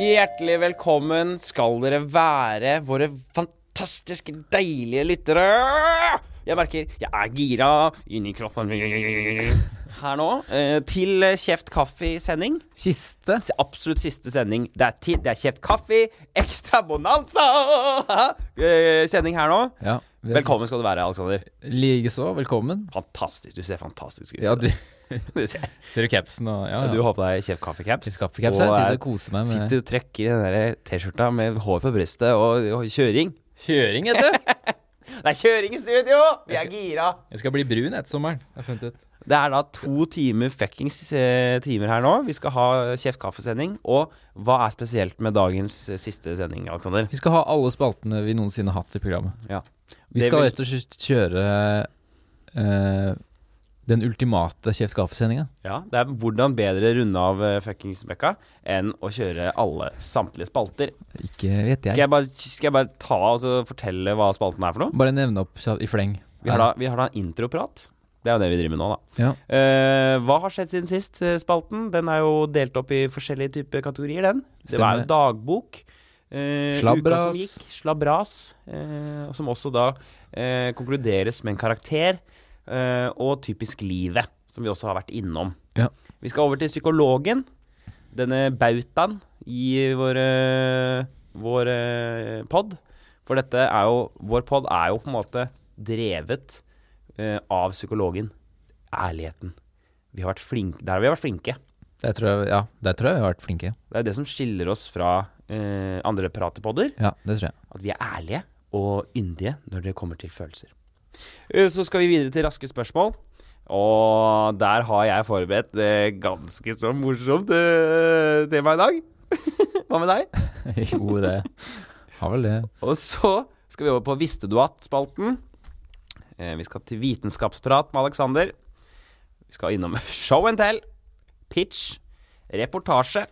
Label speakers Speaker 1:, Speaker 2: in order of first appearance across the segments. Speaker 1: Hjertelig velkommen skal dere være, våre fantastiske, deilige lyttere. Jeg merker jeg er gira inni kroppen min her nå. Eh, til eh, Kjeft kaffe-sending.
Speaker 2: Kiste.
Speaker 1: S- Absolutt siste sending. Det er, ti det er Kjeft kaffe, ekstra bonanza! Eh, sending her nå.
Speaker 2: Ja, vi er-
Speaker 1: Velkommen skal du være, Alexander.
Speaker 2: Likeså. Velkommen.
Speaker 1: Fantastisk. Du ser fantastisk ut.
Speaker 2: Ja, du
Speaker 1: Du ser-
Speaker 2: Ser du capsen og Ja,
Speaker 1: Du har på deg Kjeft kaffe-caps.
Speaker 2: Skaffecaps. Jeg
Speaker 1: og
Speaker 2: sitter
Speaker 1: er-
Speaker 2: og koser meg med
Speaker 1: Sitter og trekker i den der T-skjorta med hår på brystet og, og kjøring.
Speaker 2: kjøring, vet du.
Speaker 1: Det er kjøring i studio! Vi er gira.
Speaker 2: Jeg skal bli brun etter sommeren. Jeg har funnet ut.
Speaker 1: Det er da to timer fuckings eh, timer her nå. Vi skal ha Kjeft kaffe-sending. Og hva er spesielt med dagens eh, siste sending, Alexander?
Speaker 2: Vi skal ha alle spaltene vi noensinne har hatt i programmet.
Speaker 1: Ja.
Speaker 2: Vi
Speaker 1: Det
Speaker 2: skal
Speaker 1: vil-
Speaker 2: rett og slett kjøre eh, den ultimate Kjeft kaffe-sendinga.
Speaker 1: Ja, Det er hvordan bedre runde av eh, fuckings møkka enn å kjøre alle samtlige spalter.
Speaker 2: Ikke vet
Speaker 1: Skal
Speaker 2: jeg.
Speaker 1: jeg bare, skal jeg bare ta og så fortelle hva spalten er for noe?
Speaker 2: Bare nevne opp kjapt i fleng.
Speaker 1: Vi har da, vi har da en introprat. Det er jo det vi driver med nå, da.
Speaker 2: Ja.
Speaker 1: Eh, hva har skjedd siden sist, eh, spalten? Den er jo delt opp i forskjellige typer kategorier, den. Det var jo
Speaker 2: Stemmer.
Speaker 1: dagbok. eh, Uka som
Speaker 2: Slabras.
Speaker 1: gikk. Slabras. eh, og som også da eh, konkluderes med en karakter. eh, og typisk livet, som vi også har vært innom.
Speaker 2: Ja.
Speaker 1: Vi skal over til psykologen. Denne bautaen i vår, eh, vår eh, pod. For dette er jo Vår pod er jo på en måte drevet eh, av psykologen. Ærligheten. Vi har vært flinke. Der har vi vært flinke.
Speaker 2: Der tror jeg, ja, der tror jeg vi har vært flinke.
Speaker 1: Det er jo det som skiller oss fra eh, andre pratepodder.
Speaker 2: Ja, det tror jeg.
Speaker 1: At vi er ærlige og yndige når det kommer til følelser. Eh, Så skal vi videre til raske spørsmål. Og der har jeg forberedt eh, ganske så morsomt eh, tema i dag. Hva med deg?
Speaker 2: jo, det har vel det.
Speaker 1: Og så skal vi over på Visste du at-spalten. Eh, vi skal til vitenskapsprat med Aleksander. Vi skal innom show and tell, pitch, reportasje,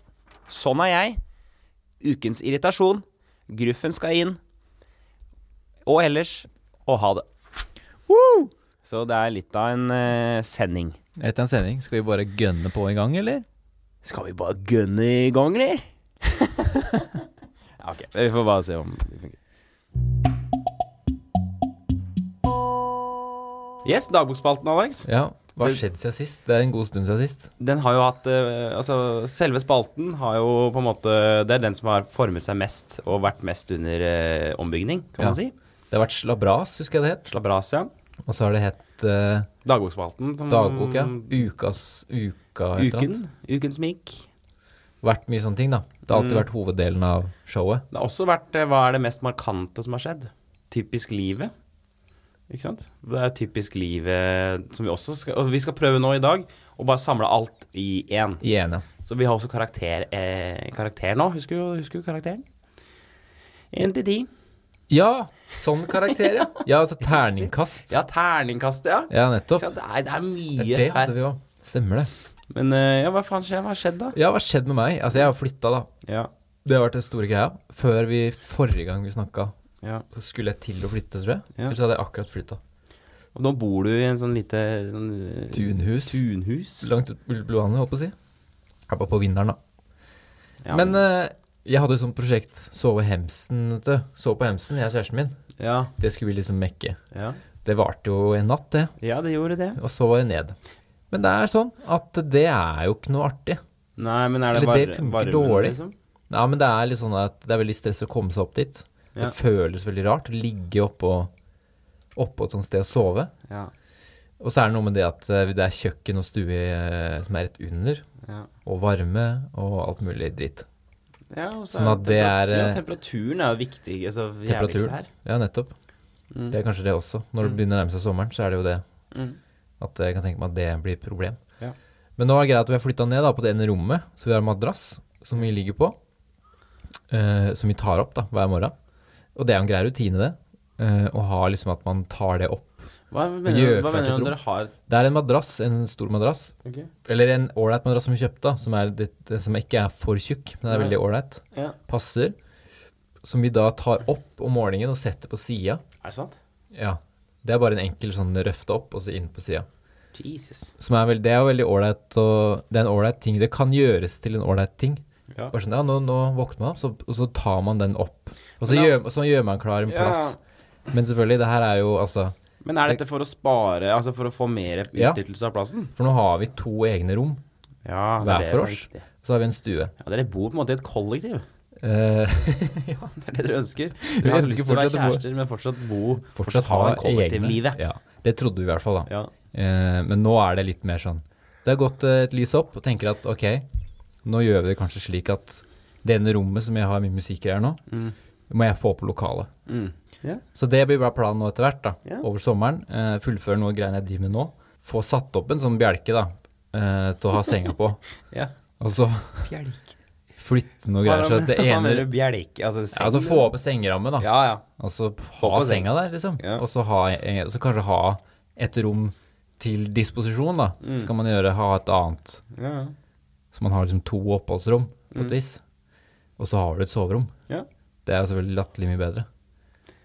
Speaker 1: sånn er jeg, ukens irritasjon, gruffen skal inn, og ellers og ha det. Så det er litt av en eh, sending.
Speaker 2: Etter en sending, skal vi bare gønne på en gang, eller?
Speaker 1: Skal vi bare gønne i gang, eller? ja, ok. Vi får bare se om det funker. Yes, dagbokspalten, Alex.
Speaker 2: Ja, hva har skjedd siden sist? Det er en god stund siden sist.
Speaker 1: Den har jo hatt eh, Altså, selve spalten har jo på en måte Det er den som har formet seg mest og vært mest under eh, ombygning, kan
Speaker 2: Ja.
Speaker 1: man si.
Speaker 2: Det har vært slabras, husker jeg det het.
Speaker 1: Slabrasia.
Speaker 2: Og så har det hett eh,
Speaker 1: Dagbokspalten. Som,
Speaker 2: dagbok, ja. Ukas Uka, et eller
Speaker 1: Uken.
Speaker 2: annet.
Speaker 1: Uken som gikk.
Speaker 2: Vært mye sånne ting, da. Det har alltid vært hoveddelen av showet.
Speaker 1: Det har også vært eh, hva er det mest markante som har skjedd? Typisk livet. Ikke sant? Det er typisk livet som vi også skal Og vi skal prøve nå i dag å bare samle alt i én.
Speaker 2: I ene.
Speaker 1: Så vi har også karakter, eh, karakter nå. Husker du, husker du karakteren? Én til ti.
Speaker 2: Ja! Sånn karakter, ja. Ja, altså terningkast.
Speaker 1: Ja, terningkastet, ja.
Speaker 2: Ja,
Speaker 1: Ikke
Speaker 2: nettopp.
Speaker 1: sant? Det er, det er
Speaker 2: Det,
Speaker 1: mye
Speaker 2: er det
Speaker 1: her.
Speaker 2: hadde vi jo. Stemmer det.
Speaker 1: Men eh, ja, hva faen skjer? Hva har skjedd, da?
Speaker 2: Ja, hva har skjedd med meg? Altså, jeg har flytta, da.
Speaker 1: Ja,
Speaker 2: Det har vært den store greia. Før vi forrige gang vi snakka,
Speaker 1: ja.
Speaker 2: så skulle jeg til å flytte, tror jeg.
Speaker 1: Ja.
Speaker 2: Ellers hadde jeg akkurat flytta.
Speaker 1: Og nå bor du i en sånn lite sånn, eh,
Speaker 2: Tunhus.
Speaker 1: tunhus.
Speaker 2: Langt ut på landet, håper jeg å si. Jeg var på vinneren, da.
Speaker 1: Ja,
Speaker 2: Men eh, jeg hadde jo sånt prosjekt. Sove hemsen, vet du. Sove på hemsen, jeg og kjæresten min.
Speaker 1: ja,
Speaker 2: Det skulle vi liksom mekke.
Speaker 1: ja.
Speaker 2: Det varte jo en natt, det.
Speaker 1: ja, det gjorde det.
Speaker 2: Og så var det ned. Men det er sånn at det er jo ikke noe artig.
Speaker 1: Nei, men er det
Speaker 2: Eller
Speaker 1: varme,
Speaker 2: det funker
Speaker 1: varmen,
Speaker 2: dårlig.
Speaker 1: Liksom?
Speaker 2: Nei, men det er litt sånn at det er veldig stress å komme seg opp dit.
Speaker 1: Ja.
Speaker 2: Det føles veldig rart å ligge oppå oppå et sånt sted og sove.
Speaker 1: Ja,
Speaker 2: Og så er det noe med det at eh, det er kjøkken og stue eh, som er rett under,
Speaker 1: ja.
Speaker 2: og varme og alt mulig dritt.
Speaker 1: ja og så
Speaker 2: Sånn at
Speaker 1: jo
Speaker 2: det
Speaker 1: temperat-
Speaker 2: er, eh,
Speaker 1: ja, Temperaturen er jo viktig. Altså, jævligst
Speaker 2: Temperaturen.
Speaker 1: her.
Speaker 2: Ja, nettopp.
Speaker 1: Mm.
Speaker 2: Det er kanskje det også. Når det begynner å nærme seg sommeren, så er det jo det
Speaker 1: Mm.
Speaker 2: at jeg kan tenke meg at det blir et problem.
Speaker 1: Ja.
Speaker 2: Men nå er det greit at vi har flytta ned da, på det ene rommet, så vi har en madrass som vi ligger på. eh, som vi tar opp da, hver morgen. Og det er jo en grei rutine, det. eh, å ha liksom at man tar det opp.
Speaker 1: Hva mener
Speaker 2: gjør
Speaker 1: du hva
Speaker 2: klart
Speaker 1: mener
Speaker 2: et
Speaker 1: du om
Speaker 2: rom.
Speaker 1: dere har
Speaker 2: Det er en madrass, en stor madrass. Eller en ålreit madrass som vi kjøpte, da, som, er litt, som ikke er for tjukk, men er
Speaker 1: Nei.
Speaker 2: veldig ålreit.
Speaker 1: ja.
Speaker 2: Passer. Som vi da tar opp om morgenen og setter på sida.
Speaker 1: Er det sant?
Speaker 2: Ja. Det er bare en enkel sånn røfte opp, og så inn på sida.
Speaker 1: Jesus.
Speaker 2: Som er vel, det er jo veldig ålreit, og det er en ålreit ting. Det kan gjøres til en ålreit ting.
Speaker 1: Ja.
Speaker 2: Bare sånn, ja, nå, nå våkner man, så, og så tar man den opp. Og så,
Speaker 1: Men da-
Speaker 2: gjør, så gjør man klar en
Speaker 1: Ja.
Speaker 2: plass. Men selvfølgelig, det her er jo altså
Speaker 1: Men er dette for å spare, altså for å få mer
Speaker 2: Ja.
Speaker 1: utnyttelse av plassen?
Speaker 2: For nå har vi to egne rom.
Speaker 1: Ja,
Speaker 2: Hver
Speaker 1: det
Speaker 2: for
Speaker 1: som
Speaker 2: oss.
Speaker 1: viktig.
Speaker 2: Så har vi en stue.
Speaker 1: Ja, dere bor på en måte i et kollektiv.
Speaker 2: Eh,
Speaker 1: Det er det dere ønsker. Dere har
Speaker 2: ønsker
Speaker 1: lyst til å være
Speaker 2: fortsatt å bo-
Speaker 1: kjærester, men fortsatt bo
Speaker 2: fortsatt
Speaker 1: ha
Speaker 2: ha
Speaker 1: en kollektivlivet.
Speaker 2: egne. Ja, det trodde vi i hvert fall, da.
Speaker 1: Ja.
Speaker 2: Eh, men nå er det litt mer sånn Det har gått eh, et lys opp, og tenker at ok, nå gjør vi det kanskje slik at det ene rommet som jeg har mye musikkgreier nå,
Speaker 1: Mm.
Speaker 2: må jeg få på lokalet.
Speaker 1: Mm. Ja.
Speaker 2: Så det blir bare planen nå etter hvert, da.
Speaker 1: Ja.
Speaker 2: Over sommeren. Eh, fullføre noe greiene jeg driver med nå. Få satt opp en sånn bjelke, da, eh, til å ha senga på.
Speaker 1: ja.
Speaker 2: Og så
Speaker 1: Bjelke.
Speaker 2: flytte noe greier. Så at det
Speaker 1: Hva
Speaker 2: ene
Speaker 1: mener du bjelke? Altså,
Speaker 2: ja, Altså få opp en sengeramme, da.
Speaker 1: Ja, ja.
Speaker 2: Og så
Speaker 1: Få på
Speaker 2: ha senga der, liksom.
Speaker 1: Ja.
Speaker 2: Og så ha- eh, og så kanskje ha et rom til disposisjon, da.
Speaker 1: Mm.
Speaker 2: Så kan man gjøre ha et annet.
Speaker 1: ja, ja.
Speaker 2: Så man har liksom to oppholdsrom, på et vis. Og så har du et soverom.
Speaker 1: Mm. Ja.
Speaker 2: Det er jo selvfølgelig latterlig mye bedre.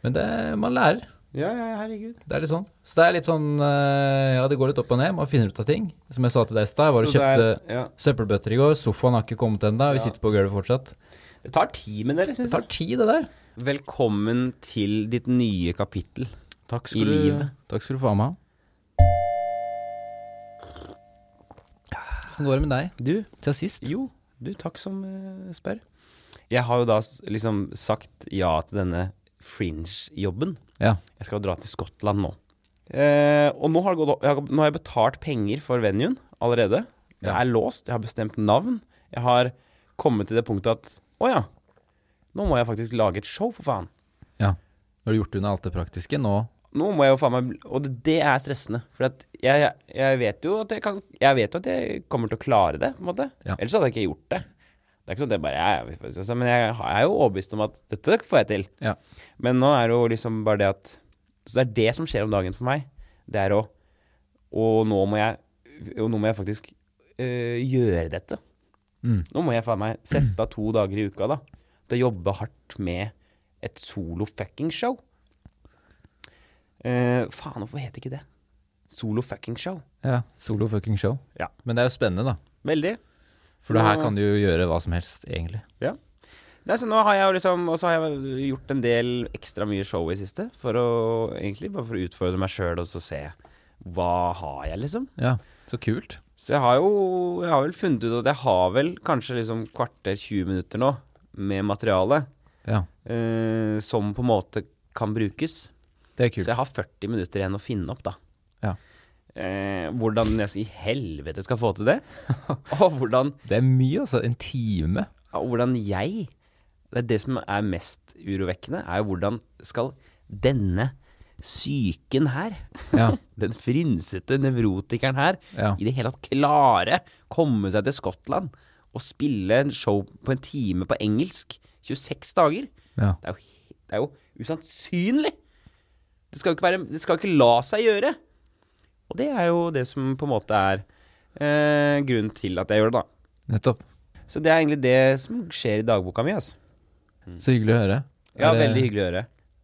Speaker 2: Men det, man lærer.
Speaker 1: Ja, ja, herregud.
Speaker 2: Det er litt sånn. Så det er litt sånn eh, Ja, det går litt opp og ned. Man finner ut av ting. Som jeg sa til deg i stad, jeg var og
Speaker 1: Så det
Speaker 2: kjøpte
Speaker 1: er- ja.
Speaker 2: søppelbøtter i går. Sofaen har ikke kommet ennå. Vi
Speaker 1: Ja.
Speaker 2: sitter på gulvet fortsatt.
Speaker 1: Det tar tid med dere,
Speaker 2: Det
Speaker 1: syns jeg.
Speaker 2: tar tid, det der.
Speaker 1: Velkommen til ditt nye kapittel.
Speaker 2: Takk
Speaker 1: skal du-
Speaker 2: Takk skal du få av meg. Åssen går det med deg
Speaker 1: Du,
Speaker 2: til sist?
Speaker 1: jo, du, takk som eh, spør. Jeg har jo da s- liksom sagt ja til denne fringe-jobben.
Speaker 2: Ja.
Speaker 1: Jeg skal jo dra til Skottland nå. Eh, og nå har, det gått, opp- jeg har, nå har jeg betalt penger for venuen allerede. Det
Speaker 2: Ja.
Speaker 1: er låst, jeg har bestemt navn. Jeg har kommet til det punktet at å ja, nå må jeg faktisk lage et show, for faen.
Speaker 2: ja. Nå har du gjort unna alt det praktiske. Nå
Speaker 1: Nå må jeg jo faen meg Og det, det er stressende. For at jeg, jeg, jeg vet jo at jeg kan Jeg vet jo at jeg kommer til å klare det, på en måte.
Speaker 2: Ja.
Speaker 1: Ellers hadde jeg ikke gjort det. Det er ikke sånn at jeg bare jeg, jeg, altså, Men jeg, har- jeg er jo overbevist om at dette får jeg til.
Speaker 2: Ja.
Speaker 1: Men nå er det jo liksom bare det at Så det er det som skjer om dagen for meg. Det er å Og nå må jeg Og nå må jeg faktisk øh, gjøre dette.
Speaker 2: Mm.
Speaker 1: Nå må jeg faen meg sette av to dager i uka da til å jobbe hardt med et solo fucking show. Eh, faen, hvorfor heter ikke det? Solo fucking show.
Speaker 2: Ja. Solo fucking show.
Speaker 1: Ja.
Speaker 2: Men det er jo spennende, da.
Speaker 1: Veldig.
Speaker 2: For det her kan du jo gjøre hva som helst, egentlig.
Speaker 1: Nei, så nå har jeg jo liksom Og så har jeg gjort en del ekstra mye show i siste. For å egentlig bare for å utfordre meg sjøl og så se hva har jeg, liksom.
Speaker 2: Ja. Så kult.
Speaker 1: Så jeg har jo Jeg har vel funnet ut at jeg har vel kanskje liksom kvarter 20 minutter nå med materiale
Speaker 2: Ja.
Speaker 1: eh, som på en måte kan brukes.
Speaker 2: Det er kult.
Speaker 1: Så jeg har 40 minutter igjen å finne opp, da.
Speaker 2: Ja.
Speaker 1: Eh, hvordan jeg i helvete skal få til det, og hvordan,
Speaker 2: Det er mye, altså. En time.
Speaker 1: og hvordan jeg Det er det som er mest urovekkende, er jo hvordan skal denne psyken her,
Speaker 2: Ja.
Speaker 1: den frynsete nevrotikeren her,
Speaker 2: Ja.
Speaker 1: i det hele tatt klare komme seg til Skottland og spille en show på en time på engelsk 26 dager?
Speaker 2: ja.
Speaker 1: Det er jo, he- det er jo usannsynlig! Det skal jo ikke, være, det skal jo ikke la seg gjøre. Og det er jo det som på en måte er eh, grunnen til at jeg gjør det, da.
Speaker 2: Nettopp.
Speaker 1: Så det er egentlig det som skjer i dagboka mi. Altså.
Speaker 2: Så hyggelig å høre.
Speaker 1: Ja,
Speaker 2: Er det-
Speaker 1: Veldig hyggelig å gjøre.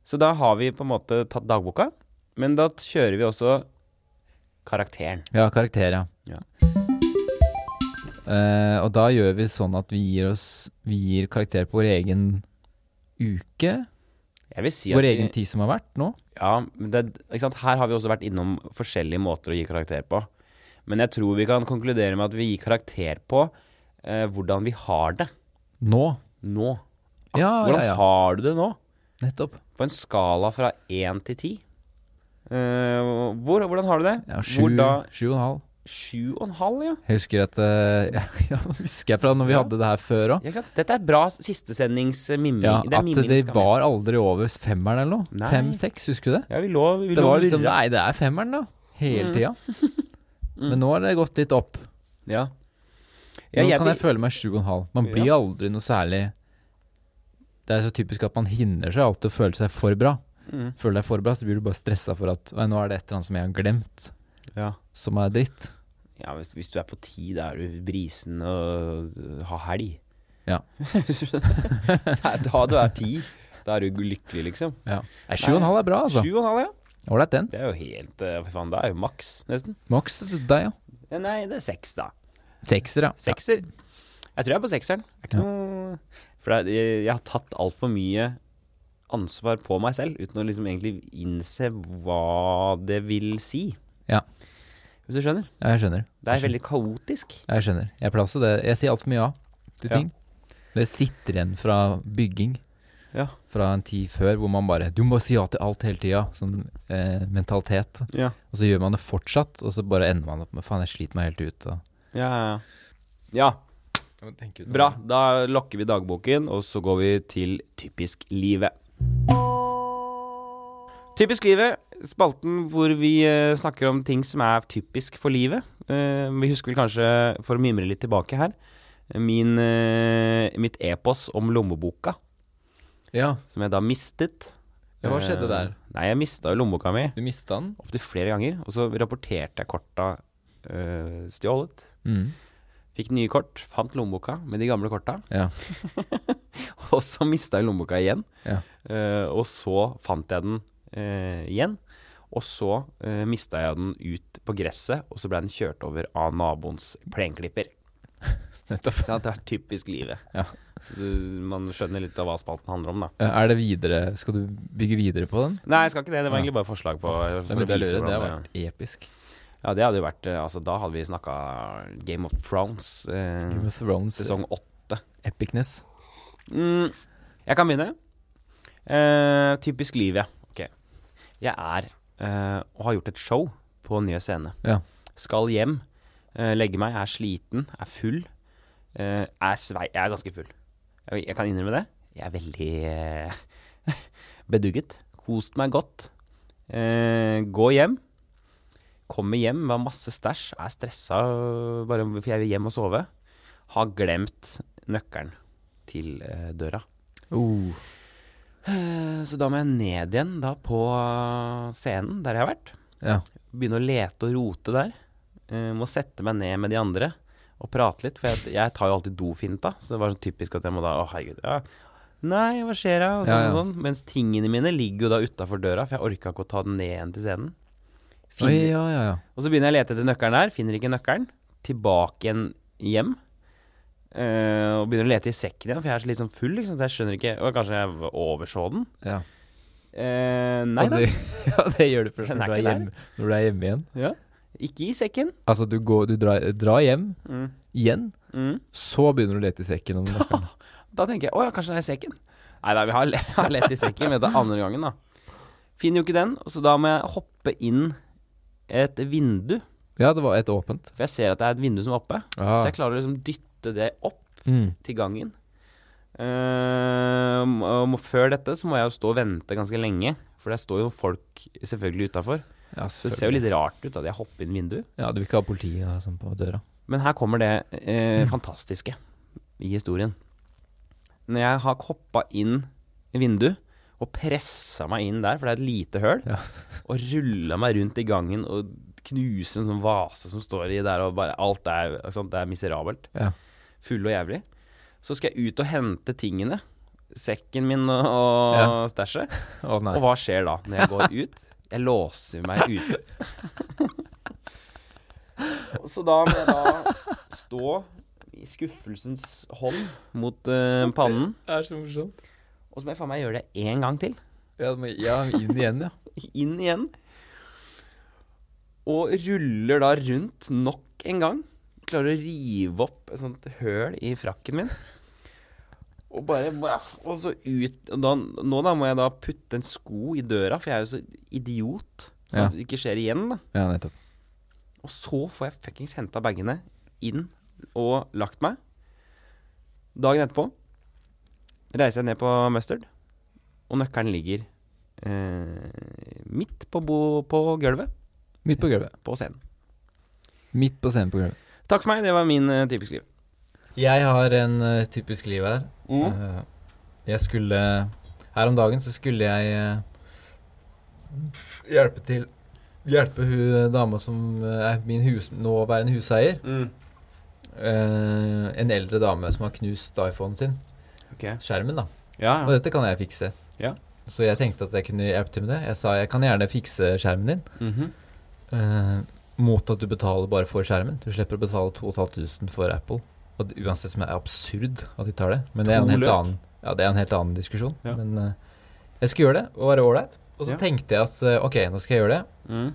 Speaker 1: Så da har vi på en måte tatt dagboka, men da kjører vi også karakteren.
Speaker 2: Ja, karakter, ja.
Speaker 1: Ja.
Speaker 2: Eh, og da gjør vi sånn at vi gir, oss, vi gir karakter på vår egen uke.
Speaker 1: Jeg vil si at
Speaker 2: Vår
Speaker 1: vi-
Speaker 2: egen tid som har vært nå.
Speaker 1: Ja, men det, ikke sant? Her har vi også vært innom forskjellige måter å gi karakter på. Men jeg tror vi kan konkludere med at vi gir karakter på eh, hvordan vi har det
Speaker 2: Nå.
Speaker 1: nå. Ah,
Speaker 2: Ja,
Speaker 1: Hvordan
Speaker 2: ja, ja.
Speaker 1: har du det nå?
Speaker 2: Nettopp.
Speaker 1: På en skala fra én til ti. Eh, hvor, hvordan har du det?
Speaker 2: Ja, sju,
Speaker 1: hvor da
Speaker 2: sju og en halv.
Speaker 1: Sju og en halv, ja.
Speaker 2: Jeg husker at eh, ja, ja, husker jeg fra når vi
Speaker 1: Ja.
Speaker 2: hadde det her før òg.
Speaker 1: ja ikke sant? Dette er bra sistesendingsmiming.
Speaker 2: Ja,
Speaker 1: det er
Speaker 2: at
Speaker 1: miming
Speaker 2: det
Speaker 1: skal med.
Speaker 2: var aldri over femmeren eller noe.
Speaker 1: Nei.
Speaker 2: Fem-seks, husker du det?
Speaker 1: Ja, vi lå, vi
Speaker 2: Det
Speaker 1: lå
Speaker 2: var
Speaker 1: og
Speaker 2: liksom
Speaker 1: lurra.
Speaker 2: Nei, det er femmeren, da.
Speaker 1: Mm.
Speaker 2: Hele tida. Men nå har det gått litt opp.
Speaker 1: Ja. Ja,
Speaker 2: Nå
Speaker 1: jeg,
Speaker 2: kan jeg føle meg sju og en halv. Man blir aldri noe særlig Det er så typisk at man hindrer seg alltid å føle seg for bra.
Speaker 1: Mm.
Speaker 2: Føler deg for bra, så blir du bare stressa for at «Oi, nå er det et eller annet som jeg har glemt,
Speaker 1: ja.
Speaker 2: som er dritt.
Speaker 1: Ja, hvis, hvis du er på ti, da er du brisen og øh, har helg.
Speaker 2: Ja.
Speaker 1: da, da du er ti, da er du lykkelig, liksom.
Speaker 2: Ja. Nei, sju og en halv er bra, altså.
Speaker 1: Sju og en halv, ja.
Speaker 2: Ålreit, den.
Speaker 1: Det er jo helt øh, Fy faen, det er jo maks, nesten.
Speaker 2: Maks til deg, ja.
Speaker 1: Ja, Nei, det er seks, da.
Speaker 2: Sekser, ja.
Speaker 1: Sekser. Jeg tror jeg er på sekseren. Det er ikke
Speaker 2: Ja.
Speaker 1: noe- For det er- jeg, jeg har tatt altfor mye ansvar på meg selv uten å liksom egentlig innse hva det vil si.
Speaker 2: Ja.
Speaker 1: Hvis du skjønner?
Speaker 2: Ja, jeg skjønner.
Speaker 1: Det er
Speaker 2: Jeg
Speaker 1: veldig kaotisk.
Speaker 2: Jeg skjønner. Jeg pleier også det. Jeg sier altfor mye ja til
Speaker 1: Ja.
Speaker 2: ting. Det sitter igjen fra bygging.
Speaker 1: Ja.
Speaker 2: Fra en tid før hvor man bare Du må si ja til alt hele tida. Sånn eh, mentalitet.
Speaker 1: Ja.
Speaker 2: Og så gjør man det fortsatt, og så bare ender man opp med faen, jeg sliter meg helt ut. Og...
Speaker 1: Ja, ja, ja. ja bra. Da lokker vi dagboken, og så går vi til Typisk livet. Typisk livet, spalten hvor vi eh, snakker om ting som er typisk for livet. Eh, vi husker vel kanskje, for å mimre litt tilbake her, min, eh, mitt epos om lommeboka,
Speaker 2: Ja,
Speaker 1: som jeg da mistet.
Speaker 2: Ja, hva skjedde der?
Speaker 1: Eh, Nei, jeg mista jo lommeboka mi
Speaker 2: du mista den.
Speaker 1: opptil flere ganger, og så rapporterte jeg korta eh, stjålet.
Speaker 2: Mm.
Speaker 1: Fikk nye kort, fant lommeboka med de gamle korta,
Speaker 2: Ja.
Speaker 1: og så mista jeg lommeboka igjen.
Speaker 2: Ja.
Speaker 1: Eh, og så fant jeg den eh, igjen, og så uh, mista jeg den ut på gresset, og så ble den kjørt over av naboens plenklipper.
Speaker 2: Nettopp.
Speaker 1: Så det er typisk livet.
Speaker 2: Ja.
Speaker 1: Du- Man skjønner litt av hva spalten handler om, da.
Speaker 2: Eh, Er det videre Skal du bygge videre på den?
Speaker 1: Nei, jeg skal ikke det. Det var
Speaker 2: Ja.
Speaker 1: egentlig bare forslag på
Speaker 2: Det
Speaker 1: for å
Speaker 2: burde jeg
Speaker 1: vise
Speaker 2: lure. Det har
Speaker 1: hvordan Mm.
Speaker 2: vært episk.
Speaker 1: Ja, det hadde jo vært eh, Altså, da hadde vi snakka Game of Thrones, eh,
Speaker 2: Game of Thrones,
Speaker 1: sesong åtte.
Speaker 2: epicness.
Speaker 1: Mm, jeg kan begynne. Eh, typisk liv, ja. Ok. Jeg er eh, og har gjort et show på Nye Scene.
Speaker 2: Ja.
Speaker 1: Skal hjem, eh, legge meg, er sliten, er full. eh, er svei, jeg er ganske full. Jeg, jeg kan innrømme det. Jeg er veldig eh, bedugget. Kost meg godt. Eh, gå hjem. Kommer hjem med masse stæsj. Er stressa øh, bare for jeg vil hjem og sove. Har glemt nøkkelen til eh, døra.
Speaker 2: Oh.
Speaker 1: Eh, Så da må jeg ned igjen da på scenen der jeg har vært.
Speaker 2: Ja.
Speaker 1: Begynne å lete og rote der. Eh, må sette meg ned med de andre og prate litt, for jeg, jeg tar jo alltid dofinta. Så det var sånn typisk at jeg må da Å, herregud. Ja. Nei, hva skjer da? Og sånn,
Speaker 2: Ja, ja.
Speaker 1: og sånn. Mens tingene mine ligger jo da utafor døra, for jeg orka ikke å ta den ned igjen til scenen.
Speaker 2: Oi,
Speaker 1: Finner,
Speaker 2: ja, ja, ja.
Speaker 1: Og så begynner jeg å lete etter nøkkelen der, finner ikke nøkkelen. Tilbake igjen hjem. Eh, og begynner å lete i sekken igjen, for jeg er så litt sånn full, liksom, så jeg skjønner ikke Og kanskje jeg overså den?
Speaker 2: ja.
Speaker 1: Eh, nei
Speaker 2: Og
Speaker 1: da.
Speaker 2: det- ja, det gjør du først
Speaker 1: Den
Speaker 2: når
Speaker 1: er
Speaker 2: du, er
Speaker 1: ikke der.
Speaker 2: hjemme, når du er hjemme igjen.
Speaker 1: Ikke i sekken.
Speaker 2: Altså, du, går, du drar, drar hjem
Speaker 1: Mm.
Speaker 2: igjen,
Speaker 1: Mm.
Speaker 2: så begynner du å lete i sekken. Om nøkkelen.
Speaker 1: Da tenker jeg å ja, kanskje det er i sekken. Nei da, vi har, le- har lett i sekken, men det er andre gangen, da. Finner jo ikke den, så da må jeg hoppe inn et vindu.
Speaker 2: ja, det var et åpent.
Speaker 1: For jeg ser at det er et vindu som er oppe. Så
Speaker 2: Ah.
Speaker 1: jeg klarer å liksom dytte det opp
Speaker 2: Mm.
Speaker 1: til gangen. Eh, og må- før dette så må jeg jo stå og vente ganske lenge, for der står jo folk selvfølgelig utafor.
Speaker 2: Ja,
Speaker 1: Så det ser jo litt rart ut at jeg hopper inn vinduet.
Speaker 2: Ja, du vil ikke ha politiet og sånn på døra.
Speaker 1: Men her kommer det eh,
Speaker 2: Mm.
Speaker 1: fantastiske i historien. Når jeg har hoppa inn i vinduet og pressa meg inn der, for det er et lite høl,
Speaker 2: Ja.
Speaker 1: og rulla meg rundt i gangen og knuser en sånn vase som står i der, og bare alt er, ikke sant, det er miserabelt.
Speaker 2: Ja.
Speaker 1: Full og jævlig. Så skal jeg ut og hente tingene. Sekken min og, og
Speaker 2: Ja.
Speaker 1: stæsjet.
Speaker 2: Å nei.
Speaker 1: Og hva skjer da, når jeg går ut? Jeg låser meg ute. Og Så da må jeg da stå i skuffelsens hånd mot eh, pannen.
Speaker 2: Det er så morsomt.
Speaker 1: Og så må jeg faen meg gjøre det én gang til.
Speaker 2: Ja, men, ja inn igjen, ja.
Speaker 1: Inn igjen. Og ruller da rundt nok en gang. Klarer å rive opp et sånt høl i frakken min. Og bare Og så ut og da, Nå da må jeg da putte en sko i døra, for jeg er jo så idiot. Så
Speaker 2: Ja.
Speaker 1: det ikke skjer igjen, da.
Speaker 2: Ja, nettopp.
Speaker 1: Og så får jeg fuckings henta bagene inn og lagt meg. Dagen etterpå reiser jeg ned på Mustard, og nøkkelen ligger eh, midt på, bo på gulvet
Speaker 2: Midt på gulvet.
Speaker 1: på scenen.
Speaker 2: Midt på scenen på gulvet.
Speaker 1: Takk for meg, det var min eh, typisk liv.
Speaker 2: Jeg har en eh, typisk liv her.
Speaker 1: Mm.
Speaker 2: Eh, jeg skulle Her om dagen så skulle jeg eh, hjelpe til Hjelpe hun eh, dama som eh, er min hus, nåværende huseier.
Speaker 1: Mm.
Speaker 2: Eh, en eldre dame som har knust iPhonen sin.
Speaker 1: Ok.
Speaker 2: Skjermen, da.
Speaker 1: Ja,
Speaker 2: Og dette kan jeg fikse.
Speaker 1: Ja.
Speaker 2: Så jeg tenkte at jeg kunne hjelpe til med det. Jeg sa jeg kan gjerne fikse skjermen din.
Speaker 1: Mhm.
Speaker 2: eh, mot at du betaler bare for skjermen. Du slipper å betale 2500 for Apple. Og det, uansett som er absurd at de tar det. Men det er en
Speaker 1: To
Speaker 2: helt
Speaker 1: løk.
Speaker 2: annen, ja, det er en helt annen diskusjon.
Speaker 1: Ja.
Speaker 2: Men eh, jeg skulle gjøre det og være ålreit. Og så
Speaker 1: Ja.
Speaker 2: tenkte jeg at eh, ok, nå skal jeg gjøre det.
Speaker 1: Mm.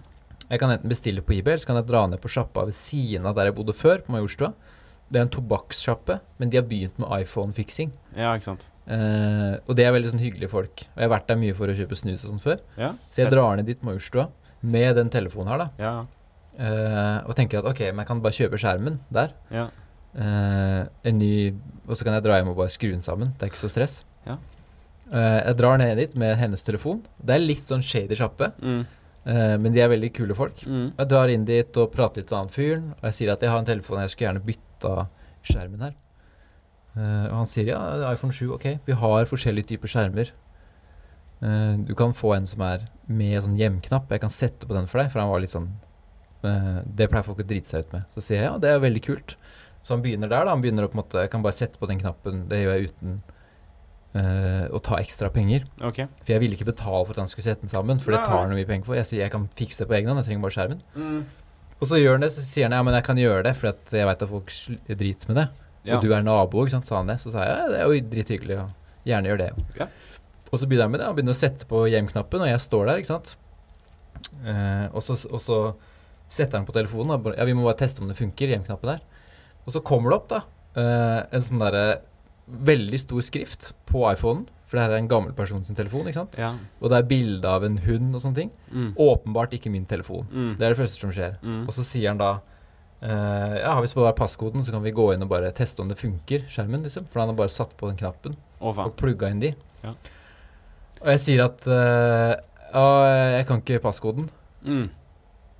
Speaker 2: Jeg kan enten bestille på eBay, eller så kan jeg dra ned på sjappa ved siden av der jeg bodde før, på Majorstua. Det er en tobakkssjappe, men de har begynt med iPhone-fiksing.
Speaker 1: Ja, ikke sant.
Speaker 2: Eh, og det er veldig sånn hyggelige folk. Og jeg har vært der mye for å kjøpe snus og sånn før.
Speaker 1: Ja,
Speaker 2: Så jeg
Speaker 1: fett.
Speaker 2: drar ned dit på Majorstua med den telefonen her, da.
Speaker 1: Ja,
Speaker 2: eh, og tenker at ok, men jeg kan bare kjøpe skjermen der.
Speaker 1: ja.
Speaker 2: Eh, en ny Og så kan jeg dra hjem og bare skru den sammen. Det er ikke så stress.
Speaker 1: Ja.
Speaker 2: Eh, jeg drar ned dit med hennes telefon. Det er litt sånn shady sjappe,
Speaker 1: Mm.
Speaker 2: eh, men de er veldig kule folk.
Speaker 1: Mm.
Speaker 2: Jeg drar inn dit og prater litt med han fyren, og jeg sier at jeg har en telefon, jeg skulle gjerne bytta skjermen her. Eh, og han sier ja, det er iPhone 7, ok, vi har forskjellige typer skjermer. Eh, du kan få en som er med sånn hjemknapp, jeg kan sette på den for deg, for han var litt sånn eh, Det pleier folk å drite seg ut med. Så sier jeg ja, det er veldig kult. Så han begynner der, da. Han begynner å på en måte Jeg kan bare sette på den knappen, det gjør jeg uten eh, å ta ekstra penger.
Speaker 1: Ok.
Speaker 2: For jeg ville ikke betale for at han skulle sette den sammen, for det
Speaker 1: Nei.
Speaker 2: tar han jo mye penger for. Jeg sier jeg kan fikse det på egen hånd, jeg trenger bare skjermen. Og så gjør han det, så sier han ja, men jeg kan gjøre det, for at jeg veit at folk sl- driter med det.
Speaker 1: Ja.
Speaker 2: Og du er nabo, ikke sant, sa han det. Så sa jeg ja, det er jo drithyggelig, og gjerne gjør det.
Speaker 1: Ja.
Speaker 2: Og så begynner han med det, han begynner å sette på hjem-knappen, og jeg står der, ikke sant. Eh, og, så, og så setter han på telefonen, da. bare, ja, vi må bare teste om det funker, hjem-knappen der. Og så kommer det opp, da, eh, en sånn derre veldig stor skrift på iPhonen, for det her er en gammel person sin telefon, ikke sant.
Speaker 1: Ja.
Speaker 2: Og det er bilde av en hund og sånne ting.
Speaker 1: Mm.
Speaker 2: Åpenbart ikke min telefon.
Speaker 1: Mm.
Speaker 2: Det er det første som skjer.
Speaker 1: Mm.
Speaker 2: Og så sier han da eh, Ja, hvis du bare har passkoden, så kan vi gå inn og bare teste om det funker, skjermen, liksom. For han har bare satt på den knappen
Speaker 1: Å, faen.
Speaker 2: og plugga inn de.
Speaker 1: Ja.
Speaker 2: Og jeg sier at eh, Ja, jeg kan ikke passkoden.
Speaker 1: Mm.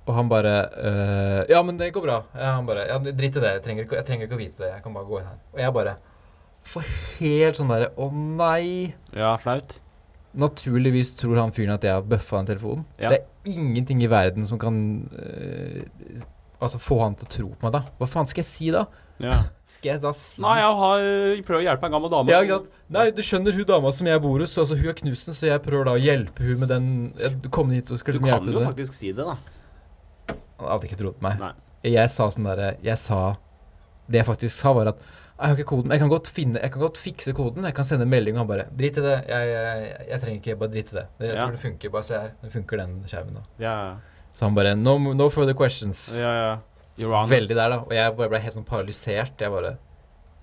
Speaker 2: Og han bare eh, Ja, men det går bra. Ja, han bare Ja, drit i det. Jeg trenger, ikke, jeg trenger ikke å vite det. Jeg kan bare gå inn her. Og jeg bare får helt sånn derre Å nei.
Speaker 1: Ja, flaut.
Speaker 2: Naturligvis tror han fyren at jeg har bøffa den telefonen.
Speaker 1: Ja.
Speaker 2: Det er ingenting i verden som kan eh, Altså få han til å tro på meg, da. Hva faen skal jeg si da?
Speaker 1: Ja.
Speaker 2: Skal jeg da si
Speaker 1: Nei, jeg har prøvd å hjelpe en gammel dame.
Speaker 2: Ja, ikke sant? Nei, du skjønner hun dama som jeg bor hos, altså hun er knust, så jeg prøver da å hjelpe hun med den jeg kom hit og skulle
Speaker 1: Du
Speaker 2: liksom
Speaker 1: kan
Speaker 2: hjelpe
Speaker 1: jo
Speaker 2: henne.
Speaker 1: faktisk si det, da.
Speaker 2: Han hadde ikke trodd på meg.
Speaker 1: Nei.
Speaker 2: Jeg sa sånn derre Jeg sa Det jeg faktisk sa, var at jeg har ikke koden, men jeg kan godt finne Jeg kan godt fikse koden. Jeg kan sende en melding, og han bare Drit i det. Jeg, jeg, jeg trenger ikke Bare drit i det. Jeg
Speaker 1: Ja.
Speaker 2: tror det funker. Bare se her. Det funker, den skjermen, da.
Speaker 1: Ja,
Speaker 2: Så han bare No, no further questions.
Speaker 1: ja. ja. You're on.
Speaker 2: Veldig der, da. Og jeg bare ble helt sånn paralysert. Jeg bare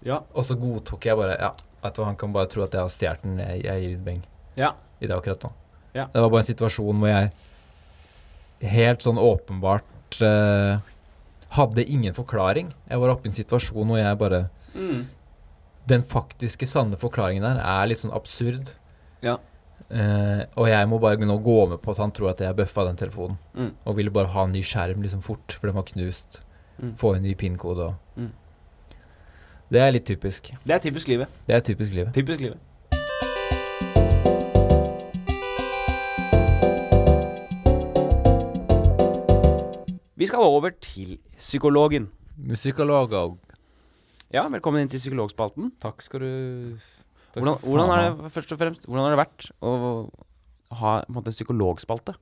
Speaker 1: Ja.
Speaker 2: Og så godtok jeg bare Ja, vet du hva, han kan bare tro at jeg har stjålet den. Jeg, jeg gir beng
Speaker 1: Ja.
Speaker 2: i det akkurat nå.
Speaker 1: Ja.
Speaker 2: Det var bare en situasjon hvor jeg helt sånn åpenbart eh, hadde ingen forklaring. Jeg var oppe i en situasjon hvor jeg bare
Speaker 1: Mm.
Speaker 2: Den faktiske sanne forklaringen der er litt sånn absurd.
Speaker 1: Ja.
Speaker 2: Eh, og jeg må bare nå gå med på at han tror at jeg bøffa den telefonen.
Speaker 1: Mm.
Speaker 2: Og ville bare ha en ny skjerm liksom fort, for den var knust.
Speaker 1: Mm.
Speaker 2: Få en ny pin-kode og
Speaker 1: Mm.
Speaker 2: Det er litt typisk.
Speaker 1: Det er typisk livet.
Speaker 2: Det er typisk livet.
Speaker 1: Typisk livet. Vi skal over til psykologen.
Speaker 2: Musikalog og
Speaker 1: Ja, velkommen inn til psykologspalten.
Speaker 2: Takk skal du Takk
Speaker 1: Hvordan,
Speaker 2: skal
Speaker 1: hvordan
Speaker 2: faen
Speaker 1: har
Speaker 2: ha.
Speaker 1: det først og fremst Hvordan har det vært å ha på en måte en psykologspalte?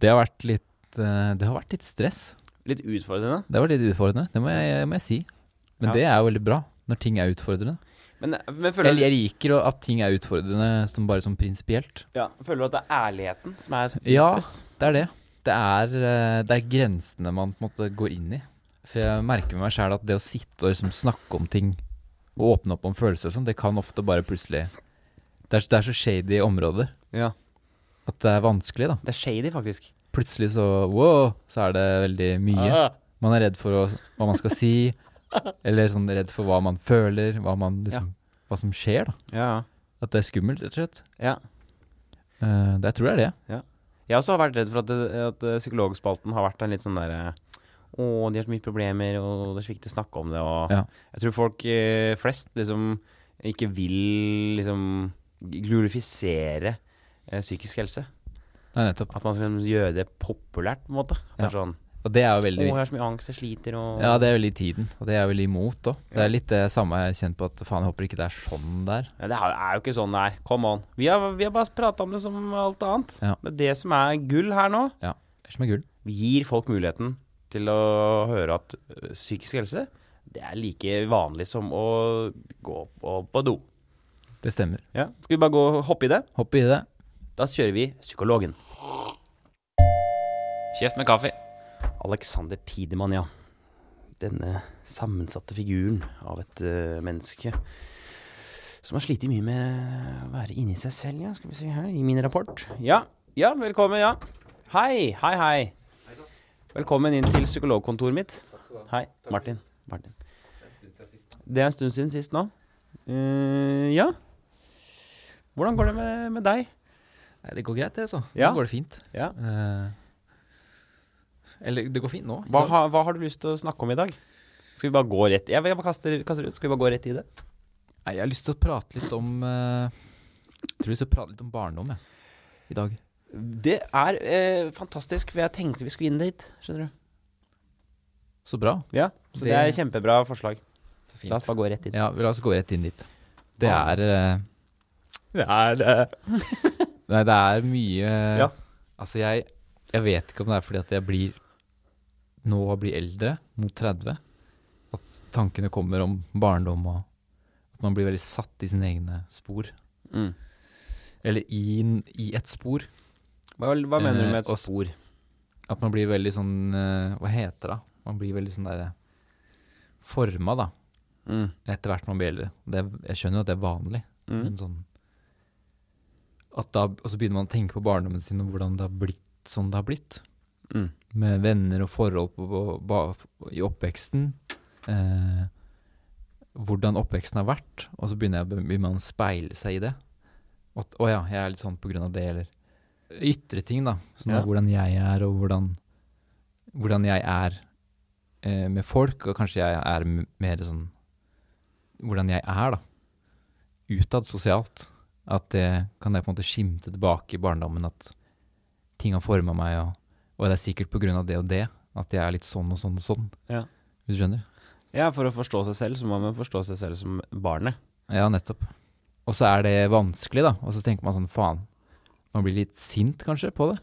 Speaker 2: Det har vært litt eh, Det har vært litt stress.
Speaker 1: Litt utfordrende.
Speaker 2: Det har vært litt utfordrende, det må jeg, må jeg si. Men
Speaker 1: Ja.
Speaker 2: det er jo veldig bra, når ting er utfordrende.
Speaker 1: Men, men føler,
Speaker 2: Jeg, jeg liker å- at ting er utfordrende som bare som prinsipielt.
Speaker 1: ja, føler du at det er ærligheten som er st-
Speaker 2: Ja.
Speaker 1: stress?
Speaker 2: Det er det. Det er, eh, det er grensene man på en måte går inn i. For jeg merker med meg sjæl at det å sitte og liksom snakke om ting og åpne opp om følelser og sånn, det kan ofte bare plutselig det er, så- det er så shady områder
Speaker 1: Ja.
Speaker 2: at det er vanskelig, da.
Speaker 1: Det er shady, faktisk.
Speaker 2: Plutselig så wow, så er det veldig mye.
Speaker 1: Ah.
Speaker 2: Man er redd for å, hva man skal si, eller sånn redd for hva man føler, hva, man liksom, hva som skjer. da.
Speaker 1: Ja,
Speaker 2: At det er skummelt, rett og slett.
Speaker 1: ja.
Speaker 2: Eh, det, jeg tror det er det.
Speaker 1: Jeg også har vært redd for at, det- at eh, psykologspalten har vært en litt sånn derre Å, de har så mye problemer, og det er så viktig å snakke om det, og
Speaker 2: Ja.
Speaker 1: Jeg tror folk eh, flest liksom ikke vil liksom glorifisere eh, psykisk helse.
Speaker 2: Nei, nettopp.
Speaker 1: At man skal gjøre det populært, på en måte. At det er sånn
Speaker 2: Og det er jo
Speaker 1: Å,
Speaker 2: veldig
Speaker 1: jeg har så mye angst, jeg sliter og
Speaker 2: Ja, det er veldig i tiden, og det er jeg veldig imot òg. Det
Speaker 1: Ja.
Speaker 2: er litt det samme jeg har kjent på at faen, jeg håper ikke det er sånn det er.
Speaker 1: Ja, det er er jo ikke sånn det er. Come on. Vi har, vi har bare prata om det som alt annet.
Speaker 2: Ja.
Speaker 1: Det er det som er gull her nå.
Speaker 2: Ja. Det er som er gull.
Speaker 1: Vi gir folk muligheten til å høre at ø, eh, psykisk helse, Det er like vanlig som å gå på, på do.
Speaker 2: Det stemmer.
Speaker 1: Ja. Skal vi bare gå og hoppe i det?
Speaker 2: Hopp i det.
Speaker 1: Da kjører vi psykologen. Kjeft med kaffe. Alexander Tidemann, ja. Denne sammensatte figuren av et eh, menneske som har slitt mye med å være inni seg selv, ja. Skal vi se her, i min rapport. Ja, ja, velkommen, ja. Hei, hei, hei. Velkommen inn til psykologkontoret mitt. Hei, Martin. Martin. Det er en stund siden sist nå. Eh, ja. Hvordan går det med, med deg?
Speaker 2: Nei, det går greit, det, altså.
Speaker 1: Ja.
Speaker 2: Nå går det fint.
Speaker 1: Ja.
Speaker 2: Eh, eller det går fint nå.
Speaker 1: Hva, ha, hva har du lyst til å snakke om i dag? Skal vi bare gå rett Jeg, jeg bare kaster, kaster ut. Skal vi bare gå rett i det?
Speaker 2: Nei, jeg har lyst til å prate litt om eh, Jeg tror jeg skal prate litt om barndom, jeg. I dag.
Speaker 1: Det er eh, fantastisk, for jeg tenkte vi skulle inn dit. Skjønner du?
Speaker 2: Så bra.
Speaker 1: Ja, Så det, er
Speaker 2: Det-
Speaker 1: kjempebra forslag.
Speaker 2: Så
Speaker 1: La oss bare gå rett inn.
Speaker 2: Ja, vi la oss gå rett inn dit. Det
Speaker 1: Ja.
Speaker 2: er eh,
Speaker 1: Det er det.
Speaker 2: Nei, det er mye
Speaker 1: Ja.
Speaker 2: Altså, jeg, jeg vet ikke om det er fordi at jeg blir Nå blir eldre, mot 30, at tankene kommer om barndom og at man blir veldig satt i sine egne spor.
Speaker 1: Mm.
Speaker 2: Eller i, n- i et spor.
Speaker 1: Hva, hva mener du med
Speaker 2: Eh,
Speaker 1: et
Speaker 2: og s-
Speaker 1: spor?
Speaker 2: At man blir veldig sånn eh, Hva heter det? Man blir veldig sånn derre Forma, da,
Speaker 1: Mm.
Speaker 2: etter hvert man blir eldre. Det, jeg skjønner jo at det er vanlig.
Speaker 1: Mm.
Speaker 2: Men sånn at da, Og så begynner man å tenke på barndommen sin og hvordan det har blitt sånn det har blitt.
Speaker 1: Mm.
Speaker 2: Med venner og forhold på, på, ba- i oppveksten. Eh, hvordan oppveksten har vært. Og så begynner, jeg, begynner man å speile seg i det. Og At, å ja, jeg er litt sånn på grunn av det, eller ytre ting, da. Sånn
Speaker 1: Ja.
Speaker 2: hvordan jeg er, og hvordan, hvordan jeg er eh, med folk. Og kanskje jeg er m- mer sånn Hvordan jeg er, da utad sosialt. At det kan jeg på en måte skimte tilbake i barndommen at ting har forma meg, og, og det er sikkert pga. det og det at jeg er litt sånn og sånn og sånn.
Speaker 1: Ja.
Speaker 2: Hvis du skjønner?
Speaker 1: Ja, for å forstå seg selv, så må man forstå seg selv som barnet.
Speaker 2: Ja, nettopp. Og så er det vanskelig, da. Og så tenker man sånn faen. Man blir litt sint kanskje på det.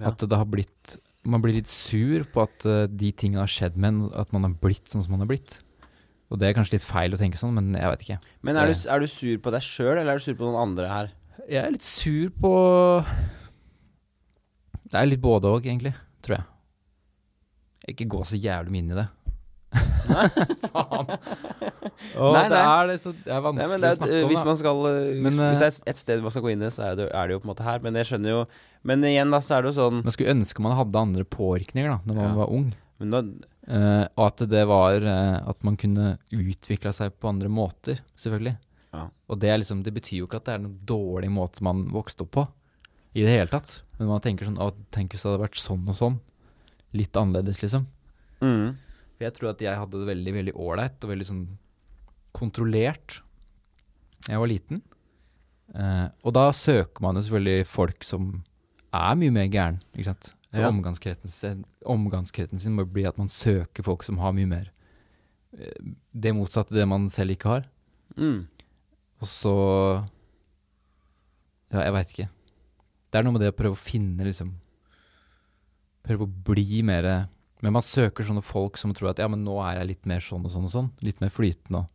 Speaker 1: Ja.
Speaker 2: At det har blitt Man blir litt sur på at eh, de tingene har skjedd med en, at man har blitt sånn som man har blitt. Og det er kanskje litt feil å tenke sånn, men jeg veit ikke.
Speaker 1: Men er du, er du sur på deg sjøl, eller er du sur på noen andre her?
Speaker 2: Jeg er litt sur på Det er litt både òg, egentlig, tror jeg. Ikke gå så jævlig mye inn i det. Faen.
Speaker 1: Nei,
Speaker 2: Det
Speaker 1: nei.
Speaker 2: er, det, så det er vanskelig
Speaker 1: Nei, men det
Speaker 2: å
Speaker 1: er,
Speaker 2: snakke
Speaker 1: øh,
Speaker 2: om.
Speaker 1: hvis,
Speaker 2: da.
Speaker 1: man skal, øh,
Speaker 2: Men,
Speaker 1: hvis, hvis
Speaker 2: øh,
Speaker 1: det er et sted man skal gå inn i, så er det, er det jo på en måte her. Men jeg skjønner jo Men igjen, da, så er det jo sånn
Speaker 2: Man skulle ønske man hadde andre påvirkninger da når man
Speaker 1: Ja.
Speaker 2: var ung.
Speaker 1: men da,
Speaker 2: Eh, og at det var eh, at man kunne utvikla seg på andre måter, selvfølgelig.
Speaker 1: Ja.
Speaker 2: Og det, er liksom, det betyr jo ikke at det er noen dårlig måte man vokste opp på i det hele tatt. Men man tenker sånn Å, tenk hvis det hadde vært sånn og sånn. Litt annerledes, liksom.
Speaker 1: mm.
Speaker 2: For jeg tror at jeg hadde det veldig, veldig ålreit og veldig sånn kontrollert. Jeg var liten. Eh, og da søker man jo selvfølgelig folk som er mye mer gæren, ikke sant. Så
Speaker 1: Ja.
Speaker 2: omgangskretsen, sin- omgangskretsen sin må bli at man søker folk som har mye mer eh, det motsatte det man selv ikke har.
Speaker 1: Mm.
Speaker 2: Og så Ja, jeg veit ikke. Det er noe med det å prøve å finne, liksom Prøve å bli mer Men man søker sånne folk som tror at ja, men nå er jeg litt mer sånn og sånn og sånn. Litt mer flytende og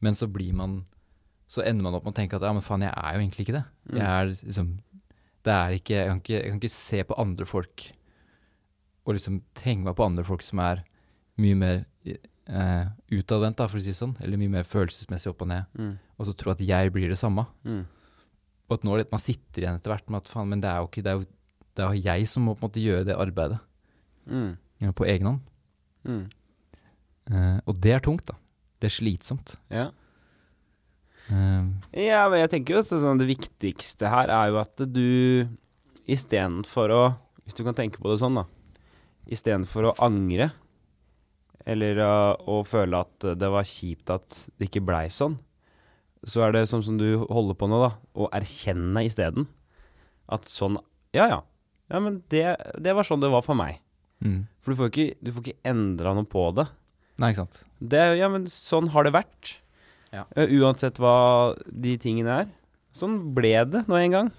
Speaker 2: Men så blir man Så ender man opp med å tenke at ja, men faen, jeg er jo egentlig ikke det. Jeg er liksom Det er ikke Jeg kan ikke, jeg kan ikke se på andre folk og liksom tenke meg på andre folk som er mye mer eh, utadvendt, da, for å si det sånn. Eller mye mer følelsesmessig opp og ned
Speaker 1: Mm.
Speaker 2: og så tro at jeg blir det samme.
Speaker 1: Mm.
Speaker 2: Og at nå er det- man sitter igjen etter hvert med at faen, men det er jo ikke det er jo, det er jo jeg som må på en måte gjøre det arbeidet
Speaker 1: Mm.
Speaker 2: ja, på egen hånd.
Speaker 1: Mm.
Speaker 2: Eh, og det er tungt, da. Det er slitsomt.
Speaker 1: Ja.
Speaker 2: Eh,
Speaker 1: ja, men jeg tenker jo at sånn, det viktigste her er jo at du istedenfor å Hvis du kan tenke på det sånn, da. Istedenfor å angre, eller å, å føle at det var kjipt at det ikke blei sånn, så er det sånn som du holder på nå, da, å erkjenne isteden. At sånn Ja, ja. Ja, men det, det var sånn det var for meg.
Speaker 2: mm.
Speaker 1: For du får ikke, du får ikke endra noe på det.
Speaker 2: Nei, ikke sant.
Speaker 1: Det, er- ja, men sånn har det vært.
Speaker 2: Ja.
Speaker 1: Eh, Uansett hva de tingene er. Sånn ble det nå en gang.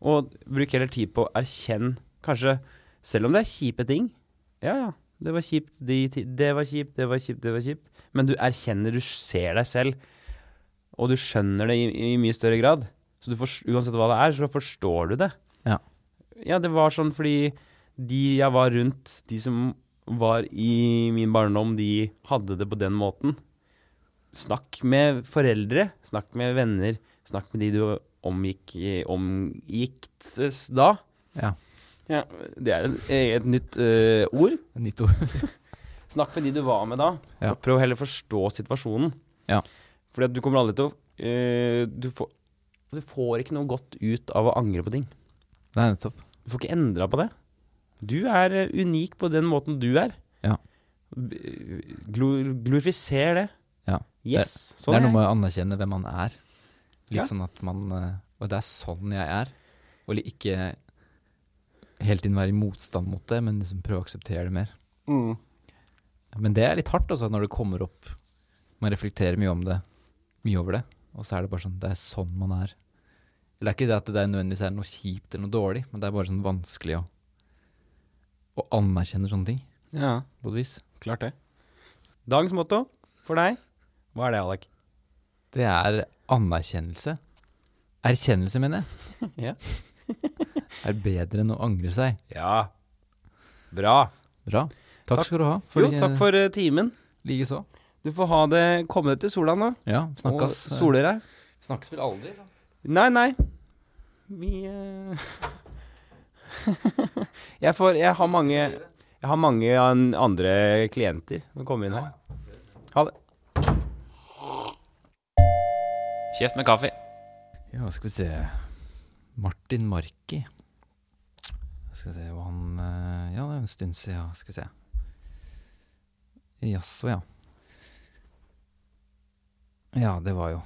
Speaker 1: Og bruk heller tid på å erkjenne, kanskje, selv om det er kjipe ting. Ja, ja, Det var kjipt, de ti- det var kjipt, det var kjipt, det var kjipt. Men du erkjenner, du ser deg selv, og du skjønner det i, i mye større grad. Så du forst- uansett hva det er, så forstår du det.
Speaker 2: Ja.
Speaker 1: Ja, det var sånn fordi de jeg var rundt, de som var i min barndom, de hadde det på den måten. Snakk med foreldre, snakk med venner, snakk med de du omgikk, omgiktes da.
Speaker 2: Ja.
Speaker 1: Ja, det er et, et nytt eh, ord.
Speaker 2: Nytt ord.
Speaker 1: Snakk med de du var med da,
Speaker 2: Ja.
Speaker 1: og prøv heller å forstå situasjonen.
Speaker 2: Ja.
Speaker 1: Fordi at du kommer aldri til å eh, du, får, du får ikke noe godt ut av å angre på ting.
Speaker 2: Nei, nettopp.
Speaker 1: Du får ikke endra på det. Du er eh, unik på den måten du er.
Speaker 2: Ja.
Speaker 1: B- Glu, glorifiser det.
Speaker 2: Ja.
Speaker 1: Yes. sånn
Speaker 2: det
Speaker 1: er
Speaker 2: er noe
Speaker 1: jeg.
Speaker 2: med å anerkjenne hvem man er. Litt
Speaker 1: Ja.
Speaker 2: sånn at man eh, Og det er sånn jeg er. Og li- ikke hele tiden være i motstand mot det, men liksom prøve å akseptere det mer.
Speaker 1: Mm.
Speaker 2: Men det er litt hardt, altså, når det kommer opp Man reflekterer mye om det, mye over det, og så er det bare sånn Det er sånn man er. Eller det er ikke det at det er nødvendigvis er noe kjipt eller noe dårlig, men det er bare sånn vanskelig å, å anerkjenne sånne ting,
Speaker 1: Ja,
Speaker 2: på et vis.
Speaker 1: klart det. Dagens motto for deg, hva er det, Alek?
Speaker 2: Det er anerkjennelse. Erkjennelse, mener jeg.
Speaker 1: Ja.
Speaker 2: er bedre enn å angre seg.
Speaker 1: Ja. Bra.
Speaker 2: Bra. Takk,
Speaker 1: Takk.
Speaker 2: skal du ha.
Speaker 1: Jo, takk for eh, timen.
Speaker 2: Likeså.
Speaker 1: Du får ha det Komme deg til sola nå.
Speaker 2: Ja, snakkes.
Speaker 1: Og sole deg.
Speaker 2: snakkes vel aldri, så.
Speaker 1: Nei, nei. Vi eh, jeg, får, jeg har mange Jeg har mange an- andre klienter som kommer inn her. Ha det. Kjeft med kaffe.
Speaker 2: Ja, skal vi se. Martin Marki. Skal vi se hva han eh, Ja, det er en stund siden. ja. Skal vi se. Jaså, ja. Ja, det var jo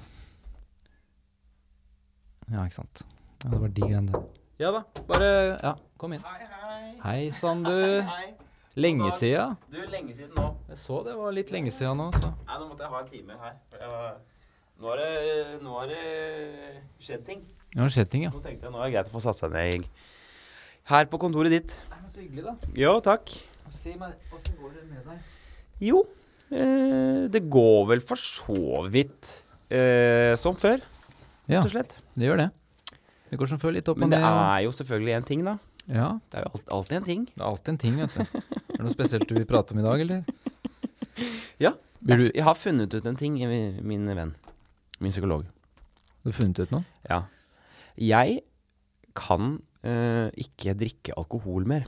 Speaker 2: Ja, ikke sant. Ja, det var de greiene der.
Speaker 1: Ja da.
Speaker 2: Bare Ja, kom inn.
Speaker 1: Hei, hei.
Speaker 2: Hei sann, du.
Speaker 1: Hei.
Speaker 2: Lenge sia.
Speaker 1: Du, lenge siden nå.
Speaker 2: Jeg så det var litt lenge sia nå, så.
Speaker 1: Nei, nå måtte jeg ha en time her. Jeg var- Nå har det, nå har det skjedd ting.
Speaker 2: Det har skjedd ting, ja.
Speaker 1: Nå tenkte jeg nå er det greit å få satt seg ned her på kontoret ditt.
Speaker 2: Så hyggelig, da.
Speaker 1: Jo, takk.
Speaker 2: Si meg, åssen går det med deg?
Speaker 1: Jo, eh, det går vel for så vidt eh, som før,
Speaker 2: Ja,
Speaker 1: rett og slett.
Speaker 2: det gjør det. Det går som før, litt opp og
Speaker 1: Men det
Speaker 2: ned.
Speaker 1: er jo selvfølgelig en ting, da.
Speaker 2: Ja,
Speaker 1: Det er jo alt, alltid en ting.
Speaker 2: det er alltid en ting, vet du. Er det noe spesielt du vil prate om i dag, eller?
Speaker 1: Ja.
Speaker 2: Blir
Speaker 1: Jeg,
Speaker 2: du,
Speaker 1: f- jeg har funnet ut en ting, eh, min venn. Min psykolog.
Speaker 2: du har funnet ut noe?
Speaker 1: Ja. Jeg kan eh, ikke drikke alkohol mer.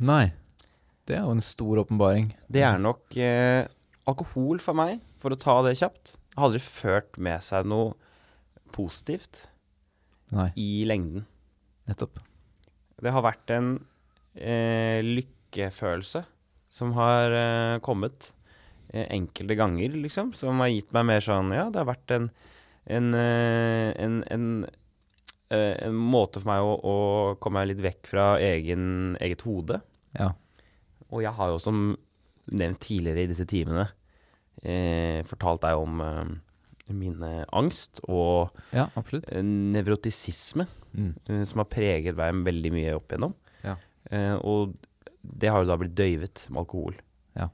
Speaker 2: Nei. Det er jo en stor åpenbaring.
Speaker 1: Det er nok eh, alkohol for meg, for å ta det kjapt. Har aldri ført med seg noe positivt
Speaker 2: Nei,
Speaker 1: i lengden.
Speaker 2: nettopp.
Speaker 1: Det har vært en eh, lykkefølelse som har eh, kommet eh, enkelte ganger, liksom. Som har gitt meg mer sånn Ja, det har vært en en, eh, en, en, eh, en måte for meg å, å komme meg litt vekk fra egen, eget hode.
Speaker 2: Ja.
Speaker 1: Og jeg har jo som nevnt tidligere i disse timene eh, fortalt deg om eh, min eh, angst og
Speaker 2: Ja, absolutt.
Speaker 1: eh, nevrotisisme
Speaker 2: Mm.
Speaker 1: eh, som har preget meg veldig mye opp igjennom.
Speaker 2: Ja.
Speaker 1: Eh, og det har jo da blitt døyvet med alkohol.
Speaker 2: Ja.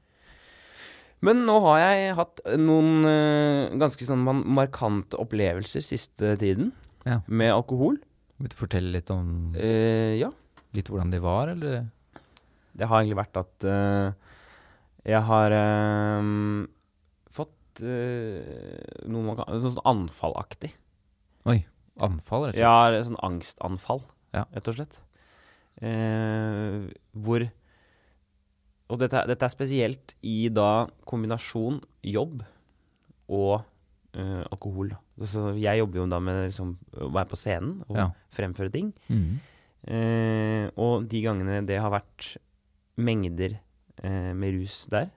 Speaker 1: Men nå har jeg hatt noen eh, ganske sånn man- markante opplevelser siste tiden
Speaker 2: Ja.
Speaker 1: med alkohol.
Speaker 2: Vil du fortelle litt om
Speaker 1: Eh, ja.
Speaker 2: litt hvordan de var, eller?
Speaker 1: Det har egentlig vært at eh, jeg har eh, fått eh, noe man kan, sånn anfallaktig.
Speaker 2: Anfall, rett og
Speaker 1: Ja,
Speaker 2: slett?
Speaker 1: det er sånn angstanfall,
Speaker 2: Ja.
Speaker 1: rett og slett. Eh, hvor Og dette, er- dette er spesielt i da kombinasjon jobb og eh, alkohol. da. Altså, jeg jobber jo da med liksom, å være på scenen og
Speaker 2: Ja.
Speaker 1: fremføre ting.
Speaker 2: Mm.
Speaker 1: Eh, og de gangene det har vært mengder eh, med rus der,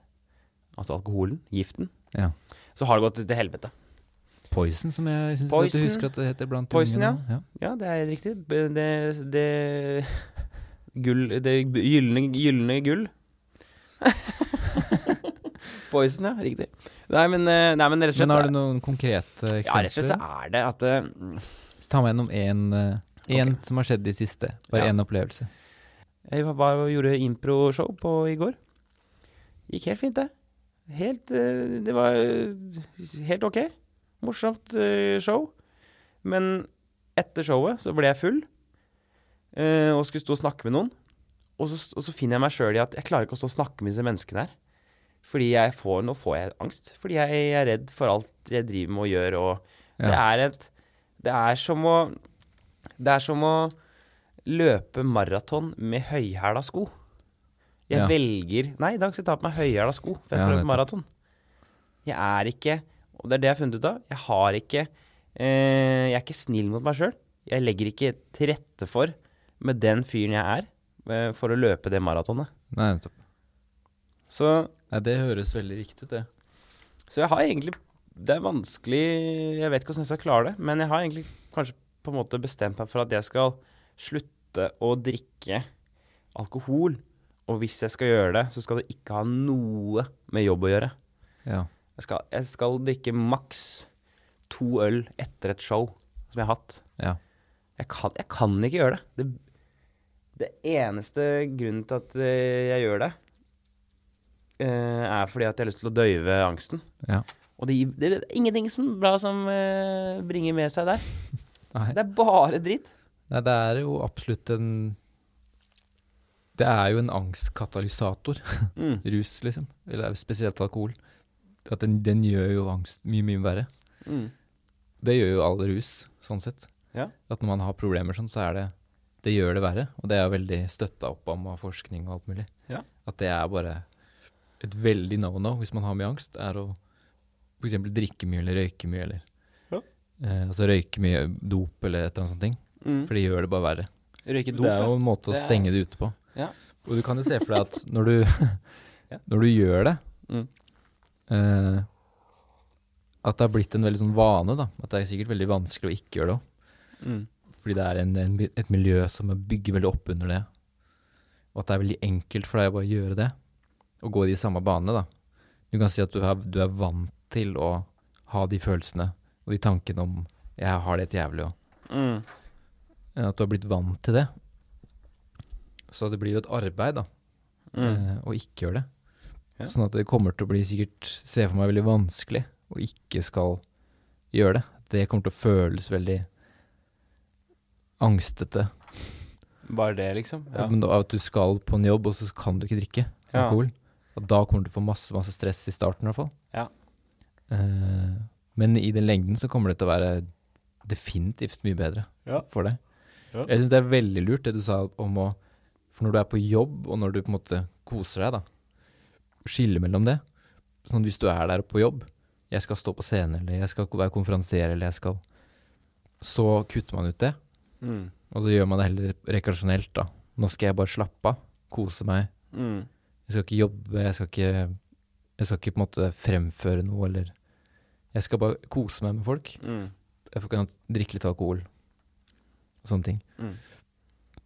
Speaker 1: altså alkoholen, giften,
Speaker 2: Ja.
Speaker 1: så har det gått til helvete.
Speaker 2: Poison, som jeg syns
Speaker 1: Poison.
Speaker 2: jeg husker at det heter blant
Speaker 1: Poison,
Speaker 2: unge nå.
Speaker 1: Ja, det er helt riktig. B- Det, det, gull, det gylne, gylne gull. Poison, ja. Riktig. Nei, men, eh, nei, men rett og slett
Speaker 2: Men
Speaker 1: så
Speaker 2: har
Speaker 1: er-
Speaker 2: du noen konkrete
Speaker 1: ja, rett og slett så
Speaker 2: eksempler?
Speaker 1: er det at eh,
Speaker 2: Så Ta meg gjennom én som har skjedd i siste. Bare
Speaker 1: Ja.
Speaker 2: én opplevelse.
Speaker 1: Jeg var, var, gjorde improshow på i går. Gikk helt fint, det. Helt eh, Det var eh, helt ok. Morsomt eh, show. Men etter showet så ble jeg full eh, og skulle stå og snakke med noen. Og så, og så finner jeg meg sjøl i at jeg klarer ikke å stå og snakke med disse menneskene her. Fordi jeg får, nå får jeg angst. Fordi jeg er redd for alt jeg driver med og gjør. Og det
Speaker 2: Ja.
Speaker 1: er et Det er som å Det er som å løpe maraton med høyhæla sko. Jeg
Speaker 2: Ja.
Speaker 1: velger Nei, i dag skal jeg ta på meg høyhæla sko, for jeg skal
Speaker 2: Ja,
Speaker 1: løpe
Speaker 2: nettopp.
Speaker 1: maraton. Jeg er ikke Og det er det jeg har funnet ut av. Jeg har ikke eh, Jeg er ikke snill mot meg sjøl. Jeg legger ikke til rette for, med den fyren jeg er, eh, for å løpe det maratonet.
Speaker 2: Nei, nettopp.
Speaker 1: Så
Speaker 2: Nei, det høres veldig riktig ut, det.
Speaker 1: Så jeg har egentlig Det er vanskelig Jeg vet ikke hvordan jeg skal klare det, men jeg har egentlig kanskje på en måte bestemt meg for at jeg skal slutte å drikke alkohol. Og hvis jeg skal gjøre det, så skal det ikke ha noe med jobb å gjøre.
Speaker 2: Ja.
Speaker 1: Jeg skal, jeg skal drikke maks to øl etter et show som jeg har hatt.
Speaker 2: ja.
Speaker 1: Jeg kan, jeg kan ikke gjøre det. det. Det eneste grunnen til at eh, jeg gjør det, eh, er fordi at jeg har lyst til å døyve angsten.
Speaker 2: Ja.
Speaker 1: Og det, det er ingenting som bra som eh, bringer med seg der.
Speaker 2: Nei.
Speaker 1: Det er bare dritt.
Speaker 2: Nei, det er jo absolutt en Det er jo en angstkatalysator, rus, liksom. Eller spesielt alkohol. At den, den gjør jo angst mye, mye verre. Det gjør jo all rus, sånn sett.
Speaker 1: Ja.
Speaker 2: At når man har problemer sånn, så er det Det gjør det verre. Og det er jo veldig støtta opp om av forskning og alt mulig.
Speaker 1: Ja.
Speaker 2: At det er bare et veldig no-no hvis man har mye angst, er å f.eks. drikke mye eller røyke mye eller
Speaker 1: Ja.
Speaker 2: eh, Altså røyke mye dop eller et eller annet sånt. ting. For det gjør det bare verre.
Speaker 1: Røyke dop,
Speaker 2: Det er jo en måte å
Speaker 1: Det er-
Speaker 2: stenge det ute på.
Speaker 1: Ja.
Speaker 2: Og du kan jo se for deg at når du, når du gjør det
Speaker 1: Mm.
Speaker 2: eh, At det har blitt en veldig sånn vane, da. At det er sikkert veldig vanskelig å ikke gjøre det òg.
Speaker 1: ja. Mm.
Speaker 2: Fordi det er en, en, et miljø som bygger veldig opp under det. Og at det er veldig enkelt for deg å bare gjøre det. Og gå i de samme banene, da. Du kan si at du er, du er vant til å ha de følelsene og de tankene om 'jeg har det helt jævlig' og
Speaker 1: Mm.
Speaker 2: enn eh, at du har blitt vant til det. Så det blir jo et arbeid da,
Speaker 1: Mm.
Speaker 2: eh, å ikke gjøre det.
Speaker 1: Ja.
Speaker 2: Sånn at det kommer til å bli sikkert, ser jeg for meg, veldig vanskelig å ikke skal gjøre det. Det kommer til å føles veldig angstete.
Speaker 1: Bare det, liksom. Ja.
Speaker 2: Men da, at du skal på en jobb, og så kan du ikke drikke
Speaker 1: Ja.
Speaker 2: alkohol. Og da kommer du til å få masse, masse stress i starten i hvert fall.
Speaker 1: Ja.
Speaker 2: Eh, men i den lengden så kommer det til å være definitivt mye bedre
Speaker 1: Ja.
Speaker 2: for deg.
Speaker 1: Ja.
Speaker 2: Jeg syns det er veldig lurt det du sa om å For når du er på jobb, og når du på en måte koser deg, da, skille mellom det. Sånn at hvis du er der på jobb, jeg skal stå på scenen, eller jeg skal være konferansier, eller jeg skal Så kutter man ut det.
Speaker 1: Mm.
Speaker 2: Og så gjør man det heller rekreasjonelt, da. Nå skal jeg bare slappe av, kose meg.
Speaker 1: Mm.
Speaker 2: Jeg skal ikke jobbe, jeg skal ikke Jeg skal ikke på en måte fremføre noe, eller Jeg skal bare kose meg med folk.
Speaker 1: Mm.
Speaker 2: Jeg får kan drikke litt alkohol og sånne ting.
Speaker 1: Mm.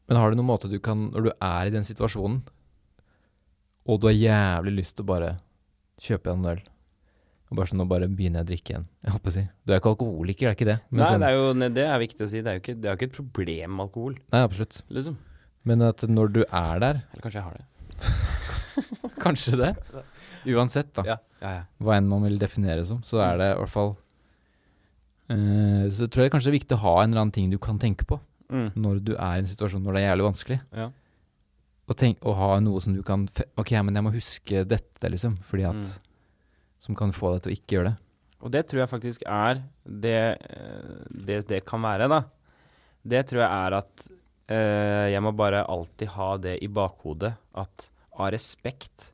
Speaker 2: Men har du noen måte du kan Når du er i den situasjonen, og du har jævlig lyst til å bare kjøpe deg en øl og bare sånn, Nå bare begynner jeg å drikke igjen. Jeg holdt på å si. Du er jo ikke alkoholiker, det er ikke det? Men
Speaker 1: Nei,
Speaker 2: sånn,
Speaker 1: det er jo ne, Det er viktig å si. Det er jo ikke, det er jo ikke et problem med alkohol,
Speaker 2: nei, absolutt.
Speaker 1: liksom.
Speaker 2: Men at når du er der
Speaker 1: Eller kanskje jeg har det.
Speaker 2: Kanskje det. Uansett, da.
Speaker 1: Ja. Ja, ja.
Speaker 2: Hva enn man vil definere det som, så er det i hvert fall eh, Så tror jeg kanskje det er viktig å ha en eller annen ting du kan tenke på
Speaker 1: Mm.
Speaker 2: når du er i en situasjon når det er jævlig vanskelig.
Speaker 1: Ja.
Speaker 2: Og, tenk, og ha noe som du kan fe- Ok, men jeg må huske dette, liksom. Fordi at
Speaker 1: Mm.
Speaker 2: Som kan få deg til å ikke gjøre det.
Speaker 1: Og det tror jeg faktisk er det eh, det, det kan være, da. Det tror jeg er at eh, jeg må bare alltid ha det i bakhodet at av respekt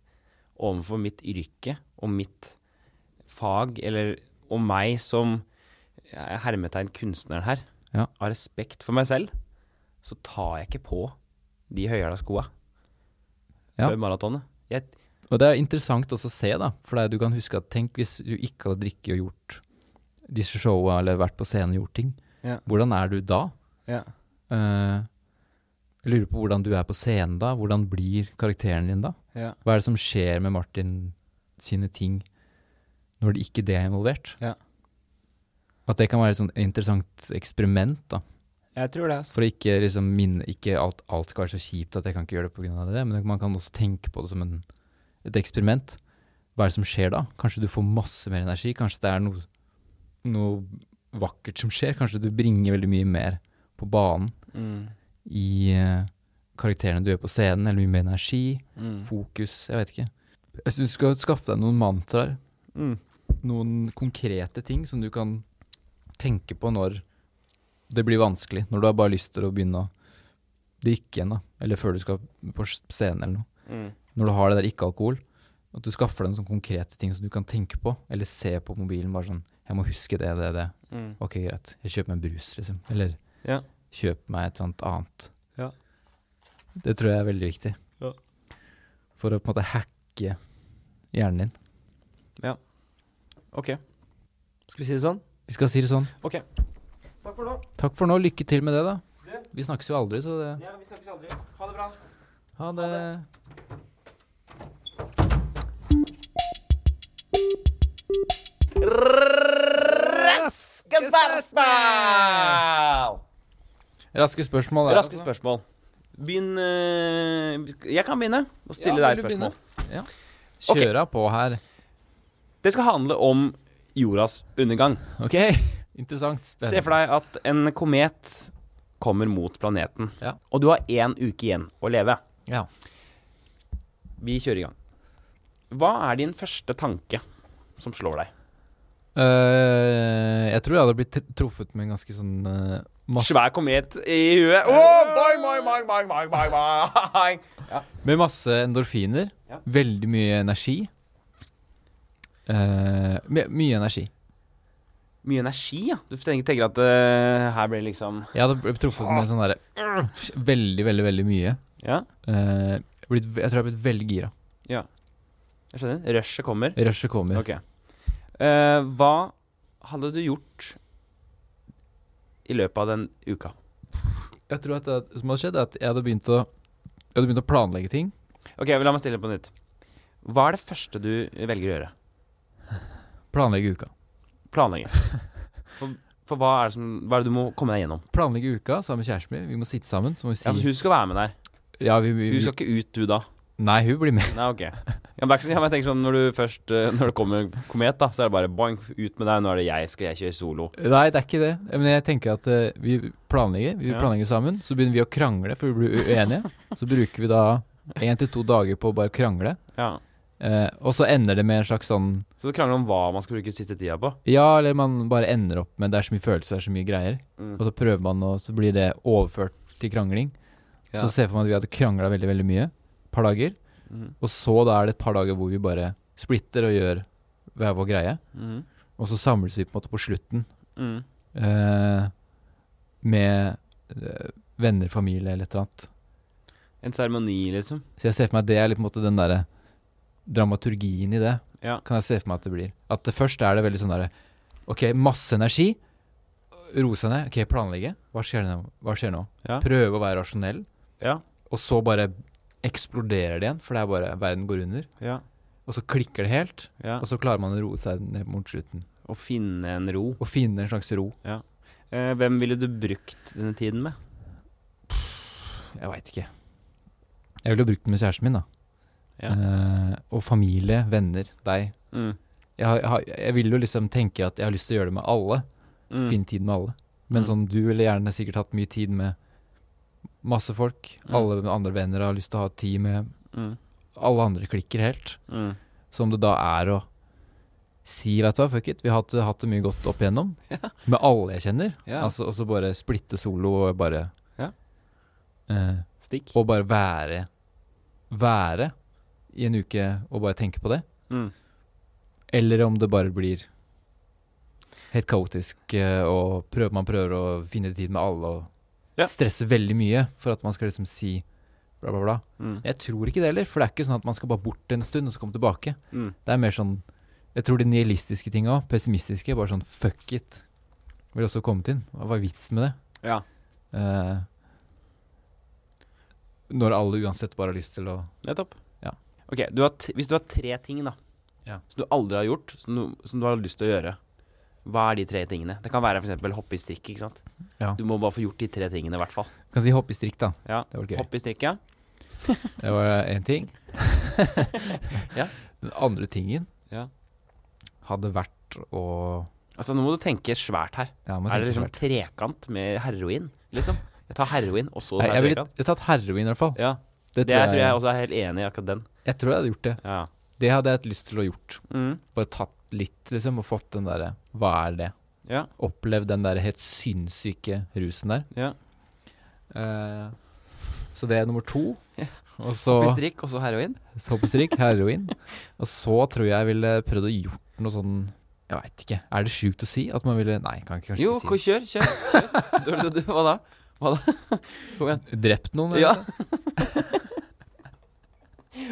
Speaker 1: overfor mitt yrke og mitt fag, eller og meg som jeg er hermetegn kunstneren her,
Speaker 2: Ja.
Speaker 1: av respekt for meg selv, så tar jeg ikke på de høyhæla skoa
Speaker 2: Ja.
Speaker 1: før maratonet. Jeg,
Speaker 2: Og det er interessant også å se, da. For det er, du kan huske at tenk hvis du ikke hadde drikket og gjort disse showa eller vært på scenen og gjort ting.
Speaker 1: Ja.
Speaker 2: Hvordan er du da?
Speaker 1: ja.
Speaker 2: Eh, jeg lurer på hvordan du er på scenen da. Hvordan blir karakteren din da?
Speaker 1: Ja.
Speaker 2: Hva er det som skjer med Martin sine ting når det ikke det er involvert?
Speaker 1: Ja.
Speaker 2: At det kan være et sånt interessant eksperiment, da.
Speaker 1: Jeg tror det, altså.
Speaker 2: For å ikke liksom minne Ikke alt, alt skal være så kjipt at jeg kan ikke gjøre det pga. det, men man kan også tenke på det som en et eksperiment, hva er det som skjer da? Kanskje du får masse mer energi? Kanskje det er noe, noe vakkert som skjer? Kanskje du bringer veldig mye mer på banen
Speaker 1: Mm.
Speaker 2: i eh, karakterene du gjør på scenen, eller mye mer energi,
Speaker 1: Mm.
Speaker 2: fokus, jeg vet ikke. Jeg syns du skal skaffe deg noen mantraer, noen konkrete ting som du kan tenke på når det blir vanskelig, når du har bare lyst til å begynne å drikke igjen, da, eller før du skal på scenen eller noe når du har det der ikke-alkohol, at du skaffer deg en sånn konkrete ting som du kan tenke på, eller se på mobilen bare sånn Jeg må huske det, det, det. Ok, greit. Jeg kjøper meg en brus, liksom. Eller
Speaker 1: Mm. Ja.
Speaker 2: kjøp meg et eller annet annet.
Speaker 1: Ja.
Speaker 2: Det tror jeg er veldig viktig.
Speaker 1: Ja.
Speaker 2: For å på en måte hacke hjernen din.
Speaker 1: Ok. Skal vi si det sånn?
Speaker 2: Vi skal si det sånn.
Speaker 1: Ok. Takk for nå.
Speaker 2: Takk for nå. Lykke til med det, da.
Speaker 1: Det.
Speaker 2: Vi snakkes jo aldri, så det
Speaker 1: Ja, vi snakkes aldri. Ha det bra.
Speaker 2: Ha det.
Speaker 1: Raske spørsmål!
Speaker 2: Raske spørsmål. der,
Speaker 1: Raske
Speaker 2: altså.
Speaker 1: spørsmål. Begynn eh, Jeg kan begynne å stille
Speaker 2: Ja,
Speaker 1: deg
Speaker 2: vil du
Speaker 1: spørsmål.
Speaker 2: Ja.
Speaker 1: Ok.
Speaker 2: Kjøra på her.
Speaker 1: Det skal handle om jordas undergang.
Speaker 2: Ok, interessant. Spennende.
Speaker 1: Se for deg at en komet kommer mot planeten,
Speaker 2: Ja.
Speaker 1: og du har én uke igjen å leve.
Speaker 2: Ja.
Speaker 1: Vi kjører i gang. Hva er din første tanke som slår deg?
Speaker 2: Eh, jeg tror jeg hadde blitt tr- truffet med en ganske sånn eh, masse,
Speaker 1: Svær komet i huet. Åh, boing, boing, boing, boing, boing, boing, boing.
Speaker 2: Med masse endorfiner.
Speaker 1: Ja.
Speaker 2: Veldig mye energi. Eh, my- mye energi.
Speaker 1: Mye energi, ja. Du tenker, tenker at eh, her blir det liksom
Speaker 2: Jeg hadde blitt truffet med sånn derre Veldig, veldig, veldig mye.
Speaker 1: Ja,
Speaker 2: Eh, blitt, ve- jeg tror jeg har blitt veldig gira.
Speaker 1: jeg skjønner. Rushet kommer.
Speaker 2: Rushet kommer.
Speaker 1: Ok. Eh, hva hadde du gjort i løpet av den uka?
Speaker 2: Jeg tror at det som hadde skjedd, er at jeg hadde begynt å jeg hadde begynt å planlegge ting.
Speaker 1: Ok, La meg stille på nytt. Hva er det første du velger å gjøre?
Speaker 2: Planlegge uka.
Speaker 1: Planlegge. For, for hva, er det som, hva er det du må komme deg gjennom?
Speaker 2: Planlegge uka sammen med kjæresten min. Vi må sitte sammen. Så må vi si
Speaker 1: Ja, for hun skal være med der.
Speaker 2: ja, vi, vi,
Speaker 1: Hun
Speaker 2: vi,
Speaker 1: skal ikke ut, du da.
Speaker 2: Nei, hun blir med.
Speaker 1: Nei, ok. Ja, men det er ikke sånn- ja, men jeg tenker sånn, Når du først eh, Når det kommer en komet, da så er det bare boing, ut med deg. Nå er det jeg, skal jeg kjøre solo.
Speaker 2: Nei, det er ikke det. Men jeg tenker at eh, vi planlegger Vi
Speaker 1: Ja.
Speaker 2: planlegger sammen. Så begynner vi å krangle, for vi blir uenige. så bruker vi da én til to dager på å bare krangle.
Speaker 1: Ja
Speaker 2: Eh, og så ender det med en slags sånn
Speaker 1: Så du krangler om hva man skal bruke siste tida på.
Speaker 2: Ja, eller man bare ender opp med Det er så mye følelser, det er så mye greier.
Speaker 1: Mm.
Speaker 2: Og så prøver man, og så blir det overført til krangling.
Speaker 1: Ja.
Speaker 2: Så ser jeg for meg at vi hadde krangla veldig, veldig mye. Et par dager.
Speaker 1: Mm.
Speaker 2: Og så da er det et par dager hvor vi bare splitter og gjør hver vår greie.
Speaker 1: Mm.
Speaker 2: Og så samles vi på en måte på slutten
Speaker 1: Mm.
Speaker 2: eh, med eh, venner, familie eller et eller annet.
Speaker 1: En seremoni, liksom.
Speaker 2: Så jeg ser for meg at det er litt på en måte den derre dramaturgien i det.
Speaker 1: Ja.
Speaker 2: Kan jeg se for meg at det blir. At det først er det veldig sånn derre Ok, masse energi. Roe seg ned. Ok, planlegge. Hva skjer nå? Hva skjer nå?
Speaker 1: Ja.
Speaker 2: Prøve å være rasjonell.
Speaker 1: Ja.
Speaker 2: Og så bare eksploderer det igjen, for det er bare verden går under.
Speaker 1: Ja.
Speaker 2: Og så klikker det helt,
Speaker 1: ja.
Speaker 2: og så klarer man å roe seg ned mot slutten.
Speaker 1: Å finne en ro.
Speaker 2: Og finne en slags ro.
Speaker 1: Eh, hvem ville du brukt denne tiden med?
Speaker 2: Jeg veit ikke. Jeg ville jo brukt den med kjæresten min, da.
Speaker 1: Ja.
Speaker 2: Eh, og familie, venner, deg.
Speaker 1: Mm.
Speaker 2: Jeg, har, jeg, har, jeg vil jo liksom tenke at jeg har lyst til å gjøre det med alle.
Speaker 1: Mm.
Speaker 2: Finne tid med alle. Men
Speaker 1: Mm.
Speaker 2: sånn, du ville gjerne sikkert hatt mye tid med masse folk.
Speaker 1: Mm.
Speaker 2: Alle andre venner har lyst til å ha tid med
Speaker 1: Mm.
Speaker 2: Alle andre klikker helt.
Speaker 1: Mm.
Speaker 2: Så om det da er å si, vet du hva, fuck it, vi har hatt, hatt det mye godt opp igjennom. Med alle jeg kjenner.
Speaker 1: Ja.
Speaker 2: Altså, og så bare splitte solo og bare
Speaker 1: Ja.
Speaker 2: eh,
Speaker 1: Stikk.
Speaker 2: Og bare være Være i en uke og bare tenke på det.
Speaker 1: Mm.
Speaker 2: Eller om det bare blir helt kaotisk, eh, og prøver, man prøver å finne tid med alle og
Speaker 1: Ja.
Speaker 2: stresser veldig mye for at man skal liksom si bla, bla, bla.
Speaker 1: Mm.
Speaker 2: Jeg tror ikke det heller, for det er ikke sånn at man skal bare bort en stund og så komme tilbake.
Speaker 1: Mm.
Speaker 2: Det er mer sånn Jeg tror de nihilistiske tinga òg, pessimistiske, bare sånn fuck it, vil også komme til. Hva er vitsen med det?
Speaker 1: Ja.
Speaker 2: Eh, når alle uansett bare har lyst til å
Speaker 1: Nettopp.
Speaker 2: Ja.
Speaker 1: Ok, du har t Hvis du har tre ting da
Speaker 2: Ja.
Speaker 1: som du aldri har gjort, som du, som du har lyst til å gjøre, hva er de tre tingene? Det kan være f.eks. hoppe i strikk. ikke sant?
Speaker 2: Ja.
Speaker 1: Du må bare få gjort de tre tingene, i hvert fall.
Speaker 2: Kan si hoppe i strikk, da.
Speaker 1: Ja.
Speaker 2: Det var gøy.
Speaker 1: Hoppe i strikk, ja.
Speaker 2: Det var én ting.
Speaker 1: Ja.
Speaker 2: Den andre tingen
Speaker 1: Ja.
Speaker 2: hadde vært å
Speaker 1: Altså, nå må du tenke svært her.
Speaker 2: ja, man
Speaker 1: Er det
Speaker 2: tenker
Speaker 1: liksom
Speaker 2: svært.
Speaker 1: trekant med heroin, liksom? Jeg tar heroin, og så tar
Speaker 2: Nei, jeg
Speaker 1: jeg
Speaker 2: ville
Speaker 1: trekant.
Speaker 2: jeg tatt heroin, i hvert fall.
Speaker 1: Ja,
Speaker 2: Det
Speaker 1: det jeg tror jeg også er helt enig i akkurat den.
Speaker 2: jeg tror jeg hadde gjort det.
Speaker 1: Ja.
Speaker 2: Det hadde jeg hatt lyst til å gjort.
Speaker 1: Mm.
Speaker 2: Bare tatt litt, liksom, og fått den derre Hva er det?
Speaker 1: Ja,
Speaker 2: Opplevd den derre helt sinnssyke rusen der.
Speaker 1: ja.
Speaker 2: Eh, så det er nummer to.
Speaker 1: Ja.
Speaker 2: Og så
Speaker 1: Blir strikk, og så heroin.
Speaker 2: Hoppestrikk, heroin. Og så tror jeg jeg ville prøvd å gjort noe sånn Jeg veit ikke. Er det sjukt å si at man ville Nei, kan ikke kanskje
Speaker 1: Jo,
Speaker 2: ikke si
Speaker 1: kjør, kjør. kjør. Du, du, du, hva da?
Speaker 2: det. Drept noen?
Speaker 1: Ja.
Speaker 2: eller?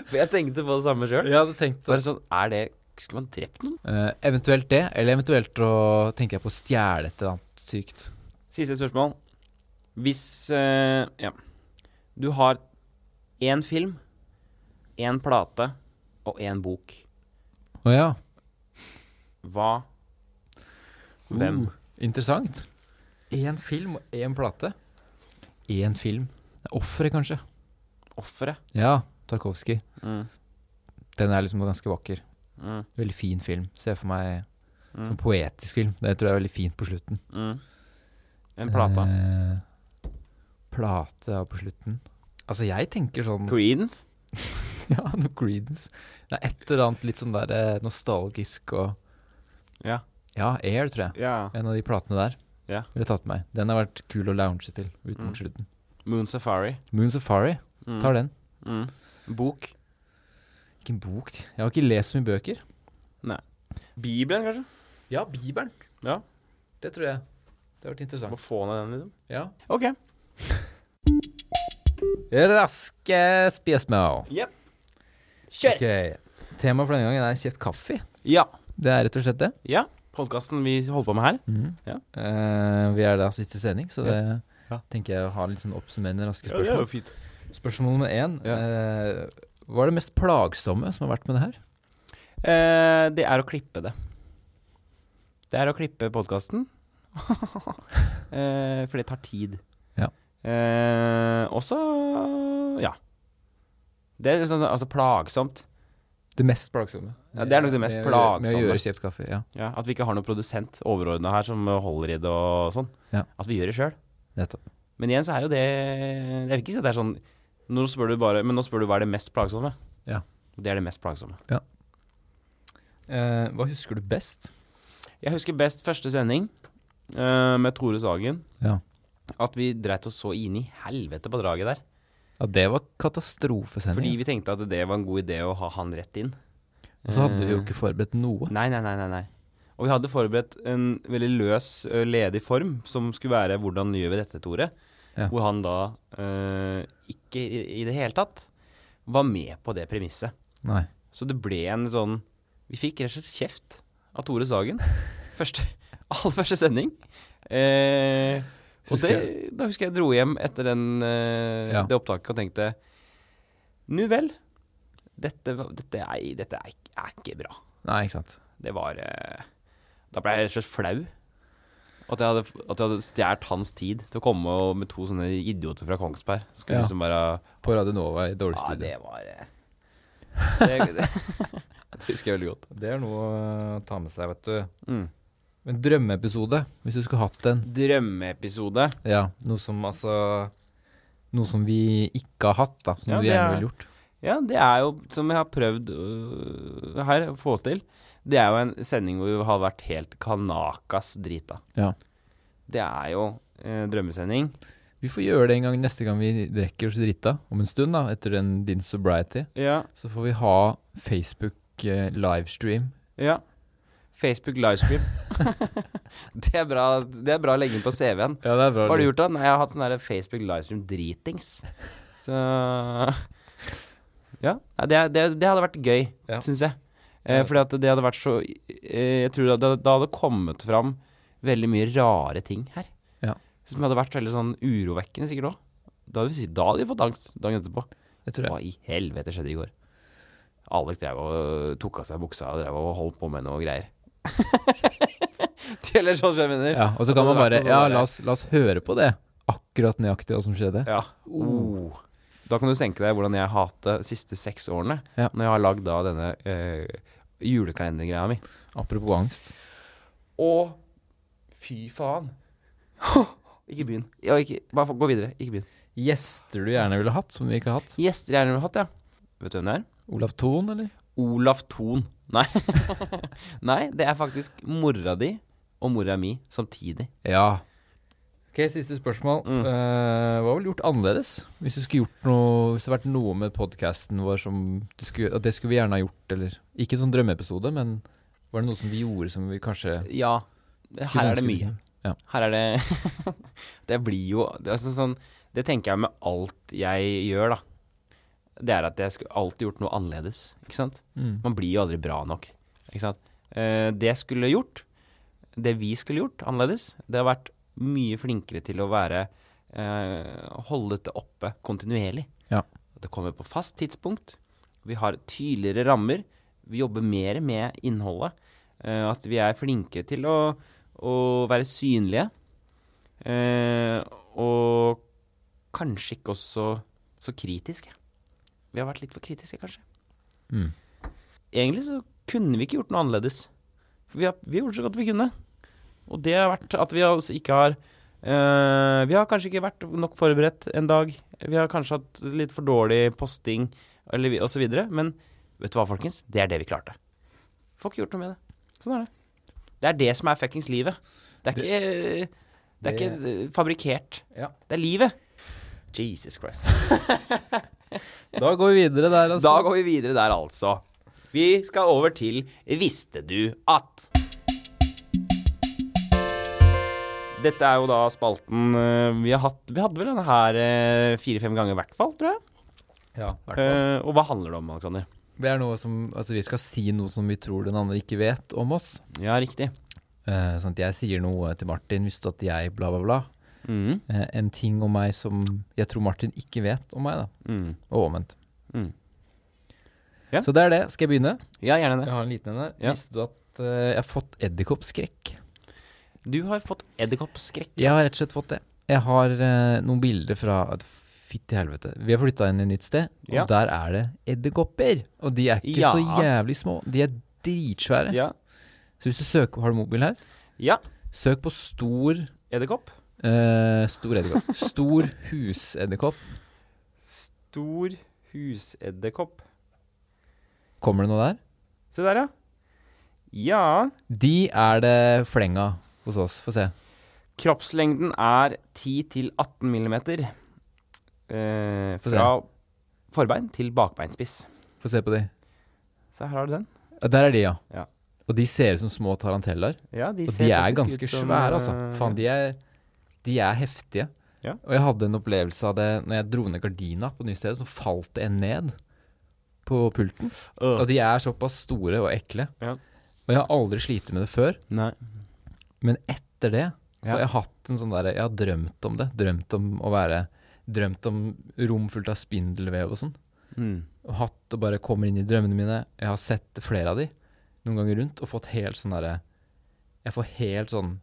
Speaker 1: For jeg tenkte på det samme sjøl.
Speaker 2: Jeg hadde tenkt
Speaker 1: Bare sånn, er det Skulle man drept noen?
Speaker 2: Eh, Eventuelt det, eller eventuelt å tenker jeg på å stjele et eller annet sykt.
Speaker 1: Siste spørsmål. Hvis eh, Ja. Du har én film, én plate og én bok.
Speaker 2: Å ja.
Speaker 1: Hva Hvem?
Speaker 2: Uh, interessant. Én film og én plate. Én film. Offeret, kanskje.
Speaker 1: Offeret.
Speaker 2: Ja, Tarkovskij.
Speaker 1: Mm.
Speaker 2: Den er liksom ganske vakker.
Speaker 1: Mm.
Speaker 2: Veldig fin film. Ser jeg for meg
Speaker 1: Mm.
Speaker 2: som poetisk film. Det tror jeg er veldig fint på slutten.
Speaker 1: Mm. En plate.
Speaker 2: Eh, plate ja, på slutten. Altså, jeg tenker sånn
Speaker 1: Creedence?
Speaker 2: Ja, noe Creedence. Det er et eller annet litt sånn der eh, nostalgisk og
Speaker 1: Ja.
Speaker 2: Ja, Air, tror jeg.
Speaker 1: Ja.
Speaker 2: En av de platene der.
Speaker 1: Ja.
Speaker 2: Ville tatt med meg. Den har vært kul å lounge til ut mot
Speaker 1: Mm.
Speaker 2: slutten.
Speaker 1: Moon Safari.
Speaker 2: Moon Safari
Speaker 1: Mm.
Speaker 2: tar den.
Speaker 1: Mm. Bok.
Speaker 2: Hvilken bok Jeg har ikke lest så mye bøker.
Speaker 1: Bibelen, kanskje?
Speaker 2: Ja, Bibelen.
Speaker 1: Ja.
Speaker 2: Det tror jeg. Det har vært
Speaker 1: Må
Speaker 2: interessant.
Speaker 1: få ned den, liksom.
Speaker 2: Ja.
Speaker 1: OK.
Speaker 2: Raske spørsmål.
Speaker 1: Kjør!
Speaker 2: Ok. Temaet for denne gangen er kjeft kaffe.
Speaker 1: Ja.
Speaker 2: Det er rett og slett det.
Speaker 1: ja. Podkasten vi holder på med her. Ja.
Speaker 2: Mhm. Eh, vi er da siste sending, så det
Speaker 1: Ja.
Speaker 2: tenker jeg har litt sånn oppsummerende raske spørsmål.
Speaker 1: fint.
Speaker 2: spørsmål nummer én.
Speaker 1: Ja.
Speaker 2: eh, hva er det mest plagsomme som har vært med det her?
Speaker 1: Eh, det er å klippe det. Det er å klippe podkasten. eh, for det tar tid.
Speaker 2: Ja.
Speaker 1: Eh, også Ja. Det er sånn, altså plagsomt.
Speaker 2: Det mest plagsomme.
Speaker 1: Ja, det er nok det mest
Speaker 2: med, Med å
Speaker 1: plagsomme.
Speaker 2: gjøre kjeft kaffe, ja.
Speaker 1: Ja, at vi ikke har noen produsent overordna her som holder i det og sånn.
Speaker 2: Ja.
Speaker 1: At vi gjør det sjøl.
Speaker 2: Nettopp.
Speaker 1: Men igjen så er jo det Jeg vil ikke si at det er sånn Nå spør du bare Men nå spør du hva er det mest plagsomme.
Speaker 2: Ja.
Speaker 1: Det er det mest plagsomme.
Speaker 2: Eh, hva husker du best?
Speaker 1: Jeg husker best første sending eh, med Tore Sagen.
Speaker 2: Ja.
Speaker 1: At vi dreit oss så inn i helvete på draget der.
Speaker 2: Ja, det var katastrofesending.
Speaker 1: Fordi vi
Speaker 2: altså.
Speaker 1: tenkte at det var en god idé å ha han rett inn.
Speaker 2: Og så hadde vi jo
Speaker 1: Eh,
Speaker 2: ikke forberedt noe.
Speaker 1: Nei, nei, nei, nei, nei. Og vi hadde forberedt en veldig løs, ø, ledig form som skulle være 'Hvordan gjør vi dette, Tore?'
Speaker 2: Ja.
Speaker 1: Hvor han da ø, ikke i, i det hele tatt var med på det premisset.
Speaker 2: Nei.
Speaker 1: Så det ble en sånn Vi fikk rett og slett kjeft av Tore Sagen. Første, aller første sending. Eh, og
Speaker 2: Husker
Speaker 1: det, da husker jeg jeg dro hjem etter den, eh,
Speaker 2: Ja.
Speaker 1: det opptaket og tenkte Nu vel. Dette, var- dette, er, dette er, ikke- er ikke bra.
Speaker 2: Nei, ikke sant.
Speaker 1: Det var eh, Da ble jeg rett og slett flau. At jeg hadde, at jeg hadde stjålet hans tid til å komme og med to sånne idioter fra Kongsberg. Skulle
Speaker 2: Ja.
Speaker 1: liksom bare
Speaker 2: På Radio Nova i dårlig
Speaker 1: Ja,
Speaker 2: studio.
Speaker 1: det var eh, det, det, det husker jeg veldig godt.
Speaker 2: Det er noe å ta med seg, vet du.
Speaker 1: Mm.
Speaker 2: En drømmeepisode, hvis du skulle hatt en.
Speaker 1: Drømmeepisode.
Speaker 2: Ja, noe som altså Noe som vi ikke har hatt, da. Som
Speaker 1: Ja,
Speaker 2: vi
Speaker 1: det
Speaker 2: gjerne
Speaker 1: er-
Speaker 2: ville gjort.
Speaker 1: Ja, det er jo, som jeg har prøvd øh, her å få til, det er jo en sending hvor vi har vært helt kanakas drita.
Speaker 2: Ja.
Speaker 1: Det er jo eh, drømmesending.
Speaker 2: Vi får gjøre det en gang neste gang vi drikker oss drita, om en stund, da, etter en din sobriety.
Speaker 1: Ja.
Speaker 2: Så får vi ha Facebook eh, livestream.
Speaker 1: ja. Facebook livestream. det, er bra, det er bra å legge inn på CV-en.
Speaker 2: Ja, det er bra.
Speaker 1: Hva har du gjort da? Nei, jeg har hatt sånn der Facebook livestream dritings. Så Ja. ja, Det, er- det, det hadde vært gøy,
Speaker 2: Ja.
Speaker 1: syns jeg. Eh, fordi at det hadde vært så eh, Jeg tror det, det hadde kommet fram veldig mye rare ting her.
Speaker 2: Ja.
Speaker 1: Som hadde vært veldig sånn urovekkende sikkert òg. Da hadde vi si- da hadde vi fått angst dagen etterpå.
Speaker 2: Det tror jeg.
Speaker 1: Hva i helvete skjedde i går? Alex drev og tok av seg buksa og drev og holdt på med noe greier. Eller sånn, som jeg mener.
Speaker 2: Ja, og så
Speaker 1: At altså,
Speaker 2: kan
Speaker 1: det
Speaker 2: man
Speaker 1: hadde vært
Speaker 2: bare
Speaker 1: noe sånn
Speaker 2: Ja,
Speaker 1: der-
Speaker 2: la oss, la oss høre på det. Akkurat nøyaktig hva som skjedde.
Speaker 1: Ja. Oh. Da kan du tenke deg hvordan jeg hater de siste seks årene,
Speaker 2: Ja.
Speaker 1: når jeg har lagd da denne eh, julekalendergreia mi.
Speaker 2: Apropos angst.
Speaker 1: Å, fy faen. ikke begynn. Ja, ikke, bare få- gå videre. Ikke begynn.
Speaker 2: Gjester du gjerne ville hatt, som vi ikke har hatt?
Speaker 1: Gjester jeg gjerne ville hatt, ja. Vet du hvem det er?
Speaker 2: Olav Thon, eller?
Speaker 1: Olaf Thon. Nei. Nei, det er faktisk mora di og mora mi samtidig.
Speaker 2: Ja. Ok, Siste spørsmål.
Speaker 1: Mm.
Speaker 2: Eh, hva ville du gjort annerledes? Hvis du skulle gjort noe Hvis det hadde vært noe med podkasten vår som du skulle, at det skulle vi gjerne ha gjort, eller Ikke en sånn drømmeepisode, men var det noe som vi gjorde som vi kanskje
Speaker 1: Ja. Her er det mye. Her er det Det blir jo det, er sånn- sånn, det tenker jeg med alt jeg gjør, da. Det er at jeg skulle alltid gjort noe annerledes. Ikke sant?
Speaker 2: Mm.
Speaker 1: Man blir jo aldri bra nok. Ikke sant? Eh, det jeg skulle gjort, det vi skulle gjort annerledes, det har vært mye flinkere til å være eh, Holde dette oppe kontinuerlig.
Speaker 2: Ja.
Speaker 1: At det kommer på fast tidspunkt. Vi har tydeligere rammer. Vi jobber mer med innholdet. Eh, at vi er flinke til å, å være synlige. Eh, og kanskje ikke også så kritiske. Vi har vært litt for kritiske, kanskje
Speaker 2: Mm.
Speaker 1: egentlig så kunne vi ikke gjort noe annerledes. For vi har, vi har gjort så godt vi kunne. Og det har vært at vi har også ikke har eh, Vi har kanskje ikke vært nok forberedt en dag. Vi har kanskje hatt litt for dårlig posting eller vi- og så videre. Men vet du hva, folkens? Det er det vi klarte. Får ikke gjort noe med det. Sånn er det. Det er det som er fuckings livet. Det er ikke Det er
Speaker 2: det-
Speaker 1: ikke eh, fabrikkert.
Speaker 2: Ja.
Speaker 1: Det er livet. Jesus Christ.
Speaker 2: Da går vi videre der, altså.
Speaker 1: Da går vi videre der, altså. Vi skal over til Visste du at? Dette er jo da spalten eh, vi har hatt. Vi hadde vel denne her eh, fire-fem ganger i hvert fall, tror jeg.
Speaker 2: Ja, i hvert fall.
Speaker 1: Eh, og hva handler det om, Alexander?
Speaker 2: Det er noe som Altså, vi skal si noe som vi tror den andre ikke vet om oss.
Speaker 1: Ja, riktig.
Speaker 2: Eh, sånn at jeg sier noe til Martin, visste du at jeg bla, bla, bla.
Speaker 1: Mhm,
Speaker 2: Eh, en ting om meg som jeg tror Martin ikke vet om meg, da.
Speaker 1: mhm.
Speaker 2: Og omvendt.
Speaker 1: Mm. Ja.
Speaker 2: Så det er det. Skal jeg begynne?
Speaker 1: Ja, gjerne det.
Speaker 2: har en liten en her.
Speaker 1: Ja.
Speaker 2: Visste du at eh, jeg har fått edderkoppskrekk?
Speaker 1: Du har fått edderkoppskrekk.
Speaker 2: Jeg har rett og slett fått det. Jeg har eh, noen bilder fra at Fytti helvete. Vi har flytta inn i et nytt sted, og
Speaker 1: Ja.
Speaker 2: der er det edderkopper. Og de er ikke
Speaker 1: Ja.
Speaker 2: så jævlig små. De er dritsvære.
Speaker 1: Ja.
Speaker 2: Så hvis du søker Har du mobil her?
Speaker 1: ja.
Speaker 2: Søk på stor
Speaker 1: Edderkopp.
Speaker 2: eh, Stor edderkopp. Stor husedderkopp.
Speaker 1: Stor husedderkopp.
Speaker 2: Kommer det noe der?
Speaker 1: Se der, ja. Ja.
Speaker 2: De er det fleng av hos oss. Få se.
Speaker 1: Kroppslengden er 10-18 millimeter eh,
Speaker 2: Få se.
Speaker 1: fra forbein til bakbeinspiss.
Speaker 2: Få se på de.
Speaker 1: Så her har du den.
Speaker 2: Ja, Der er de, ja.
Speaker 1: Ja.
Speaker 2: Og de ser ut som små taranteller.
Speaker 1: Ja, de
Speaker 2: Og
Speaker 1: ser
Speaker 2: de er
Speaker 1: faktisk
Speaker 2: ganske
Speaker 1: ut som,
Speaker 2: svære, altså.
Speaker 1: eh,
Speaker 2: Faen, de er, de er heftige.
Speaker 1: Ja.
Speaker 2: Og jeg hadde en opplevelse av det når jeg dro ned gardina på nye stedet, så falt det en ned på pulten.
Speaker 1: øh.
Speaker 2: Og de er såpass store og ekle.
Speaker 1: Ja.
Speaker 2: Og jeg har aldri slitt med det før,
Speaker 1: Nei.
Speaker 2: men etter det så
Speaker 1: Ja.
Speaker 2: har jeg hatt en sånn derre Jeg har drømt om det. Drømt om å være Drømt om rom fullt av spindelvev og sånn.
Speaker 1: Mm.
Speaker 2: og hatt og bare kommer inn i drømmene mine. Jeg har sett flere av de noen ganger rundt og fått helt sånn derre Jeg får helt sånn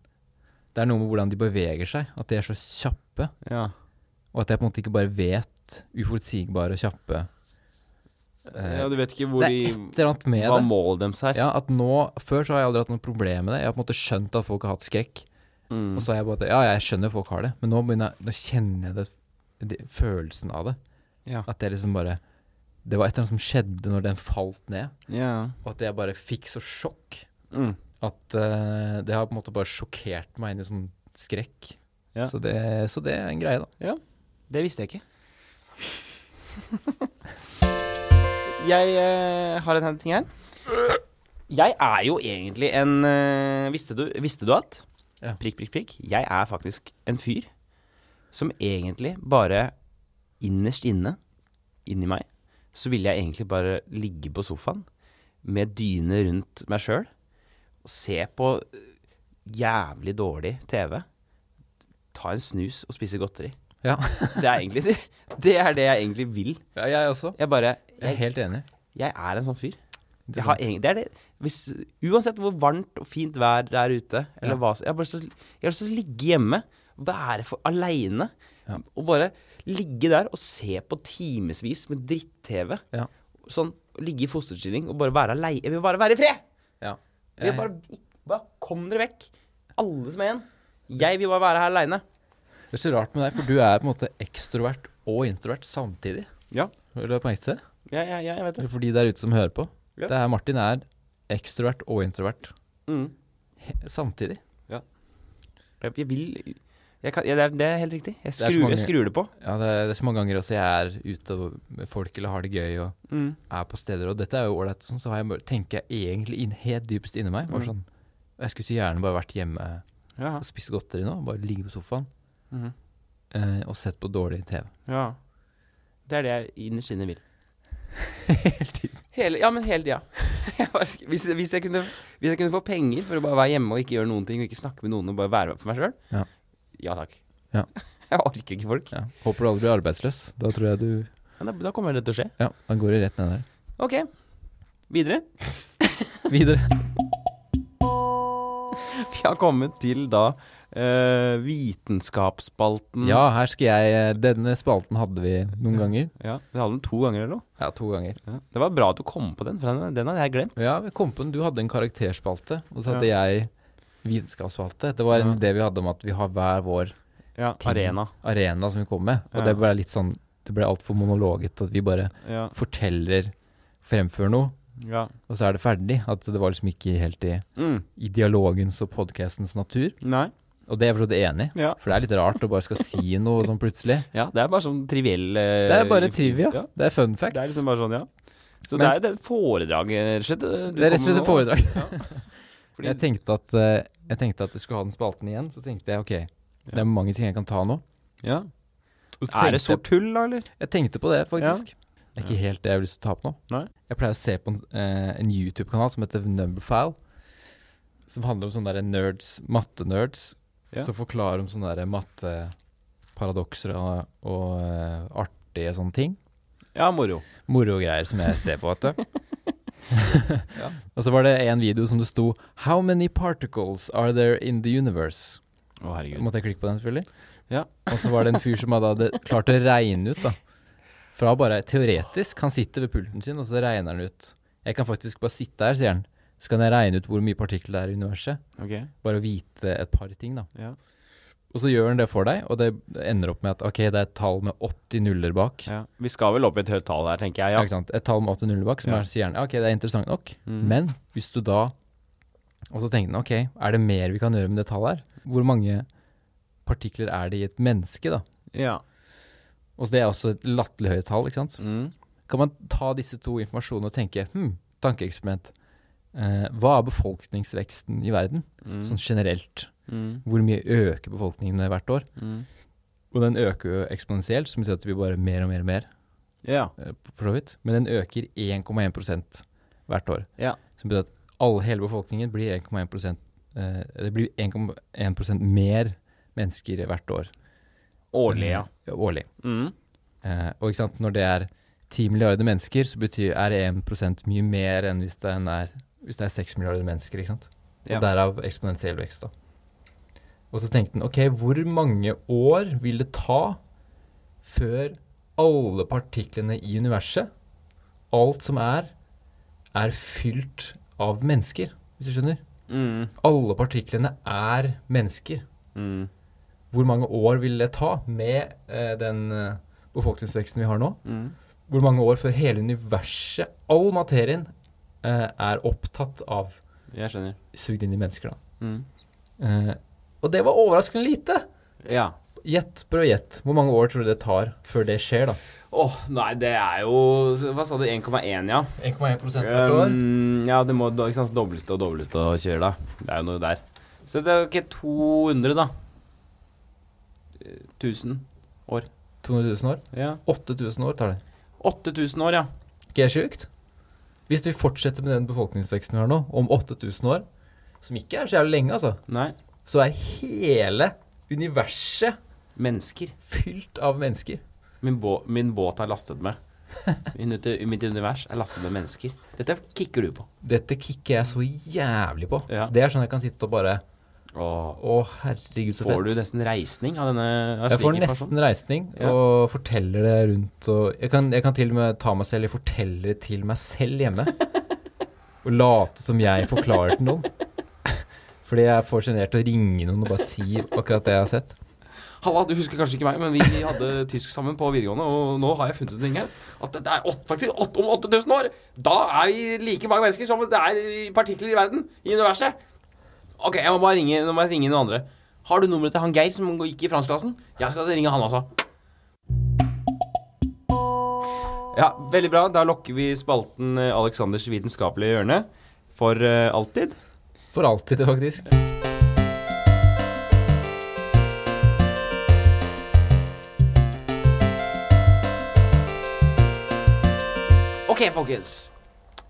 Speaker 2: Det er noe med hvordan de beveger seg, at de er så kjappe,
Speaker 1: Ja.
Speaker 2: og at jeg på en måte ikke bare vet uforutsigbare og kjappe Eh,
Speaker 1: ja, du vet ikke hvor
Speaker 2: Det er
Speaker 1: de
Speaker 2: et eller annet med
Speaker 1: Hva
Speaker 2: det.
Speaker 1: målet deres er.
Speaker 2: Ja, at nå, Før så har jeg aldri hatt noe problem med det. Jeg har på en måte skjønt at folk har hatt skrekk.
Speaker 1: Mm.
Speaker 2: Og så har jeg bare Ja, jeg skjønner folk har det, men nå, begynner jeg, nå kjenner jeg det, det, følelsen av det.
Speaker 1: Ja.
Speaker 2: At det liksom bare Det var et eller annet som skjedde når den falt ned.
Speaker 1: ja.
Speaker 2: Og at jeg bare fikk så sjokk
Speaker 1: Mm.
Speaker 2: at eh, det har på en måte bare sjokkert meg inn i sånn skrekk.
Speaker 1: Ja.
Speaker 2: Så, det, så det er en greie, da.
Speaker 1: Det visste jeg ikke. jeg eh, har en ting her. Jeg er jo egentlig en eh, Visste du, visste du at?
Speaker 2: Ja.
Speaker 1: Prikk, prikk, prikk. Jeg er faktisk en fyr som egentlig bare innerst inne, inni meg, så ville jeg egentlig bare ligge på sofaen med dyne rundt meg sjøl og se på eh, jævlig dårlig TV, ta en snus og spise godteri.
Speaker 2: Ja,
Speaker 1: Det er egentlig det. Det er det jeg egentlig vil.
Speaker 2: jeg også.
Speaker 1: Jeg bare
Speaker 2: Jeg er
Speaker 1: Jeg,
Speaker 2: helt enig.
Speaker 1: jeg er en sånn fyr.
Speaker 2: Det er
Speaker 1: Jeg har
Speaker 2: sant.
Speaker 1: egentlig, det er det. Hvis, uansett hvor varmt og fint vær det er ute, eller
Speaker 2: Ja.
Speaker 1: hva som Jeg har bare lyst til å- jeg har lyst til å ligge hjemme, være for aleine,
Speaker 2: Ja.
Speaker 1: og bare Ligge der og se på timevis med dritt-TV.
Speaker 2: Ja.
Speaker 1: Sånn, Ligge i fosterstilling og bare være alei. Jeg vil bare være i fred!
Speaker 2: Ja.
Speaker 1: Jeg vil bare, bare Kom dere vekk. Alle som er igjen. Jeg vil bare være her aleine.
Speaker 2: Det er så rart med deg, for du er på en måte ekstrovert og introvert samtidig.
Speaker 1: Ja.
Speaker 2: Har du lagt merke til det?
Speaker 1: Ja, ja, ja, jeg vet det.
Speaker 2: Eller for de der ute som hører på.
Speaker 1: Ja.
Speaker 2: Det er Martin er ekstrovert og introvert
Speaker 1: Mm.
Speaker 2: he- samtidig.
Speaker 1: Jeg, jeg vil jeg kan, ja, det, er, det er helt riktig. Jeg
Speaker 2: så
Speaker 1: skrur det,
Speaker 2: mange-
Speaker 1: jeg skrur det på.
Speaker 2: Ja, det er, det er så mange ganger også jeg er ute og- med folk eller har det gøy og
Speaker 1: Mm.
Speaker 2: er på steder, og dette er jo ålreit, sånn, så har jeg, bare- tenker jeg egentlig inn, helt dypest inni meg. Bare
Speaker 1: Mm.
Speaker 2: sånn, jeg skulle så gjerne bare vært hjemme
Speaker 1: Ja.
Speaker 2: og spist godteri nå, bare ligge på sofaen
Speaker 1: Mhm.
Speaker 2: eh, og sett på dårlig TV.
Speaker 1: ja. Det er det jeg innerst inne vil. Hele, ja, men hele tida. Jeg bare sk- hvis, hvis, jeg kunne- hvis jeg kunne få penger for å bare være hjemme og ikke gjøre noen ting, og ikke snakke med noen og bare være for meg sjøl,
Speaker 2: Ja.
Speaker 1: ja takk.
Speaker 2: Ja.
Speaker 1: Jeg orker ikke folk.
Speaker 2: Ja. Håper du aldri blir arbeidsløs. Da tror jeg du
Speaker 1: Men da, da kommer det til å skje.
Speaker 2: Ja, da går det rett ned der.
Speaker 1: OK. Videre.
Speaker 2: Videre.
Speaker 1: Vi har kommet til da eh, vitenskapsspalten.
Speaker 2: Ja, her skal jeg eh, Denne spalten hadde vi noen ganger.
Speaker 1: Ja, Vi hadde den to ganger eller noe.
Speaker 2: Ja, to ganger.
Speaker 1: Det var bra at du kom på den, for den, den hadde jeg glemt.
Speaker 2: Ja, vi kom på den. Du hadde en karakterspalte, og så hadde jeg vitenskapsspalte. Det var en
Speaker 1: Ja.
Speaker 2: idé vi hadde om at vi har hver vår
Speaker 1: Ja,
Speaker 2: Ting.
Speaker 1: Arena.
Speaker 2: arena som vi kom med, og
Speaker 1: Ja.
Speaker 2: det ble litt sånn Det ble altfor monologete at vi bare
Speaker 1: Ja,
Speaker 2: forteller, fremfører noe,
Speaker 1: ja.
Speaker 2: og så er det ferdig. At det var liksom ikke helt i,
Speaker 1: Mm.
Speaker 2: i dialogens og podcastens natur.
Speaker 1: Nei.
Speaker 2: Og det er jeg for så vidt enig i,
Speaker 1: Ja.
Speaker 2: for det er litt rart å bare skal si noe sånn plutselig.
Speaker 1: ja, det er bare sånn triviell eh,
Speaker 2: Det er bare trivia.
Speaker 1: Ja,
Speaker 2: Det er fun
Speaker 1: det er
Speaker 2: facts.
Speaker 1: liksom bare sånn, ja. Så
Speaker 2: Men-
Speaker 1: det er jo det foredraget, rett og slett. eh, du
Speaker 2: Det er
Speaker 1: kommer
Speaker 2: rett og slett
Speaker 1: med
Speaker 2: et
Speaker 1: nå.
Speaker 2: foredrag.
Speaker 1: Fordi-
Speaker 2: Jeg, tenkte at, eh, jeg tenkte at jeg skulle ha den spalten igjen. Så tenkte jeg ok, det er mange ting jeg kan ta nå.
Speaker 1: Ja.
Speaker 2: Og så
Speaker 1: Er
Speaker 2: tenkte
Speaker 1: det sort tull, da, eller?
Speaker 2: Jeg, jeg tenkte på det, faktisk. Det er ikke helt det jeg har lyst til å ta opp nå.
Speaker 1: Nei.
Speaker 2: Jeg pleier å se på en, eh, en YouTube-kanal som heter Numberfile. Som handler om sånne der nerds, matte-nerds.
Speaker 1: Ja.
Speaker 2: Som forklarer om sånne der matteparadokser og, og eh, artige sånne ting.
Speaker 1: Ja, moro.
Speaker 2: moro greier som jeg ser på, vet du.
Speaker 1: Ja.
Speaker 2: Og så var det en video som det sto 'How many particles are there in the universe?'
Speaker 1: Å, herregud.
Speaker 2: Måtte jeg klikke på den, selvfølgelig?
Speaker 1: Ja.
Speaker 2: Og så var det en fyr som hadde, hadde klart å regne ut, da. Fra bare teoretisk. Han sitter ved pulten sin, og så regner han ut. 'Jeg kan faktisk bare sitte her', sier han. 'Så kan jeg regne ut hvor mye partikler det er i universet'.
Speaker 1: Ok.
Speaker 2: Bare å vite et par ting, da.
Speaker 1: Ja.
Speaker 2: Og så gjør han det for deg, og det ender opp med at ok, det er et tall med 80 nuller bak.
Speaker 1: ja. Vi skal vel opp i et høyt tall her, tenker jeg.
Speaker 2: Ja.
Speaker 1: Ja.
Speaker 2: Ikke sant? Et tall med 8-0 bak, som
Speaker 1: Ja.
Speaker 2: er, sier han, ja, ok, det er interessant nok.
Speaker 1: Mm.
Speaker 2: Men hvis du da Og så tenkte han, ok, er det mer vi kan gjøre med det tallet her? Hvor mange partikler er det i et menneske, da?
Speaker 1: ja.
Speaker 2: Og så Det er også et latterlig høyt tall, ikke sant?
Speaker 1: Mm.
Speaker 2: Kan man ta disse to informasjonene og tenke, hm, tankeeksperiment. Eh, hva er befolkningsveksten i verden,
Speaker 1: Mm.
Speaker 2: sånn generelt?
Speaker 1: Mm.
Speaker 2: Hvor mye øker befolkningen med hvert år?
Speaker 1: Mm.
Speaker 2: Og den øker jo eksponentielt, som betyr at det blir bare mer og mer og mer.
Speaker 1: Ja.
Speaker 2: eh, for så vidt, men den øker 1,1 hvert år.
Speaker 1: Ja.
Speaker 2: Som betyr at all, hele befolkningen blir 1,1 eh, Det blir 1,1 mer mennesker hvert år.
Speaker 1: Årlig, ja.
Speaker 2: Eh, årlig.
Speaker 1: Mm.
Speaker 2: Eh, og ikke sant, når det er 10 milliarder mennesker, så betyr, er 1 mye mer enn hvis det er, nær, hvis det er 6 milliarder mennesker. ikke sant? Og
Speaker 1: Ja.
Speaker 2: derav eksponentiell vekst. da. Og så tenkte han ok, hvor mange år vil det ta før alle partiklene i universet, alt som er, er fylt av mennesker? Hvis du skjønner?
Speaker 1: Mm.
Speaker 2: Alle partiklene er mennesker.
Speaker 1: Mm.
Speaker 2: Hvor mange år vil det ta med eh, den eh, befolkningsveksten vi har nå?
Speaker 1: Mm.
Speaker 2: Hvor mange år før hele universet, all materien, eh, er opptatt av
Speaker 1: Jeg skjønner.
Speaker 2: sugd inn i mennesker, da?
Speaker 1: Mm.
Speaker 2: Eh, og det var overraskende lite!
Speaker 1: Ja.
Speaker 2: Gjett, prøv å gjette. Hvor mange år tror du det tar før det skjer, da?
Speaker 1: Åh, nei, det er jo Hva sa du? 1,1, ja?
Speaker 2: 1,1
Speaker 1: Um, ja, det må da, ikke sant, dobles det og dobles det og kjøre, da. Det er jo noe der. Så det er jo ikke 200, da. Eh, 1000 år.
Speaker 2: 200 000 år?
Speaker 1: Ja.
Speaker 2: 8000 år tar det.
Speaker 1: 8000 år, ja.
Speaker 2: Ikke det sjukt? Hvis vi fortsetter med den befolkningsveksten vi har nå, om 8000 år, som ikke er så jævlig lenge, altså,
Speaker 1: Nei.
Speaker 2: så er hele universet
Speaker 1: Mennesker.
Speaker 2: fylt av mennesker.
Speaker 1: Min, bå min båt er lastet med. Mitt, mitt univers er lastet med mennesker. Dette kicker du på.
Speaker 2: Dette kicker jeg så jævlig på.
Speaker 1: Ja.
Speaker 2: Det er sånn jeg kan sitte og bare
Speaker 1: Åh,
Speaker 2: Å, herregud, så fett.
Speaker 1: får du nesten reisning av denne? av
Speaker 2: Jeg
Speaker 1: slik
Speaker 2: får
Speaker 1: informasjon?
Speaker 2: nesten reisning
Speaker 1: Ja.
Speaker 2: og forteller det rundt. Og jeg, kan, jeg kan til og med ta meg selv i fortellere til meg selv hjemme. og late som jeg forklarer til noen. Fordi jeg er for sjenert til å ringe noen og bare si akkurat det jeg har sett.
Speaker 1: Halla, du husker kanskje ikke meg, men vi hadde tysk sammen på videregående, og nå har jeg funnet en ting her. At det er åt, faktisk åt, om 8000 år! Da er vi like mange mennesker som det er partikler i verden, i universet. Ok, jeg må bare ringe, nå må jeg ringe noen andre. Har du nummeret til han Geir som gikk i franskklassen? Jeg skal altså ringe han også. Ja, veldig bra. Da lokker vi spalten eh, Aleksanders vitenskapelige hjørne for eh, alltid.
Speaker 2: For alltid, det faktisk.
Speaker 1: Ok, folkens.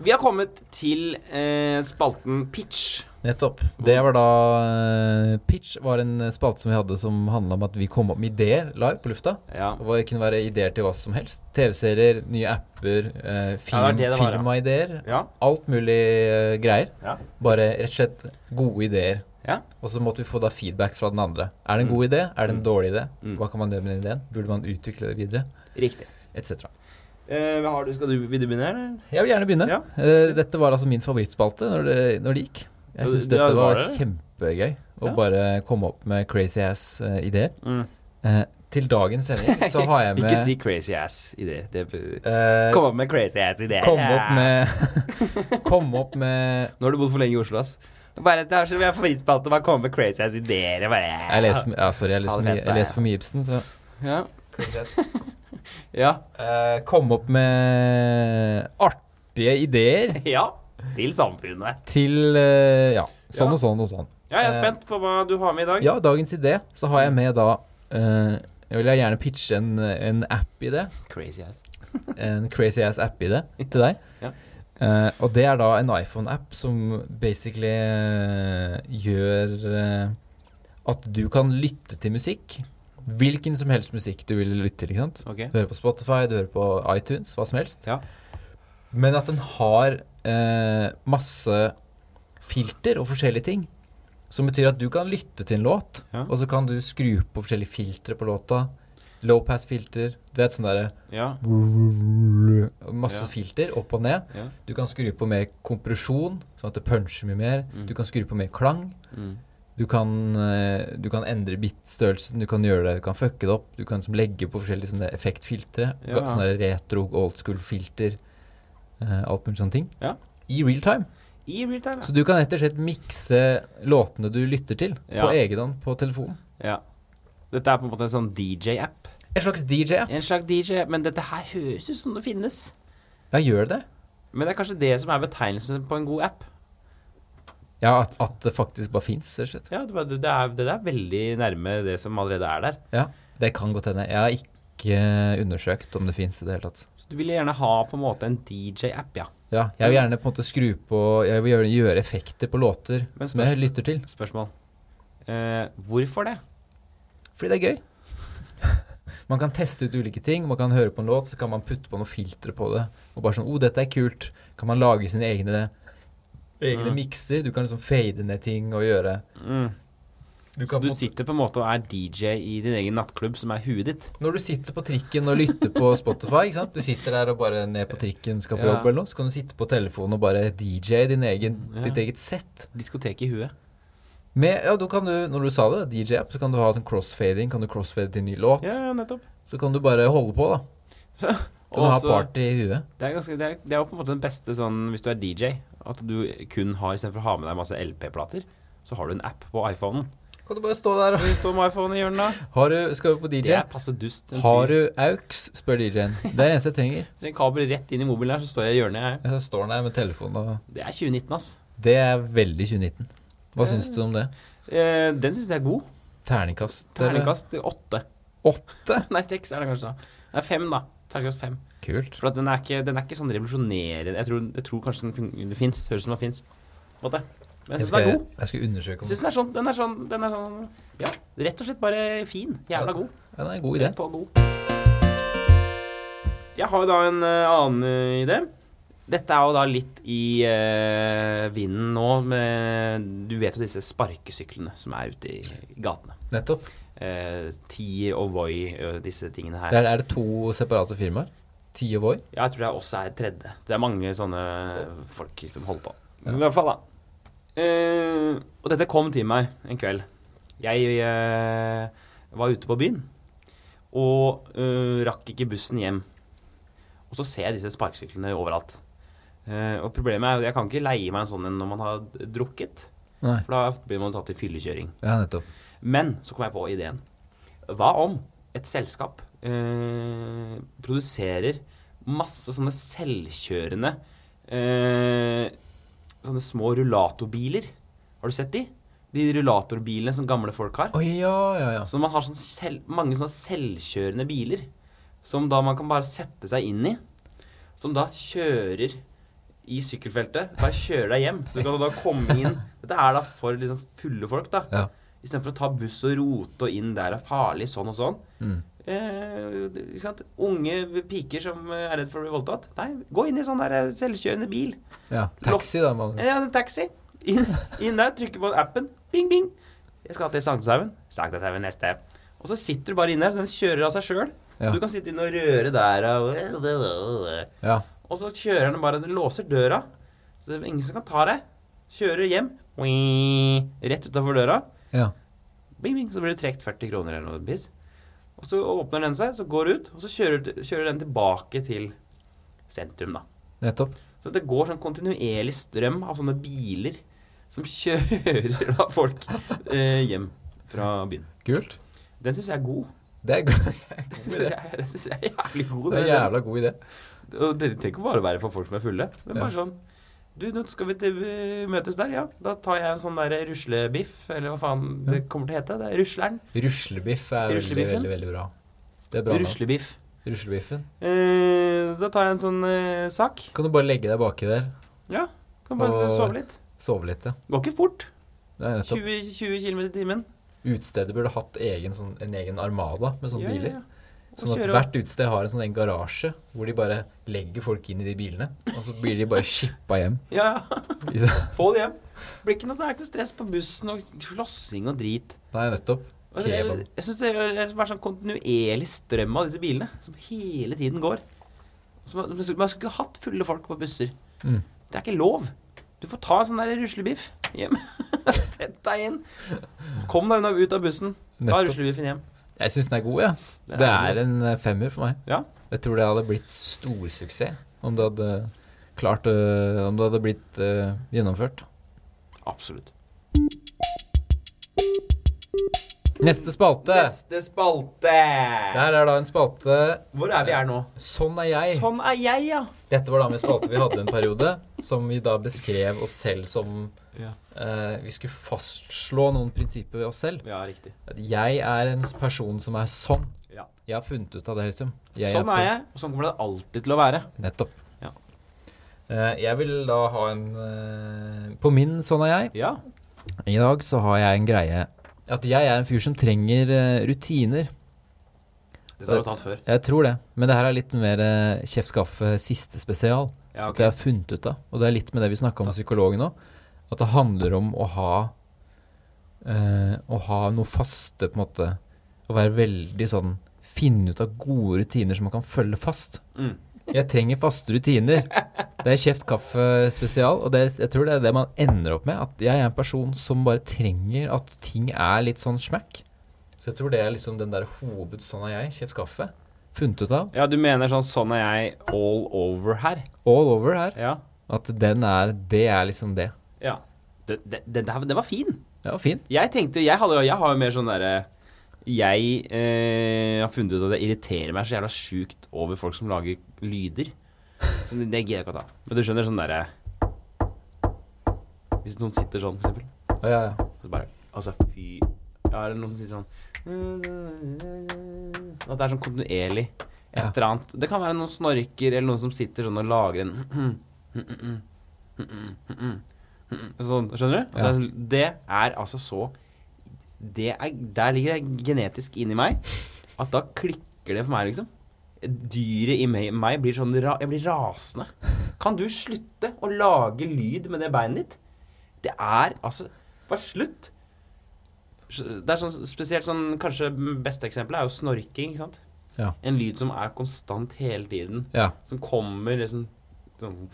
Speaker 1: Vi har kommet til eh, spalten Pitch.
Speaker 2: Nettopp. Det var da eh, Pitch var en spalte som vi hadde som handla om at vi kom opp med ideer live på lufta.
Speaker 1: Ja.
Speaker 2: Og Det kunne være ideer til hva som helst. TV-serier, nye apper, eh,
Speaker 1: Ja, det
Speaker 2: film,
Speaker 1: var det det var, ja.
Speaker 2: firmaideer.
Speaker 1: Ja.
Speaker 2: Alt mulig eh, greier.
Speaker 1: Ja.
Speaker 2: Bare rett og slett gode ideer.
Speaker 1: Ja.
Speaker 2: Og så måtte vi få da feedback fra den andre. Er det en god idé? Er det en dårlig idé?
Speaker 1: Mm.
Speaker 2: Hva kan man gjøre med den ideen? Burde man utvikle det videre?
Speaker 1: Riktig.
Speaker 2: Etc.
Speaker 1: Eh, har du, skal du, vil du begynne, eller?
Speaker 2: Jeg vil gjerne begynne.
Speaker 1: Ja.
Speaker 2: Eh, dette var altså min favorittspalte når det, når det gikk.
Speaker 1: Ja,
Speaker 2: Jeg syns
Speaker 1: det-
Speaker 2: dette
Speaker 1: det var
Speaker 2: var
Speaker 1: det.
Speaker 2: kjempegøy å
Speaker 1: Ja.
Speaker 2: bare komme opp med crazy ass eh, ideer.
Speaker 1: Mm.
Speaker 2: Eh, til dagens sending så har jeg med
Speaker 1: Ikke si crazy ass i det. det
Speaker 2: eh,
Speaker 1: kom opp med crazy ass i det.
Speaker 2: kom opp med Kom opp med
Speaker 1: Nå har du bodd for lenge i Oslo, ass. Bare, det er så vi har favorittspalte, bare komme med crazy ass ideer. Bare.
Speaker 2: Jeg leser, ja, sorry, jeg
Speaker 1: Ha
Speaker 2: leser,
Speaker 1: det fint,
Speaker 2: mye,
Speaker 1: da,
Speaker 2: jeg
Speaker 1: ja.
Speaker 2: leser for mye Ibsen, så
Speaker 1: Ja. Ja.
Speaker 2: Eh, Kom opp med artige ideer
Speaker 1: ja. Til samfunnet.
Speaker 2: til eh, Ja, sånn
Speaker 1: Ja.
Speaker 2: og sånn og sånn.
Speaker 1: Ja, jeg er
Speaker 2: Eh,
Speaker 1: spent på hva du har med i dag.
Speaker 2: Ja, dagens idé så har jeg med da eh, Jeg vil gjerne pitche en, en app-idé.
Speaker 1: Crazy ass.
Speaker 2: En crazy ass app-idé til deg.
Speaker 1: Ja.
Speaker 2: Eh, og det er da en iPhone-app som basically eh, gjør eh, at du kan lytte til musikk. Hvilken som helst musikk du vil lytte til, ikke sant.
Speaker 1: Ok.
Speaker 2: Du hører på Spotify, du hører på iTunes, hva som helst.
Speaker 1: Ja.
Speaker 2: Men at den har eh, masse filter og forskjellige ting. Som betyr at du kan lytte til en låt,
Speaker 1: Ja.
Speaker 2: og så kan du skru på forskjellige filtre på låta. Low pass-filter, du vet sånn derre
Speaker 1: Ja.
Speaker 2: Masse
Speaker 1: Ja.
Speaker 2: filter opp og ned.
Speaker 1: Ja.
Speaker 2: Du kan skru på mer kompresjon, sånn at det puncher mye mer.
Speaker 1: Mm.
Speaker 2: Du kan skru på mer klang.
Speaker 1: Mm.
Speaker 2: Du kan, eh, du kan endre bit-størrelsen, du kan gjøre det, du kan fucke det opp. Du kan liksom legge på forskjellige sånne effektfiltre.
Speaker 1: Ja.
Speaker 2: ga- Sånne retro, old school-filter. eh, alt mulig sånne ting.
Speaker 1: Ja.
Speaker 2: I real time.
Speaker 1: I real time.
Speaker 2: Så du kan rett og slett mikse låtene du lytter til,
Speaker 1: Ja.
Speaker 2: på egen hånd på telefonen.
Speaker 1: Ja. Dette er på en måte en sånn DJ-app.
Speaker 2: En slags DJ.
Speaker 1: En slags DJ, men dette her høres ut som det finnes.
Speaker 2: Ja, gjør det?
Speaker 1: Men det er kanskje det som er betegnelsen på en god app.
Speaker 2: Ja, at, at det faktisk bare fins, rett og slett.
Speaker 1: Ja, det, var- det, er, det er veldig nærme det som allerede er der.
Speaker 2: Ja, det kan godt hende. Jeg har ikke eh, undersøkt om det fins i det hele tatt.
Speaker 1: Så du vil gjerne ha på en måte en DJ-app, ja.
Speaker 2: Ja, jeg vil gjerne på en måte skru på Jeg vil gjøre, gjøre effekter på låter
Speaker 1: Men
Speaker 2: som jeg
Speaker 1: spørsmål-
Speaker 2: lytter til.
Speaker 1: Spørsmål. Eh, hvorfor det?
Speaker 2: Fordi det er gøy. Man kan teste ut ulike ting. Man kan høre på en låt, så kan man putte på noen filtre på det. Og bare sånn 'Å, dette er kult'. Kan man lage sine egne Egne
Speaker 1: Mm.
Speaker 2: mikser. Du kan liksom fade ned ting og gjøre du
Speaker 1: Så
Speaker 2: kan,
Speaker 1: du
Speaker 2: på en måte-
Speaker 1: sitter på en måte og er DJ i din egen nattklubb, som er huet ditt?
Speaker 2: Når du sitter på trikken og lytter på Spotify ikke sant? Du sitter der og bare ned på trikken skal på
Speaker 1: Ja.
Speaker 2: jobb eller noe, så kan du sitte på telefonen og bare DJ din egen,
Speaker 1: Ja.
Speaker 2: ditt eget sett.
Speaker 1: Diskotek i huet.
Speaker 2: Med, ja, da kan du, når du sa det, DJ-app, så kan du ha sånn crossfading. Kan du crossfade til en ny låt?
Speaker 1: Ja, ja, nettopp.
Speaker 2: Så kan du bare holde på, da. Kan
Speaker 1: Og
Speaker 2: du ha
Speaker 1: også-
Speaker 2: party i huet.
Speaker 1: det, er ganske, det, er, det er jo på en måte den beste sånn hvis du er DJ, at du kun har, istedenfor å ha med deg masse LP-plater, så har du en app på iPhonen.
Speaker 2: Kan du bare stå der og
Speaker 1: Du står med iPhone i hjørnet.
Speaker 2: har du, Skal du på
Speaker 1: Det
Speaker 2: DJ?
Speaker 1: er passe dust. En fyr-
Speaker 2: Har du AUX? spør DJ-en. Det er det eneste jeg trenger.
Speaker 1: Så en kabel rett inn i mobilen her, så står jeg i hjørnet. Jeg.
Speaker 2: Jeg står der med telefonen og
Speaker 1: Det er 2019, ass.
Speaker 2: Det er veldig 2019. Hva syns du om det?
Speaker 1: Eh, den syns jeg er god.
Speaker 2: Terningkast? eller?
Speaker 1: Terningkast åtte.
Speaker 2: Åtte?
Speaker 1: Nei, seks er det kanskje, da. Det er fem, da. Terningkast fem.
Speaker 2: Kult.
Speaker 1: For at den, er ikke, den er ikke sånn revolusjonerende. Jeg tror, jeg tror kanskje den fun- det fins. Høres ut som den fins. Men jeg syns den er
Speaker 2: skal,
Speaker 1: god.
Speaker 2: jeg skal undersøke
Speaker 1: Jeg
Speaker 2: om
Speaker 1: synes den, er sånn, den er sånn Den er sånn Ja, rett og slett bare fin. Jævla god.
Speaker 2: ja, Det er en god idé.
Speaker 1: Rett på god. Jeg har da en eh, annen eh, idé. Dette er jo da litt i eh, vinden nå. Med, du vet jo disse sparkesyklene som er ute i gatene.
Speaker 2: Nettopp.
Speaker 1: Eh, Tier og Voi, eh, disse tingene her.
Speaker 2: Der er det to separate firmaer. Ti og Voi.
Speaker 1: Ja, jeg tror det også er et tredje. Det er mange sånne folk som holder på. Men I hvert fall, da. Eh, og dette kom til meg en kveld. Jeg eh, var ute på byen og eh, rakk ikke bussen hjem. Og så ser jeg disse sparkesyklene overalt. Eh, og problemet er at jeg kan ikke leie meg en sånn en når man har drukket.
Speaker 2: Nei.
Speaker 1: For da blir man tatt i fyllekjøring.
Speaker 2: Ja, nettopp.
Speaker 1: Men så kom jeg på ideen. Hva om et selskap eh, produserer masse sånne selvkjørende eh, Sånne små rullatorbiler? Har du sett de? De rullatorbilene som gamle folk har.
Speaker 2: Å ja, ja, ja.
Speaker 1: Så man har sånn selv, mange sånne selvkjørende biler som da man kan bare sette seg inn i. Som da kjører i sykkelfeltet. Bare kjører deg hjem. Så du kan da komme inn. Dette er da for liksom fulle folk, da.
Speaker 2: Ja.
Speaker 1: Istedenfor å ta buss og rote og inn der er farlig, sånn og sånn.
Speaker 2: Mm.
Speaker 1: Eh, det- ikke sant? Unge piker som eh, er redd for å bli voldtatt. Nei, gå inn i sånn der eh, selvkjørende bil.
Speaker 2: ja. Taxi, da. Man.
Speaker 1: Ja, en taxi. Inn, inn der, trykker på appen. Bing, bing. Jeg skal til Sankthanshaugen. Sankthanshaugen neste. Og så sitter du bare inne der, så den kjører av seg sjøl.
Speaker 2: Ja.
Speaker 1: Du kan sitte inne og røre der og
Speaker 2: Ja.
Speaker 1: Og så kjører den bare, den låser døra. Så det er ingen som kan ta deg. Kjører hjem. Rett utafor døra.
Speaker 2: ja.
Speaker 1: Bing, bing, så blir det trukket 40 kroner eller noe piss. Og så åpner den seg, så går det ut, og så kjører, kjører den tilbake til sentrum, da.
Speaker 2: Nettopp.
Speaker 1: Så det går sånn kontinuerlig strøm av sånne biler som kjører da folk eh, hjem fra byen.
Speaker 2: Kult.
Speaker 1: Den syns jeg er god.
Speaker 2: Det er, go-
Speaker 1: Den syns jeg, den synes jeg er jævlig god.
Speaker 2: det er en
Speaker 1: den-
Speaker 2: jævla god idé.
Speaker 1: og dere trenger ikke bare være for folk som er fulle. Men bare sånn Du, nå skal vi til, møtes der, ja. Da tar jeg en sånn der ruslebiff, eller hva faen det kommer til å hete. Det er rusleren.
Speaker 2: Ruslebiff er veldig,
Speaker 1: Ruslebiffen?
Speaker 2: veldig, veldig bra. Det er bra navn.
Speaker 1: Ruslebiff.
Speaker 2: Ruslebiffen.
Speaker 1: Eh, da tar jeg en sånn eh, sak.
Speaker 2: Kan du bare legge deg baki der,
Speaker 1: Ja. Kan bare
Speaker 2: Og-
Speaker 1: sove litt.
Speaker 2: sove litt, ja.
Speaker 1: Går ikke fort.
Speaker 2: Det er nettopp.
Speaker 1: 20, 20 km i timen.
Speaker 2: Utestedet burde hatt egen, sånn, en egen armada med sånne
Speaker 1: Ja, ja,
Speaker 2: Sånn biler.
Speaker 1: ja. Og
Speaker 2: Sånn at
Speaker 1: kjøre-
Speaker 2: hvert utested har en sånn en garasje hvor de bare legger folk inn i de bilene. Og så blir de bare shippa hjem.
Speaker 1: Ja, ja.
Speaker 2: I så-
Speaker 1: Få det hjem. Blir ikke noe det er ikke noe stress på bussen og slåssing og drit.
Speaker 2: Nei, nettopp.
Speaker 1: Og det- Jeg,
Speaker 2: Kebab.
Speaker 1: jeg synes det er det er sånn kontinuerlig strøm av disse bilene som hele tiden går. Så man, man skulle man skulle ikke hatt fulle folk på busser.
Speaker 2: Mm.
Speaker 1: Det er ikke lov. Du får ta en sånn der ruslebiff hjem. Sett deg inn. Kom deg unna ut av bussen. Ta
Speaker 2: Nettopp.
Speaker 1: ruslebiffen hjem.
Speaker 2: Jeg syns den er god, ja.
Speaker 1: Den
Speaker 2: Det
Speaker 1: er god,
Speaker 2: er en eh, femmer for meg.
Speaker 1: Ja.
Speaker 2: Jeg tror det hadde blitt storsuksess om det hadde klart eh, Om det hadde blitt eh, gjennomført.
Speaker 1: Absolutt.
Speaker 2: Neste spalte.
Speaker 1: Neste spalte.
Speaker 2: Der er da en spalte
Speaker 1: Hvor er vi her nå?
Speaker 2: Sånn er jeg.
Speaker 1: Sånn er jeg, ja.
Speaker 2: Dette var da med spalte vi hadde en periode, som vi da beskrev oss selv som
Speaker 1: Ja.
Speaker 2: eh, Vi skulle fastslå noen prinsipper ved oss selv.
Speaker 1: Ja, riktig.
Speaker 2: At Jeg er en person som er sånn.
Speaker 1: Ja.
Speaker 2: Jeg har funnet ut av det, liksom. Jeg
Speaker 1: Sånn
Speaker 2: på-
Speaker 1: er jeg, og sånn kommer det alltid til å være.
Speaker 2: Nettopp.
Speaker 1: Ja.
Speaker 2: Eh, jeg vil da ha en eh, På min sånn er jeg.
Speaker 1: Ja.
Speaker 2: I dag så har jeg en greie At jeg er en fyr som trenger eh, rutiner.
Speaker 1: Dette har du tatt før.
Speaker 2: Jeg tror det. Men det her er litt mer eh, kjeft kaffe siste spesial.
Speaker 1: Ja,
Speaker 2: At jeg har funnet ut av. Og det er litt med det vi snakka om med psykologen òg. At det handler om å ha eh, Å ha noe faste, på en måte. Å være veldig sånn Finne ut av gode rutiner som man kan følge fast.
Speaker 1: Mm.
Speaker 2: Jeg trenger faste rutiner. Det er kjeft kaffe spesial, og det, jeg tror det er det man ender opp med. At jeg er en person som bare trenger at ting er litt sånn smack. Så jeg tror det er liksom den der hoved sånn er jeg, kjeft kaffe. Funnet ut av.
Speaker 1: Ja, du mener sånn sånn er jeg all over her?
Speaker 2: All over her.
Speaker 1: Ja.
Speaker 2: At den er Det er liksom det.
Speaker 1: ja. Det, det, det, der- det var fin.
Speaker 2: Det var fint.
Speaker 1: Jeg tenkte, jeg, hadde, jo- jeg har jo mer sånn derre Jeg eh, har funnet ut at det irriterer meg så jævla sjukt over folk som lager lyder. Så det det gidder jeg ikke å ta. Men du skjønner sånn derre Hvis noen sitter sånn, for eksempel.
Speaker 2: Å, ja, ja.
Speaker 1: Så bare Altså, fy Ja, eller noen som sitter sånn At det er sånn kontinuerlig et
Speaker 2: Ja.
Speaker 1: eller annet. Det kan være noen snorker eller noen som sitter sånn og lager en Sånn, skjønner du? At det er sånn- Det er altså så det er, Der ligger det genetisk inni meg at da klikker det for meg, liksom. Dyret i meg, meg blir sånn ra, Jeg blir rasende. Kan du slutte å lage lyd med det beinet ditt? Det er altså Bare slutt. Det er sånn, spesielt sånn Kanskje beste eksempelet er jo snorking. ikke sant?
Speaker 2: Ja.
Speaker 1: En lyd som er konstant hele tiden.
Speaker 2: Ja.
Speaker 1: Som kommer liksom sånn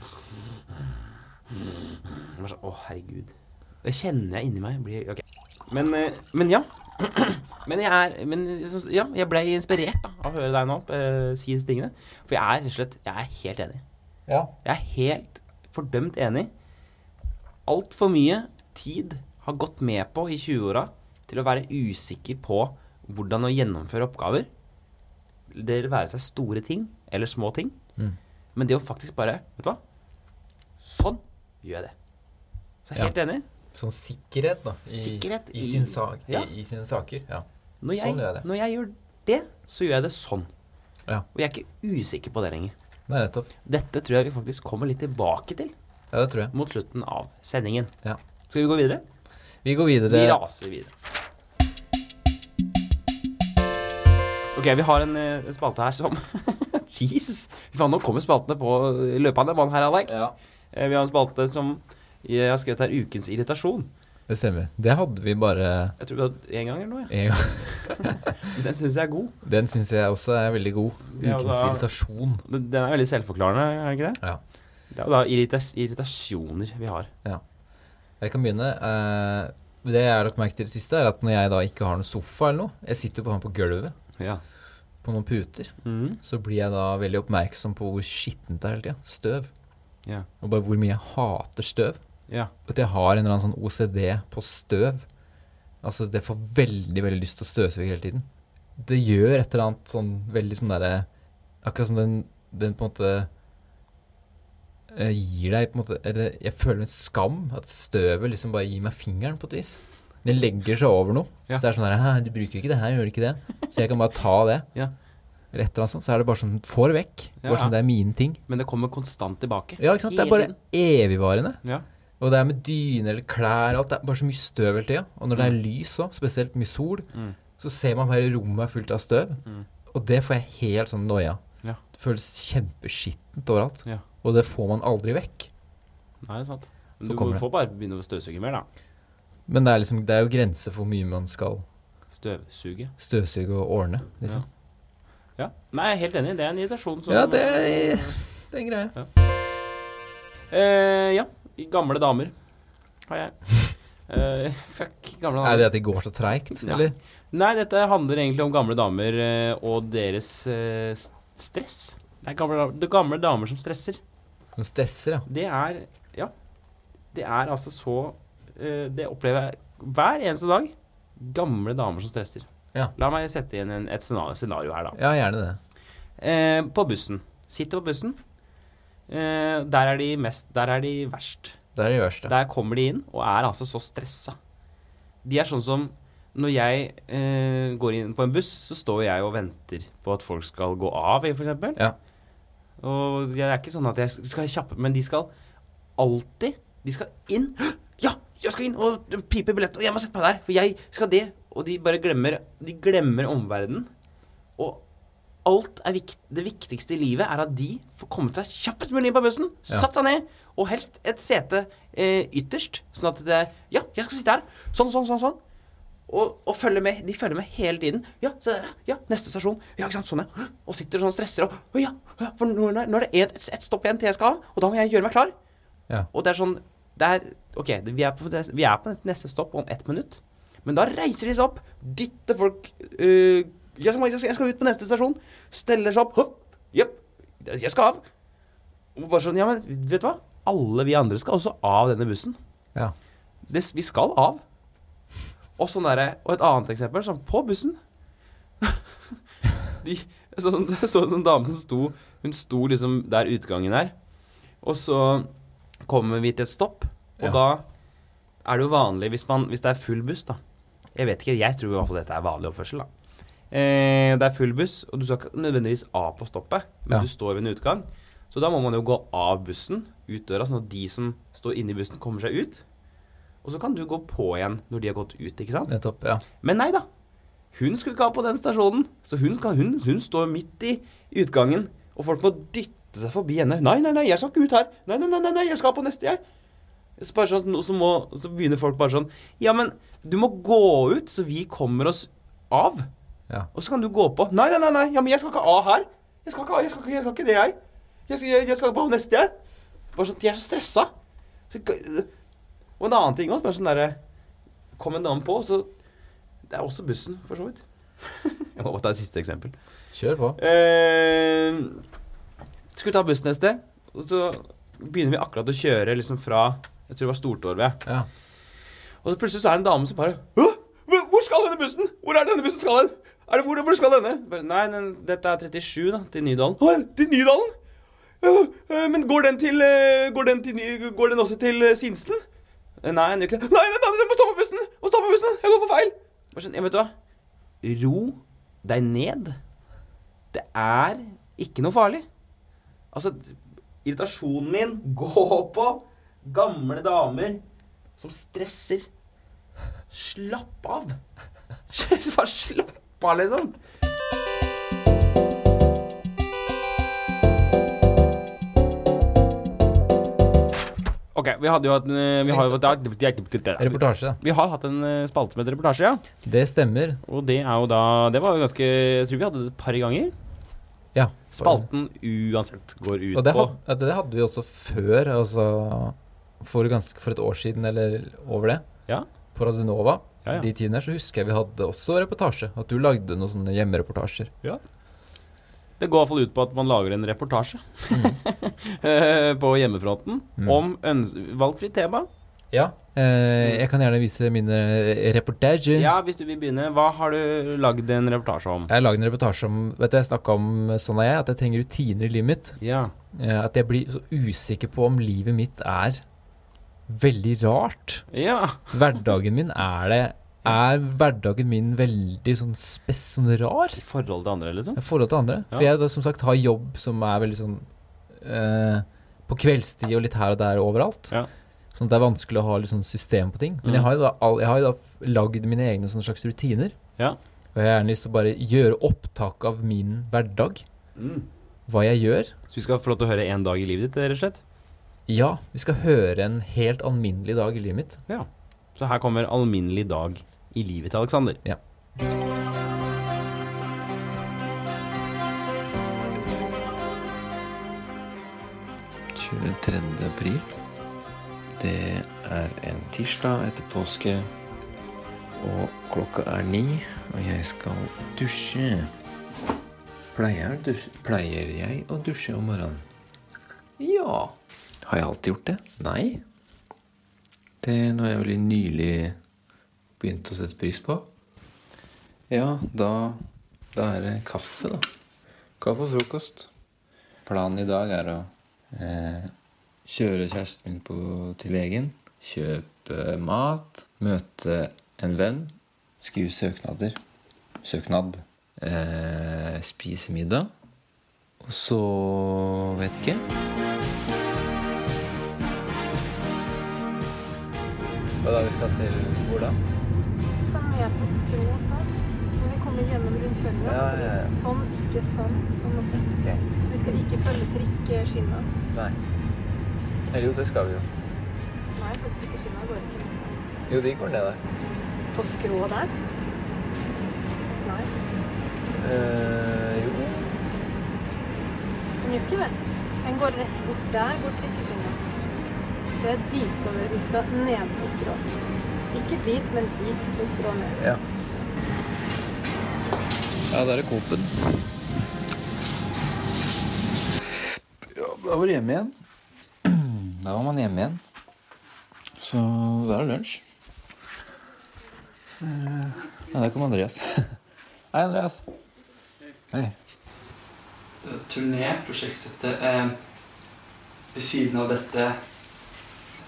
Speaker 1: Jeg var sånn, Å, herregud. Det kjenner jeg inni meg. Blir, ok. men, eh, men ja. Men jeg er men, liksom, Ja, jeg ble inspirert da, av å høre deg nå eh, si disse tingene. For jeg er rett og slett Jeg er helt enig.
Speaker 2: ja.
Speaker 1: Jeg er helt fordømt enig. Altfor mye tid har gått med på i 20-åra til å være usikker på hvordan å gjennomføre oppgaver. Det vil være seg store ting eller små ting.
Speaker 2: Mm.
Speaker 1: Men det å faktisk bare Vet du hva? Sånn gjør jeg det. Så jeg er helt enig.
Speaker 2: Sånn sikkerhet, da. I,
Speaker 1: Sikkerhet
Speaker 2: i,
Speaker 1: i-
Speaker 2: sin sak,
Speaker 1: ja.
Speaker 2: i, i sine saker. Ja.
Speaker 1: Når jeg,
Speaker 2: Sånn gjør jeg det.
Speaker 1: Når jeg gjør det, så gjør jeg det sånn.
Speaker 2: Ja.
Speaker 1: Og jeg er ikke usikker på det lenger.
Speaker 2: Nei, nettopp.
Speaker 1: Dette tror jeg vi faktisk kommer litt tilbake til
Speaker 2: Ja, det tror jeg.
Speaker 1: mot slutten av sendingen.
Speaker 2: Ja.
Speaker 1: Skal vi gå videre?
Speaker 2: Vi går videre.
Speaker 1: Vi raser videre. Ok, vi har en eh, en spalte her som Jesus! Fy faen, nå kommer spaltene på eh, løpende bånd her, Alek.
Speaker 2: Ja,
Speaker 1: Eh, Vi har en spalte som jeg har skrevet her Ukens irritasjon.
Speaker 2: det stemmer. Det hadde vi bare
Speaker 1: Jeg tror vi har hatt én gang eller noe.
Speaker 2: en gang.
Speaker 1: Ja. Den syns jeg er god.
Speaker 2: Den syns jeg også er veldig god.
Speaker 1: Ja,
Speaker 2: Ukens
Speaker 1: da-
Speaker 2: irritasjon.
Speaker 1: Den den er veldig selvforklarende, er den ikke det?
Speaker 2: Ja.
Speaker 1: Det er jo da irritas irritasjoner vi har.
Speaker 2: Jeg kan begynne. Eh, det jeg har lagt merke til i det siste, er at når jeg da ikke har noen sofa eller noe Jeg sitter jo på han på gulvet
Speaker 1: Ja.
Speaker 2: på noen puter.
Speaker 1: Mm.
Speaker 2: Så blir jeg da veldig oppmerksom på hvor skittent det er hele tida. Støv.
Speaker 1: Ja.
Speaker 2: Og bare hvor mye jeg hater støv.
Speaker 1: ja.
Speaker 2: At jeg har en eller annen sånn OCD på støv. Altså, det får veldig, veldig lyst til å støvsuge hele tiden. Det gjør et eller annet sånn veldig sånn derre Akkurat som den, den på en måte eh, gir deg på en måte Eller jeg føler en skam. At støvet liksom bare gir meg fingeren, på et vis. Den legger seg over noe.
Speaker 1: Ja.
Speaker 2: Så det er sånn der Hæ, du bruker jo ikke det her, gjør du ikke det? Så jeg kan bare ta det.
Speaker 1: Ja.
Speaker 2: Eller et eller annet sånt. Så er det bare sånn Få det vekk.
Speaker 1: Ja,
Speaker 2: Bare
Speaker 1: ja.
Speaker 2: sånn, det er mine ting.
Speaker 1: Men det kommer konstant tilbake.
Speaker 2: Ja, ikke sant. Det er
Speaker 1: Hele
Speaker 2: bare evigvarende.
Speaker 1: tiden. Ja.
Speaker 2: Og det er med dyner eller klær og alt. Det er bare så mye støv hele tida. Og når det er lys òg, spesielt mye sol,
Speaker 1: Mm.
Speaker 2: så ser man bare rommet er fullt av støv.
Speaker 1: Mm.
Speaker 2: Og det får jeg helt sånn noia.
Speaker 1: Ja.
Speaker 2: Det føles kjempeskittent overalt.
Speaker 1: Ja.
Speaker 2: Og det får man aldri vekk.
Speaker 1: Nei, det er sant.
Speaker 2: Så
Speaker 1: Men
Speaker 2: kommer
Speaker 1: du
Speaker 2: det.
Speaker 1: får bare begynne å støvsuge mer, da.
Speaker 2: Men det er, liksom, det er jo grenser for hvor mye man skal
Speaker 1: Støvsuge.
Speaker 2: støvsuge og ordne. Liksom.
Speaker 1: Ja. Nei, jeg er helt enig. Det er en irritasjon som
Speaker 2: Ja, det er- Det er en greie.
Speaker 1: Eh, ja. Gamle damer har jeg. Eh, fuck gamle
Speaker 2: Er det
Speaker 1: damer.
Speaker 2: at det går så treigt,
Speaker 1: Nei.
Speaker 2: eller?
Speaker 1: Nei, dette handler egentlig om gamle damer eh, og deres eh, s- stress. Det er gamle, dam- det er gamle damer som stresser.
Speaker 2: Som stresser, ja.
Speaker 1: Det er Ja. Det er altså så eh, Det opplever jeg hver eneste dag. Gamle damer som stresser.
Speaker 2: Ja.
Speaker 1: La meg sette inn en, et scenario, scenario her, da.
Speaker 2: Ja, gjerne det.
Speaker 1: Eh, på bussen. Sitter på bussen. Eh, der, er de mest, der er de verst.
Speaker 2: Det er det verste.
Speaker 1: Der kommer de inn og er altså så stressa. De er sånn som når jeg eh, går inn på en buss, så står jeg og venter på at folk skal gå av, f.eks.
Speaker 2: Ja.
Speaker 1: Og jeg er ikke sånn at jeg skal kjappe, men de skal alltid De skal inn. Ja, jeg skal inn og pipe billett, og jeg må sette meg der, for jeg skal det. Og de bare glemmer De glemmer omverdenen. Og alt er vikt, det viktigste i livet er at de får kommet seg kjappest mulig inn på bussen,
Speaker 2: Ja.
Speaker 1: satt seg ned, og helst et sete eh, ytterst, sånn at det er Ja, jeg skal sitte her. Sånn, sånn, sånn. sånn. Og, og følger med, de følger med hele tiden. Ja, se der, ja. Neste stasjon. Ja, ikke sant. Sånn, ja. Og sitter sånn og stresser og «Å, ja, ja, for nå er det- nå er det et, et, et stopp igjen til jeg skal av, og da må jeg gjøre meg klar.
Speaker 2: Ja.
Speaker 1: Og det er sånn det er, OK, det, vi, er på, det- vi er på neste stopp om ett minutt. Men da reiser de seg opp, dytter folk øh, jeg, skal, jeg, skal, 'Jeg skal ut på neste stasjon.' Steller seg opp. Hopp. Jepp. 'Jeg skal av.' Og bare sånn Ja, men vet du hva? Alle vi andre skal også av denne bussen.
Speaker 2: Ja.
Speaker 1: Det, vi skal av. Og, sånn derre- og et annet eksempel, sånn på bussen De, jeg så, sånn- jeg så en sånn dame som sto Hun sto liksom der utgangen er. Og så kommer vi til et stopp, og
Speaker 2: Ja.
Speaker 1: da er det jo vanlig hvis, man, hvis det er full buss, da. Jeg vet ikke, jeg tror i hvert fall dette er vanlig oppførsel, da. Eh, det er full buss, og du skal ikke nødvendigvis av på stoppet, men
Speaker 2: Ja.
Speaker 1: du står ved en utgang. Så da må man jo gå av bussen, ut døra, sånn at de som står inne i bussen, kommer seg ut. Og så kan du gå på igjen når de har gått ut, ikke sant?
Speaker 2: Nettopp. Ja.
Speaker 1: Men nei da. Hun skulle ikke av på den stasjonen, så hun, kan, hun, hun står midt i utgangen, og folk må dytte kaste seg forbi henne. 'Nei, nei, nei, jeg skal ikke ut her. Nei, nei, nei, nei, nei jeg skal på neste, jeg.' Så, bare sånn, og så, må, så begynner folk bare sånn 'Ja, men du må gå ut, så vi kommer oss av.'
Speaker 2: Ja.
Speaker 1: Og så kan du gå på. 'Nei, nei, nei, nei, ja, men jeg skal ikke av her. Jeg skal ikke, av, jeg skal ikke, jeg skal ikke det, jeg. Jeg skal, jeg, jeg skal på neste, jeg.' Bare sånn, De er så stressa. Så, og en annen ting også, bare sånn derre Kom en dame på, så Det er også bussen, for så vidt. jeg må bare ta et siste eksempel.
Speaker 2: Kjør på.
Speaker 1: Eh, skulle ta bussen et sted, og så begynner vi akkurat å kjøre liksom fra Jeg tror det var Stortorvet.
Speaker 2: Ja.
Speaker 1: Og så plutselig så er det en dame som bare Hå? Hvor hvor skal denne bussen? Hvor er denne bussen skal hen? Er det hvor, hvor skal denne? Bare, nei, den, dette er 37, da. Til Nydalen. Å, til Nydalen? Ja, eh, men går den til eh, Går den, til, Ny- går den også til eh, Sinsen? Eh, Nei, den gjør ikke det. Nei, men da, men jeg må stoppe bussen! Jeg må stoppe bussen! Jeg går for feil! Bare sånn, ja, vet du hva? Ro deg ned. Det er ikke noe farlig. Altså, irritasjonen min går på gamle damer som stresser. Slapp av! Bare slapp av, liksom. Ok, vi hadde jo hatt en, eh, vi har jo hatt
Speaker 2: Reportasje, da.
Speaker 1: Vi har hatt en eh, spalte med et reportasje, ja.
Speaker 2: Det stemmer.
Speaker 1: Og det er jo da Det var jo ganske Jeg tror vi hadde det et par ganger.
Speaker 2: Ja.
Speaker 1: Spalten uansett går ut
Speaker 2: Og det
Speaker 1: på
Speaker 2: hadde, vet du, det hadde vi også før, altså for, ganske, for et år siden eller over det,
Speaker 1: Ja.
Speaker 2: på Radionova.
Speaker 1: Ja, ja.
Speaker 2: De tidene her så husker jeg vi hadde også reportasje. At du lagde noen sånne hjemmereportasjer.
Speaker 1: Det går i hvert fall ut på at man lager en reportasje eh, på hjemmefronten
Speaker 2: Mm.
Speaker 1: om øns valgfritt tema.
Speaker 2: Ja. Eh, jeg kan gjerne vise mine reportasjer.
Speaker 1: Ja, hvis du vil begynne, hva har du lagd en reportasje om?
Speaker 2: Jeg lagde en reportasje om Vet du, jeg snakka om eh, sånn er jeg, at jeg trenger rutiner i livet mitt.
Speaker 1: Ja.
Speaker 2: Eh, at jeg blir så usikker på om livet mitt er veldig rart.
Speaker 1: Ja.
Speaker 2: Hverdagen min er det Er hverdagen min veldig sånn spes, sånn rar?
Speaker 1: I forhold til andre, liksom?
Speaker 2: I forhold til andre. For
Speaker 1: Ja.
Speaker 2: jeg da, som sagt har jobb som er veldig sånn eh, På kveldstid og litt her og der og overalt.
Speaker 1: Ja.
Speaker 2: Sånn at det er vanskelig å ha litt sånn system på ting. Men
Speaker 1: Mm.
Speaker 2: jeg har jo da, all- jeg har jo da lagd mine egne sånne slags rutiner.
Speaker 1: Ja.
Speaker 2: Og jeg har gjerne lyst til å bare gjøre opptak av min hverdag.
Speaker 1: Mm.
Speaker 2: Hva jeg gjør.
Speaker 1: Så vi skal få lov til å høre én dag i livet ditt, rett og slett?
Speaker 2: Ja, vi skal høre en helt alminnelig dag i livet mitt.
Speaker 1: Ja. Så her kommer 'Alminnelig dag i livet til Alexander'.
Speaker 2: Ja.
Speaker 3: Det er en tirsdag etter påske, og klokka er ni, og jeg skal dusje. Pleier, dus pleier jeg å dusje om morgenen? Ja. Har jeg alltid gjort det? Nei. Det er noe jeg veldig nylig begynte å sette pris på. Ja, da, da er det kaffe, da. Kaffe og frokost. Planen i dag er å eh, kjøre kjæresten min på, til legen, kjøpe mat, møte en venn, skrive søknader, søknad, eh, spise middag, og så vet ikke.
Speaker 2: Hva da vi skal til hvor da?
Speaker 4: skal ned på skrå sånn. Når vi kommer gjennom rundkjøringen.
Speaker 2: Ja, ja, ja.
Speaker 4: Sånn, ikke sånn. på en måte.
Speaker 2: Ok.
Speaker 4: Vi skal ikke følge trikkskinna.
Speaker 2: Nei. Eller jo, det skal vi jo.
Speaker 4: Nei, for trikkeskinna går ikke.
Speaker 2: Jo, de går ned der.
Speaker 4: På skrå der? Nei,
Speaker 2: Eh, jo.
Speaker 4: den gjør ikke det. Den går rett bort der, hvor trikkeskinna. Det er ditover vi skal ned på skrå. Ikke dit, men dit på skrå ned.
Speaker 2: Ja.
Speaker 3: Ja, da er det Coop-en. Ja, da var det hjemme igjen. Da var man hjemme igjen. Så da er det lunsj. Eh, Nei, der kom Andreas. Hei, Andreas. Hei.
Speaker 5: turné, prosjektstøtte. Eh, ved siden av dette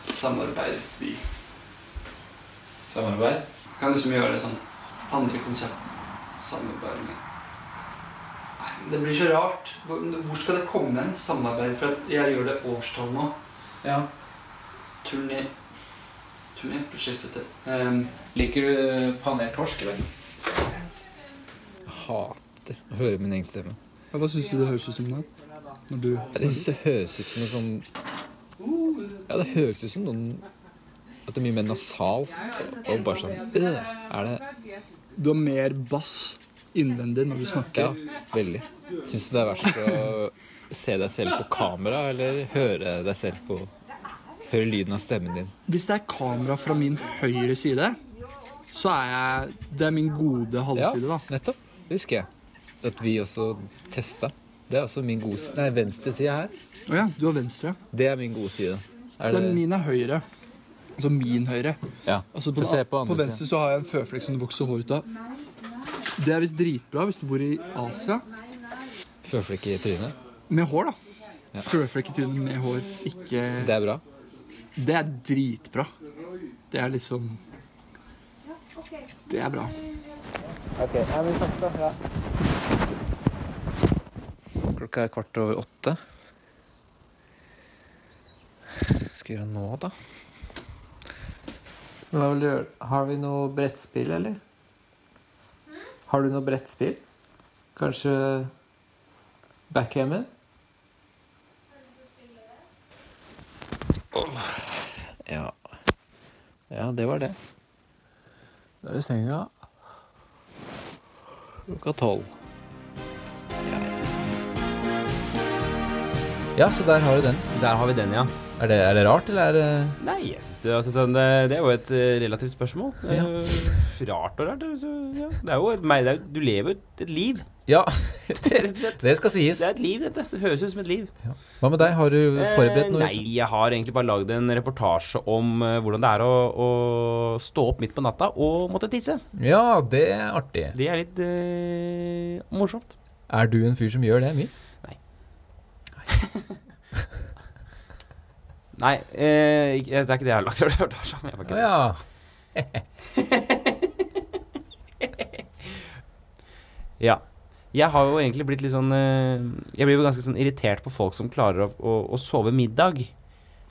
Speaker 5: samarbeidet vi.
Speaker 3: Samarbeid?
Speaker 5: Kan liksom gjøre sånn andre konsept samarbeid med. Nei, men det blir så rart. Hvor hvor skal det komme en samarbeid? For at jeg gjør det årstall nå.
Speaker 3: Ja.
Speaker 5: Turné, turné prosjektstøtte. Eh,
Speaker 3: Liker du panert torsk, eller? Hater å høre min egen stemme.
Speaker 5: Hva syns du det høres ut som? da? Når du
Speaker 3: Jeg synes det høres ut som noe sånn Ja, det høres ut som noen At det er mye mer nasalt og bare sånn øh, Er det
Speaker 5: Du har mer bass innvendig når du snakker.
Speaker 3: Ja, veldig. Syns du det er verst å se deg selv på kamera, eller høre deg selv på Høre lyden av stemmen din?
Speaker 5: Hvis det er kamera fra min høyre side, så er jeg Det er min gode
Speaker 3: Ja,
Speaker 5: halvside, da.
Speaker 3: nettopp. Det husker jeg. At vi også testa. Det er også min gode side. Nei, venstre side her.
Speaker 5: Å ja, du har venstre.
Speaker 3: Det er min gode side. Er det
Speaker 5: Den min er høyre. Altså min høyre.
Speaker 3: Ja.
Speaker 5: Altså
Speaker 3: Få
Speaker 5: på,
Speaker 3: se på
Speaker 5: på,
Speaker 3: andre
Speaker 5: venstre så har jeg en føflekk som det vokser hår ut av. Det er visst dritbra hvis du bor i Asia.
Speaker 3: Føflekk i trynet.
Speaker 5: Med hår, da. Føflekk i trynet med hår. Ikke
Speaker 3: Det er bra.
Speaker 5: Det er dritbra. Det er liksom Det er bra.
Speaker 3: Klokka er kvart over åtte. Hva skal vi gjøre nå, da?
Speaker 6: Hva vil du gjøre? Har vi noe brettspill, eller? Har du noe brettspill? Kanskje backgammon?
Speaker 3: Ja. ja, det var det.
Speaker 6: Da er det senga.
Speaker 3: Klokka tolv.
Speaker 2: Ja, så der har du den.
Speaker 1: Der har vi den, ja.
Speaker 2: Er det, er det rart, eller er det
Speaker 1: Nei, jeg synes det, jeg synes sånn, det, det er jo et eh, relativt spørsmål. Det er
Speaker 2: Ja.
Speaker 1: jo rart og rart. det er jo- Ja. Det er jo et, meg- det er, jo- du lever jo et, et liv.
Speaker 2: Ja,
Speaker 1: Rett og slett.
Speaker 2: det skal sies.
Speaker 1: Det er et liv, dette. Det høres ut som et liv.
Speaker 2: Hva med deg? Har du forberedt
Speaker 1: Eh,
Speaker 2: noe?
Speaker 1: Nei, jeg har egentlig bare lagd en reportasje om eh, hvordan det er å, å stå opp midt på natta og måtte tisse.
Speaker 2: Ja, det er artig.
Speaker 1: Det er litt eh, morsomt.
Speaker 2: Er du en fyr som gjør det mye?
Speaker 1: Nei, eh, ikke- det er ikke det jeg har lagd en reportasje om. Jeg var ikke
Speaker 2: Å
Speaker 1: det.
Speaker 2: ja.
Speaker 1: Ja. Jeg har jo egentlig blitt litt sånn eh, Jeg blir jo ganske sånn irritert på folk som klarer å, å, å sove middag.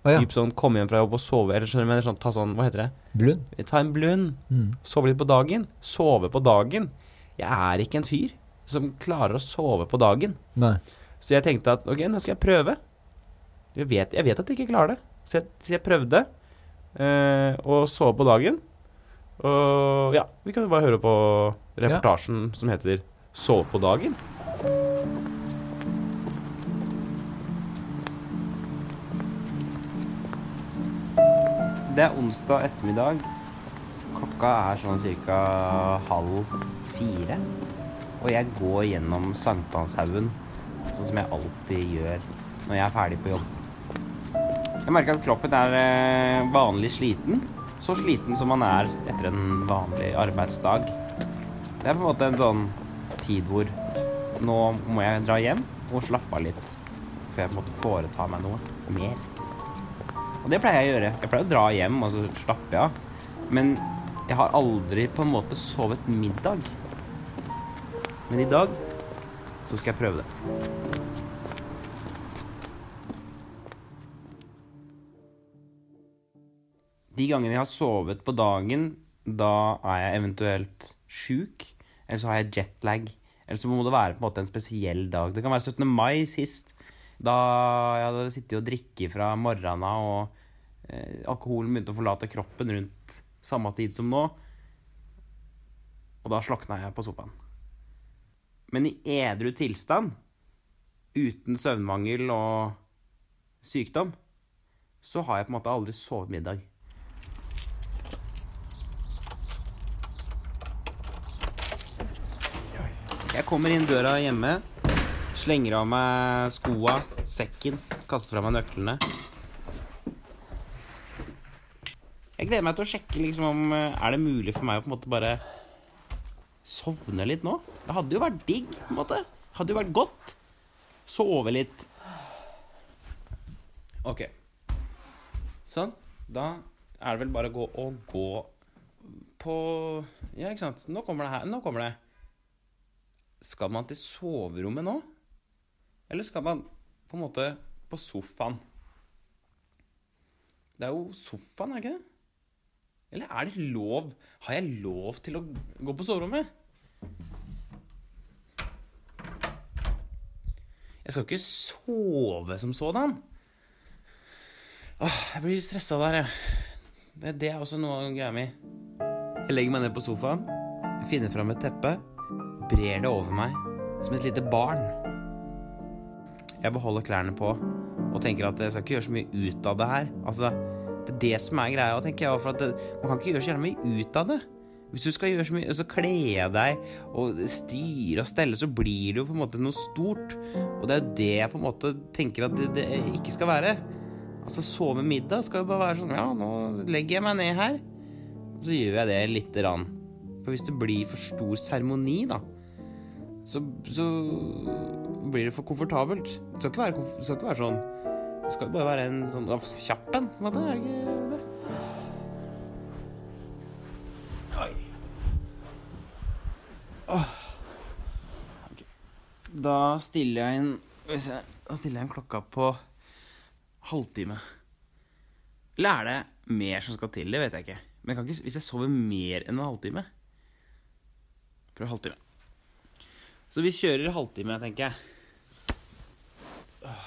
Speaker 2: Å ja.
Speaker 1: Typ sånn komme hjem fra jobb og sove, eller skjønner du, men sånn, ta sånn, hva heter det?
Speaker 2: Blund.
Speaker 1: Ta en blund,
Speaker 2: Mm.
Speaker 1: sove litt på dagen. Sove på dagen. Jeg er ikke en fyr som klarer å sove på dagen.
Speaker 2: Nei.
Speaker 1: Så jeg tenkte at ok, nå skal jeg prøve. Jeg vet, jeg vet at jeg ikke klarer det. Så jeg, så jeg prøvde eh, å sove på dagen. Og ja, vi kan jo bare høre på reportasjen som heter 'Sove på dagen'. Det er onsdag ettermiddag. Klokka er sånn cirka halv fire. Og jeg går gjennom Sankthanshaugen sånn som jeg alltid gjør når jeg er ferdig på jobb. Jeg merker at kroppen er eh, vanlig sliten, så sliten som man er etter en vanlig arbeidsdag. Det er på en måte en sånn tid hvor nå må jeg dra hjem og slappe av litt, før jeg på en måte foretar meg noe mer. Og det pleier jeg å gjøre. Jeg pleier å dra hjem, og så slapper jeg av. Men jeg har aldri på en måte sovet middag. Men i dag så skal jeg prøve det. De gangene jeg har sovet på dagen, da er jeg eventuelt sjuk. Eller så har jeg jetlag. Eller så må det være på en måte en spesiell dag. Det kan være 17. mai sist. Da jeg hadde sittet og drikket fra morgenen av, og eh, alkoholen begynte å forlate kroppen rundt samme tid som nå. Og da slokna jeg på sofaen. Men i edru tilstand, uten søvnmangel og sykdom, så har jeg på en måte aldri sovet middag. Jeg kommer inn døra hjemme, slenger av meg skoa, sekken, kaster fra meg nøklene. Jeg gleder meg til å sjekke liksom om eh, er det mulig for meg å på en måte bare sovne litt nå. Det hadde jo vært digg, på en måte. Hadde jo vært godt. Sove litt. OK. Sånn. Da er det vel bare å gå og gå på Ja, ikke sant. Nå kommer det her. Nå kommer det. Skal man til soverommet nå? Eller skal man på en måte på sofaen? Det er jo sofaen, er det ikke det? Eller er det lov? Har jeg lov til å gå på soverommet? Jeg Jeg skal ikke sove som sådan. Åh, jeg blir stressa der, jeg. Det, det er også noe av greia mi. Jeg legger meg ned på sofaen, finner fram et teppe, brer det over meg som et lite barn. Jeg beholder klærne på og tenker at jeg skal ikke gjøre så mye ut av det her. Altså, det er det som er greia, tenker jeg. For at det, man kan ikke gjøre så jævla mye ut av det. Hvis du skal gjøre så mye, så kle deg og styre og stelle, så blir det jo på en måte noe stort. Og det er jo det jeg på en måte tenker at det, det ikke skal være. Altså, sove middag skal jo bare være sånn Ja, nå legger jeg meg ned her. Og så gjør jeg det lite grann. For hvis det blir for stor seremoni, da, så, så blir det for komfortabelt. Det skal ikke være, komf- det skal ikke være sånn. Det skal jo bare være en sånn åh, kjapp en. på en måte, er det ikke det? Oi. Åh. Ok. Da stiller jeg inn Skal vi se Da stiller jeg inn klokka på halvtime. Eller er det mer som skal til? Det vet jeg ikke. Men jeg kan ikke, hvis jeg sover mer enn en halvtime Prøv halvtime. Så vi kjører halvtime, tenker jeg. Åh.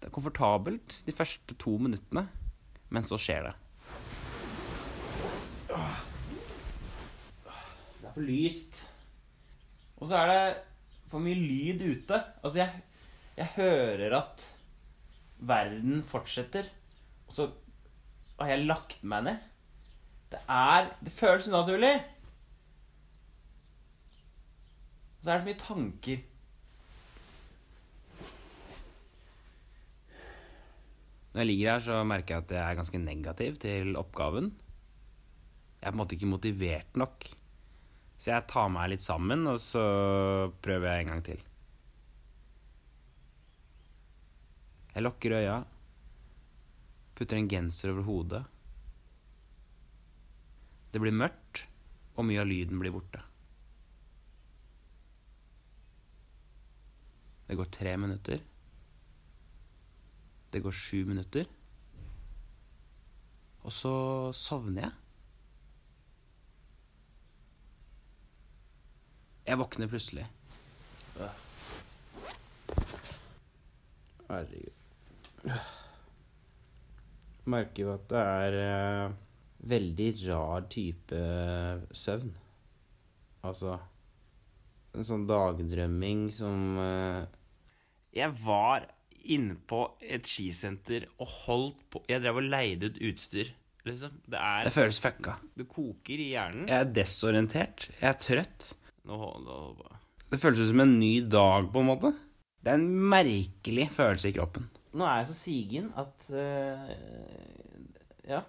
Speaker 1: Det er komfortabelt de første to minuttene, men så skjer det. Åh. Det er for lyst. Og så er det for mye lyd ute. Altså, jeg, jeg hører at verden fortsetter, og så har jeg lagt meg ned. Det er Det føles unaturlig. Og så er det så mye tanker. Når jeg ligger her, så merker jeg at jeg er ganske negativ til oppgaven. Jeg er på en måte ikke motivert nok. Så jeg tar meg litt sammen, og så prøver jeg en gang til. Jeg lukker øya, putter en genser over hodet. Det blir mørkt, og mye av lyden blir borte. Det går tre minutter. Det går sju minutter. Og så sovner jeg. Jeg våkner plutselig. Herregud. Merker jo at det er eh, veldig rar type søvn. Altså En sånn dagdrømming som eh, Jeg var inne på et skisenter og holdt på Jeg drev og leide ut utstyr, liksom. Det er Det føles fucka. Det koker i hjernen. Jeg er desorientert. Jeg er trøtt. Nå hold, nå hold på. Det føles ut som en ny dag, på en måte. Det er en merkelig følelse i kroppen. Nå er jeg så sigen at eh, Ja.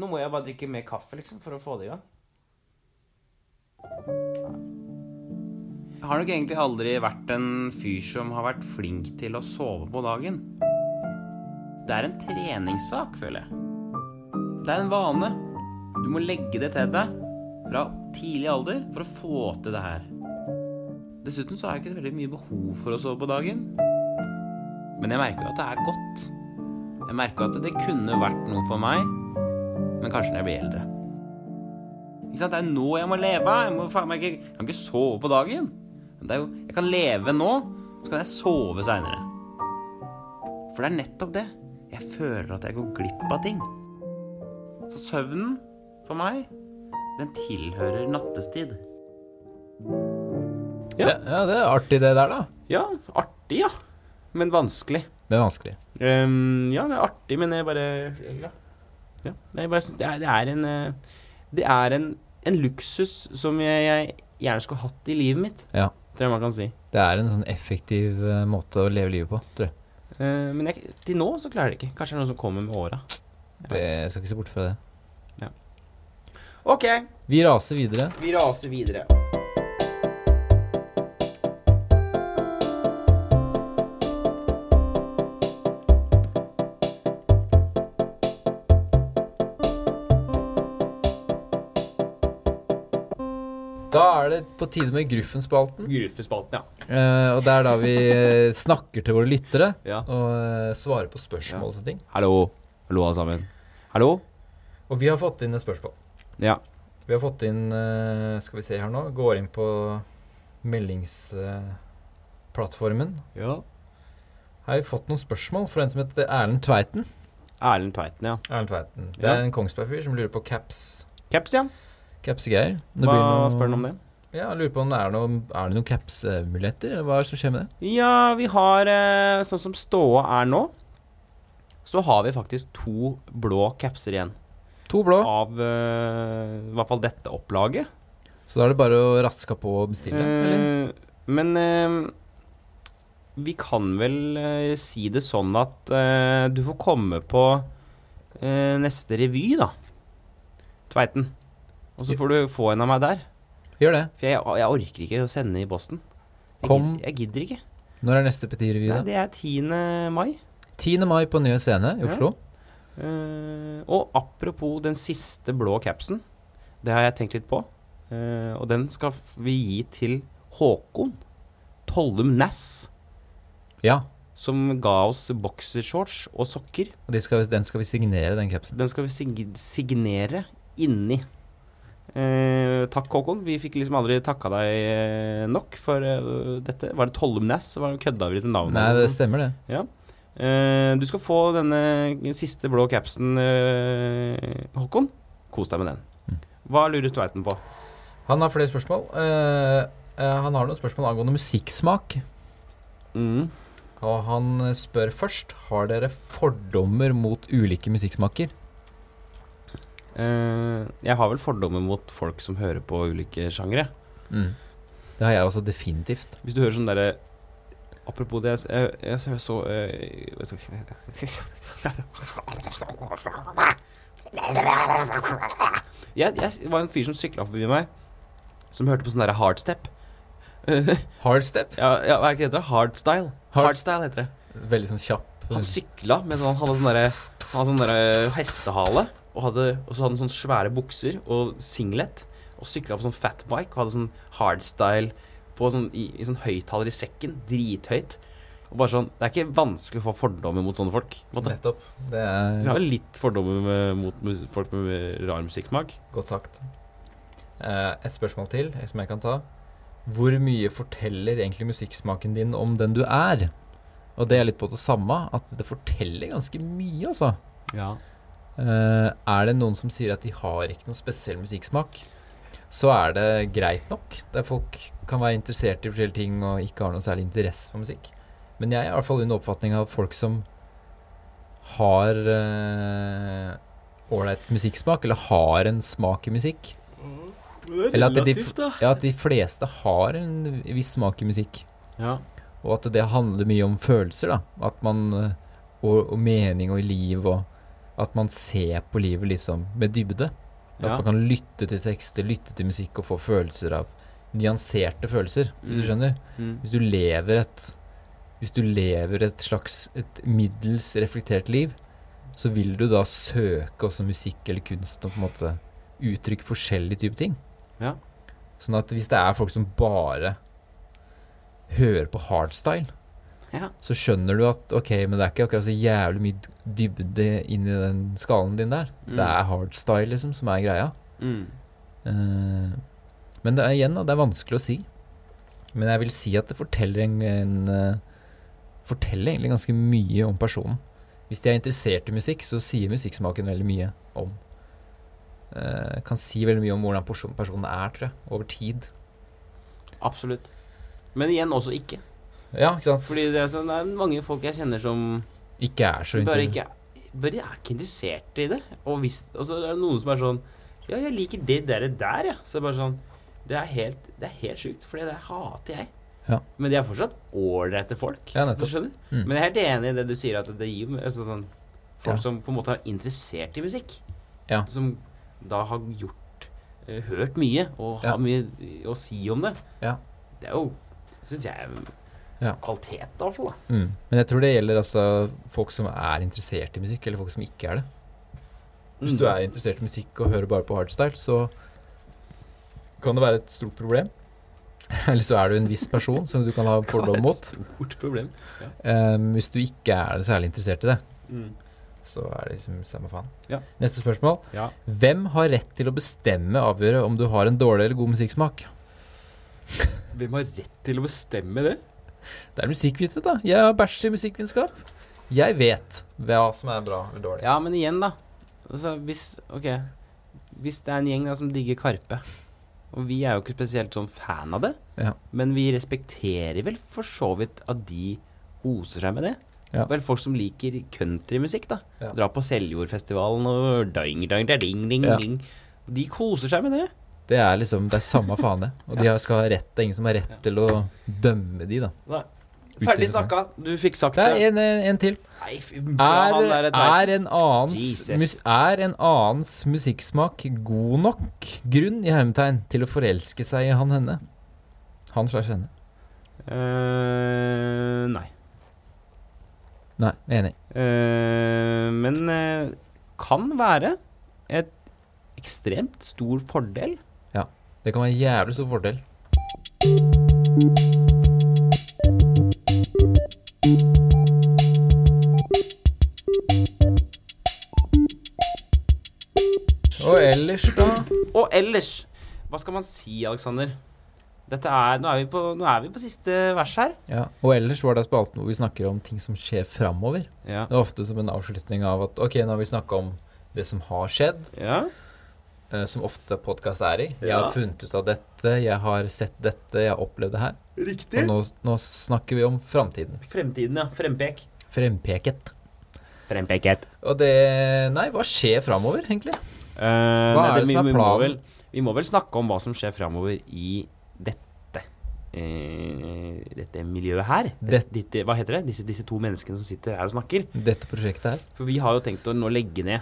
Speaker 1: Nå må jeg bare drikke mer kaffe, liksom, for å få det i gang. Jeg har nok egentlig aldri vært en fyr som har vært flink til å sove på dagen. Det er en treningssak, føler jeg. Det er en vane. Du må legge det til deg fra tidlig alder for å få til det her. Dessuten så har jeg ikke så veldig mye behov for å sove på dagen. Men jeg merker jo at det er godt. Jeg merker at det kunne vært noe for meg, men kanskje når jeg blir eldre. Ikke sant? Det er jo nå jeg må leve. Jeg, må, faen meg ikke, jeg kan ikke sove på dagen. Det er jo, jeg kan leve nå, så kan jeg sove seinere. For det er nettopp det. Jeg føler at jeg går glipp av ting. Så søvnen, for meg, den tilhører nattestid.
Speaker 2: Ja. Det, ja, det er artig det der, da.
Speaker 7: Ja, artig, ja. Men vanskelig.
Speaker 2: Men vanskelig.
Speaker 7: Ehm, ja, det er artig, men jeg bare Ja, jeg bare synes det, er, det er en eh, Det er en, en luksus som jeg, jeg gjerne skulle hatt i livet mitt,
Speaker 2: Ja.
Speaker 7: tror jeg man kan si.
Speaker 2: Det er en sånn effektiv eh, måte å leve livet på, tror jeg.
Speaker 7: Eh, men jeg, til nå så klarer jeg det ikke. Kanskje det er noe som kommer med åra.
Speaker 2: Det, jeg skal ikke se bort fra det.
Speaker 7: OK,
Speaker 2: Vi raser videre.
Speaker 7: vi raser videre.
Speaker 2: Da er det på tide med Gruffen-spalten.
Speaker 7: Gruffespalten, ja.
Speaker 2: Eh, og det er da vi eh, snakker til våre lyttere
Speaker 7: Ja.
Speaker 2: og eh, svarer på spørsmål og sånne ting.
Speaker 7: Hallo. Hallo, alle sammen. Hallo?
Speaker 2: Og vi har fått inn et spørsmål.
Speaker 7: Ja.
Speaker 2: Vi har fått inn eh, Skal vi se her nå. Går inn på meldingsplattformen.
Speaker 8: Ja.
Speaker 2: Her har vi fått noen spørsmål fra en som heter Erlend Tveiten.
Speaker 1: Erlend Tveiten, ja.
Speaker 2: Erlend Tveiten. Det
Speaker 1: Ja.
Speaker 2: er en Kongsberg-fyr som lurer på caps.
Speaker 1: Caps, ja.
Speaker 2: Capsegreier.
Speaker 1: Hva spør han om det?
Speaker 2: Ja, jeg lurer på om det er, noe, er det noen caps-muligheter, eller hva er det som skjer med det?
Speaker 1: Ja, vi har eh, Sånn som ståa er nå, så har vi faktisk to blå capser igjen.
Speaker 2: To blå.
Speaker 1: Av eh, i hvert fall dette opplaget.
Speaker 2: Så da er det bare å raske på og bestille,
Speaker 1: Eh,
Speaker 2: eller?
Speaker 1: men eh, vi kan vel eh, si det sånn at eh, du får komme på eh, neste revy, da. Tveiten. Og så får du få en av meg der.
Speaker 2: Gjør det.
Speaker 1: For jeg, jeg orker ikke å sende i Boston. Jeg,
Speaker 2: Kom.
Speaker 1: gidder, jeg gidder ikke.
Speaker 2: Når er neste Petit Revy,
Speaker 1: Nei,
Speaker 2: da?
Speaker 1: det er 10. mai.
Speaker 2: 10. mai på Nye Scene i
Speaker 1: Ja.
Speaker 2: Oslo.
Speaker 1: Eh, og apropos den siste blå capsen. Det har jeg tenkt litt på. Eh, og den skal f- vi gi til Håkon Tollum Næss.
Speaker 2: Ja.
Speaker 1: som ga oss boksershorts og sokker.
Speaker 2: Og de skal, vi- den skal vi signere, den capsen.
Speaker 1: Den skal vi sig signere inni. Eh, takk, Håkon. Vi fikk liksom aldri takka deg eh, nok for eh, dette. Var det Tollum Næss? Var det Kødda vi til navnet?
Speaker 2: Nei,
Speaker 1: eller
Speaker 2: det
Speaker 1: sånn?
Speaker 2: stemmer, det.
Speaker 1: eh, du skal få denne siste blå capsen, eh, Håkon. Kos deg med den. Hva lurer Tveiten på?
Speaker 2: Han har flere spørsmål. Eh, eh, han har noen spørsmål angående musikksmak.
Speaker 1: Mm.
Speaker 2: Og han eh, spør først Har dere fordommer mot ulike musikksmaker.
Speaker 1: Eh, jeg har vel fordommer mot folk som hører på ulike sjangere.
Speaker 2: Mm. Det har jeg også definitivt.
Speaker 1: Hvis du hører sånn derre Apropos det, jeg, jeg, jeg, så- så eh, vet du jeg, jeg var en fyr som sykla forbi meg, som hørte på sånn derre hardstep. Eh,
Speaker 2: Hardstep.
Speaker 1: ja, ja, hva er det ikke det heter? da? Hardstyle.
Speaker 2: Hard-
Speaker 1: Hardstyle heter det.
Speaker 2: Veldig sånn kjapp.
Speaker 1: Han sykla med sånn, han hadde sånn derre han hadde sånn derre hestehale, og, hadde, og så hadde han sånne svære bukser og singlet, og sykla på sånn fatbike, og hadde sånn hardstyle på sånn, i, i sånn høyttaler i sekken, drithøyt. Og bare sånn, Det er ikke vanskelig å få fordommer mot sånne folk. på en måte.
Speaker 2: Nettopp. Det
Speaker 1: Du
Speaker 2: er
Speaker 1: har jo litt fordommer med, mot mus folk med rar musikksmak.
Speaker 2: godt sagt. Eh, et spørsmål til eh, som jeg kan ta. Hvor mye forteller egentlig musikksmaken din om den du er? Og det er litt på det samme, at det forteller ganske mye, altså.
Speaker 1: Ja.
Speaker 2: Eh, er det noen som sier at de har ikke noen spesiell musikksmak, så er det greit nok. Der folk kan være interessert i forskjellige ting og ikke har noe særlig interesse for musikk. Men jeg er i hvert fall under oppfatning av folk som har eh, ålreit musikksmak, eller har en smak i musikk. Eller at de, ja, at de fleste har en viss smak i musikk.
Speaker 1: Ja.
Speaker 2: Og at det handler mye om følelser, da. At man eh, Og, og mening og liv og At man ser på livet liksom med dybde. At
Speaker 1: Ja.
Speaker 2: man kan lytte til tekster, lytte til musikk og få følelser av Nyanserte følelser, hvis du
Speaker 1: Mm.
Speaker 2: skjønner.
Speaker 1: Mm.
Speaker 2: Hvis du lever et Hvis du lever et slags et middels reflektert liv, så vil du da søke også musikk eller kunst og på en måte uttrykke forskjellige typer ting.
Speaker 1: Ja.
Speaker 2: Sånn at hvis det er folk som bare hører på hardstyle,
Speaker 1: Ja.
Speaker 2: så skjønner du at ok, men det er ikke akkurat så jævlig mye dybde inni den skallen din der.
Speaker 1: Mm.
Speaker 2: Det er hardstyle liksom som er greia.
Speaker 1: Mm.
Speaker 2: Eh, Men det er igjen, da, det er vanskelig å si. Men jeg vil si at det forteller en, en eh, Forteller egentlig ganske mye om personen. Hvis de er interessert i musikk, så sier musikksmaken veldig mye om. eh, kan si veldig mye om hvordan person, personen er, tror jeg. Over tid.
Speaker 1: Absolutt. Men igjen også ikke.
Speaker 2: Ja, ikke sant?
Speaker 1: Fordi det er, sånn, det er mange folk jeg kjenner som
Speaker 2: ikke er så
Speaker 1: Bare
Speaker 2: interessant.
Speaker 1: ikke Bare jeg er ikke interessert i det. Og, hvis, og så er det noen som er sånn Ja, jeg liker det der, og der, ja. Så det er bare sånn Det er helt, det er helt sjukt, for det hater jeg.
Speaker 2: Ja.
Speaker 1: Men de er fortsatt ålreite folk. hvis
Speaker 2: Ja,
Speaker 1: du
Speaker 2: nettopp.
Speaker 1: skjønner?
Speaker 2: Mm.
Speaker 1: Men jeg er helt enig i det du sier, at det gir jo- altså, sånn, folk
Speaker 2: Ja.
Speaker 1: som på en måte er interessert i musikk.
Speaker 2: Ja.
Speaker 1: Som da har gjort eh, Hørt mye, og har
Speaker 2: Ja.
Speaker 1: mye å si om det.
Speaker 2: Ja.
Speaker 1: Det er jo, syns jeg,
Speaker 2: Ja.
Speaker 1: kvalitet, i hvert fall. da.
Speaker 2: Mm. Men jeg tror det gjelder altså folk som er interessert i musikk, eller folk som ikke er det. Hvis
Speaker 1: Mm.
Speaker 2: du er interessert i musikk og hører bare på hardstyle, så kan det være et stort problem. Eller så er du en viss person som du kan ha fordom mot. Ehm,
Speaker 1: Et stort problem. Mm.
Speaker 2: eh, hvis du ikke er særlig interessert i det. så er det liksom samme faen.
Speaker 1: Ja.
Speaker 2: Neste spørsmål.
Speaker 1: Ja.
Speaker 2: Hvem har rett til å bestemme avgjøre om du har en dårlig eller god musikksmak?
Speaker 1: Hvem har rett til å bestemme det?
Speaker 2: Det er musikkvitere, da. Jeg har bæsj i musikkvitenskap. Jeg vet hva som er bra eller dårlig.
Speaker 1: Ja, men igjen, da. Altså, hvis Ok. Hvis det er en gjeng da som digger Karpe, og vi er jo ikke spesielt sånn fan av det,
Speaker 2: Ja.
Speaker 1: men vi respekterer vel for så vidt at de koser seg med det.
Speaker 2: Ja.
Speaker 1: Vel, folk som liker countrymusikk, da.
Speaker 2: Ja.
Speaker 1: Dra på Seljordfestivalen og ding, ding, ding, ding, ding,
Speaker 2: Ja.
Speaker 1: ding. De koser seg med det.
Speaker 2: Det er liksom, det er samme faen, det. Og de har- skal ha rett. Det er ingen som har rett til å dømme de, da.
Speaker 1: Ferdig snakka. Du fikk sagt
Speaker 2: Det er
Speaker 1: det.
Speaker 2: en, en, en til.
Speaker 1: Nei, fy- fra
Speaker 2: Er,
Speaker 1: han der et verk.
Speaker 2: er, en annens,
Speaker 1: Jesus.
Speaker 2: mus, er en annens musikksmak god nok grunn i hermetegn til å forelske seg i han henne? Han slags henne.
Speaker 1: Eh, nei.
Speaker 2: Nei, jeg er enig.
Speaker 1: Eh, men eh, kan være et ekstremt stor fordel.
Speaker 2: Det kan være en jævlig stor fordel. Og ellers, da?
Speaker 1: Og ellers, hva skal man si, Aleksander? Dette er, nå, er vi på, nå er vi på siste vers her.
Speaker 2: Ja, og ellers var det spalten hvor vi snakker om ting som skjer framover.
Speaker 1: Ja.
Speaker 2: Det er ofte som en avslutning av at ok, nå har vi snakka om det som har skjedd,
Speaker 1: ja.
Speaker 2: eh, som ofte podkast er i. Jeg
Speaker 1: Ja.
Speaker 2: har funnet ut av dette, jeg har sett dette, jeg har opplevd det her. Og nå, nå snakker vi om framtiden.
Speaker 1: Fremtiden, ja. Frempek.
Speaker 2: Frempeket.
Speaker 1: Frempeket.
Speaker 2: Og det Nei, hva skjer framover, egentlig?
Speaker 1: Hva
Speaker 2: er det som er
Speaker 1: Eh, Vi må,
Speaker 2: planen?
Speaker 1: vel, vi må vel snakke om hva som skjer framover i dette eh, dette miljøet her.
Speaker 2: Det-
Speaker 1: Dette, hva heter det? Disse, disse to menneskene som sitter her og snakker.
Speaker 2: Dette prosjektet her.
Speaker 1: For vi har jo tenkt å nå legge ned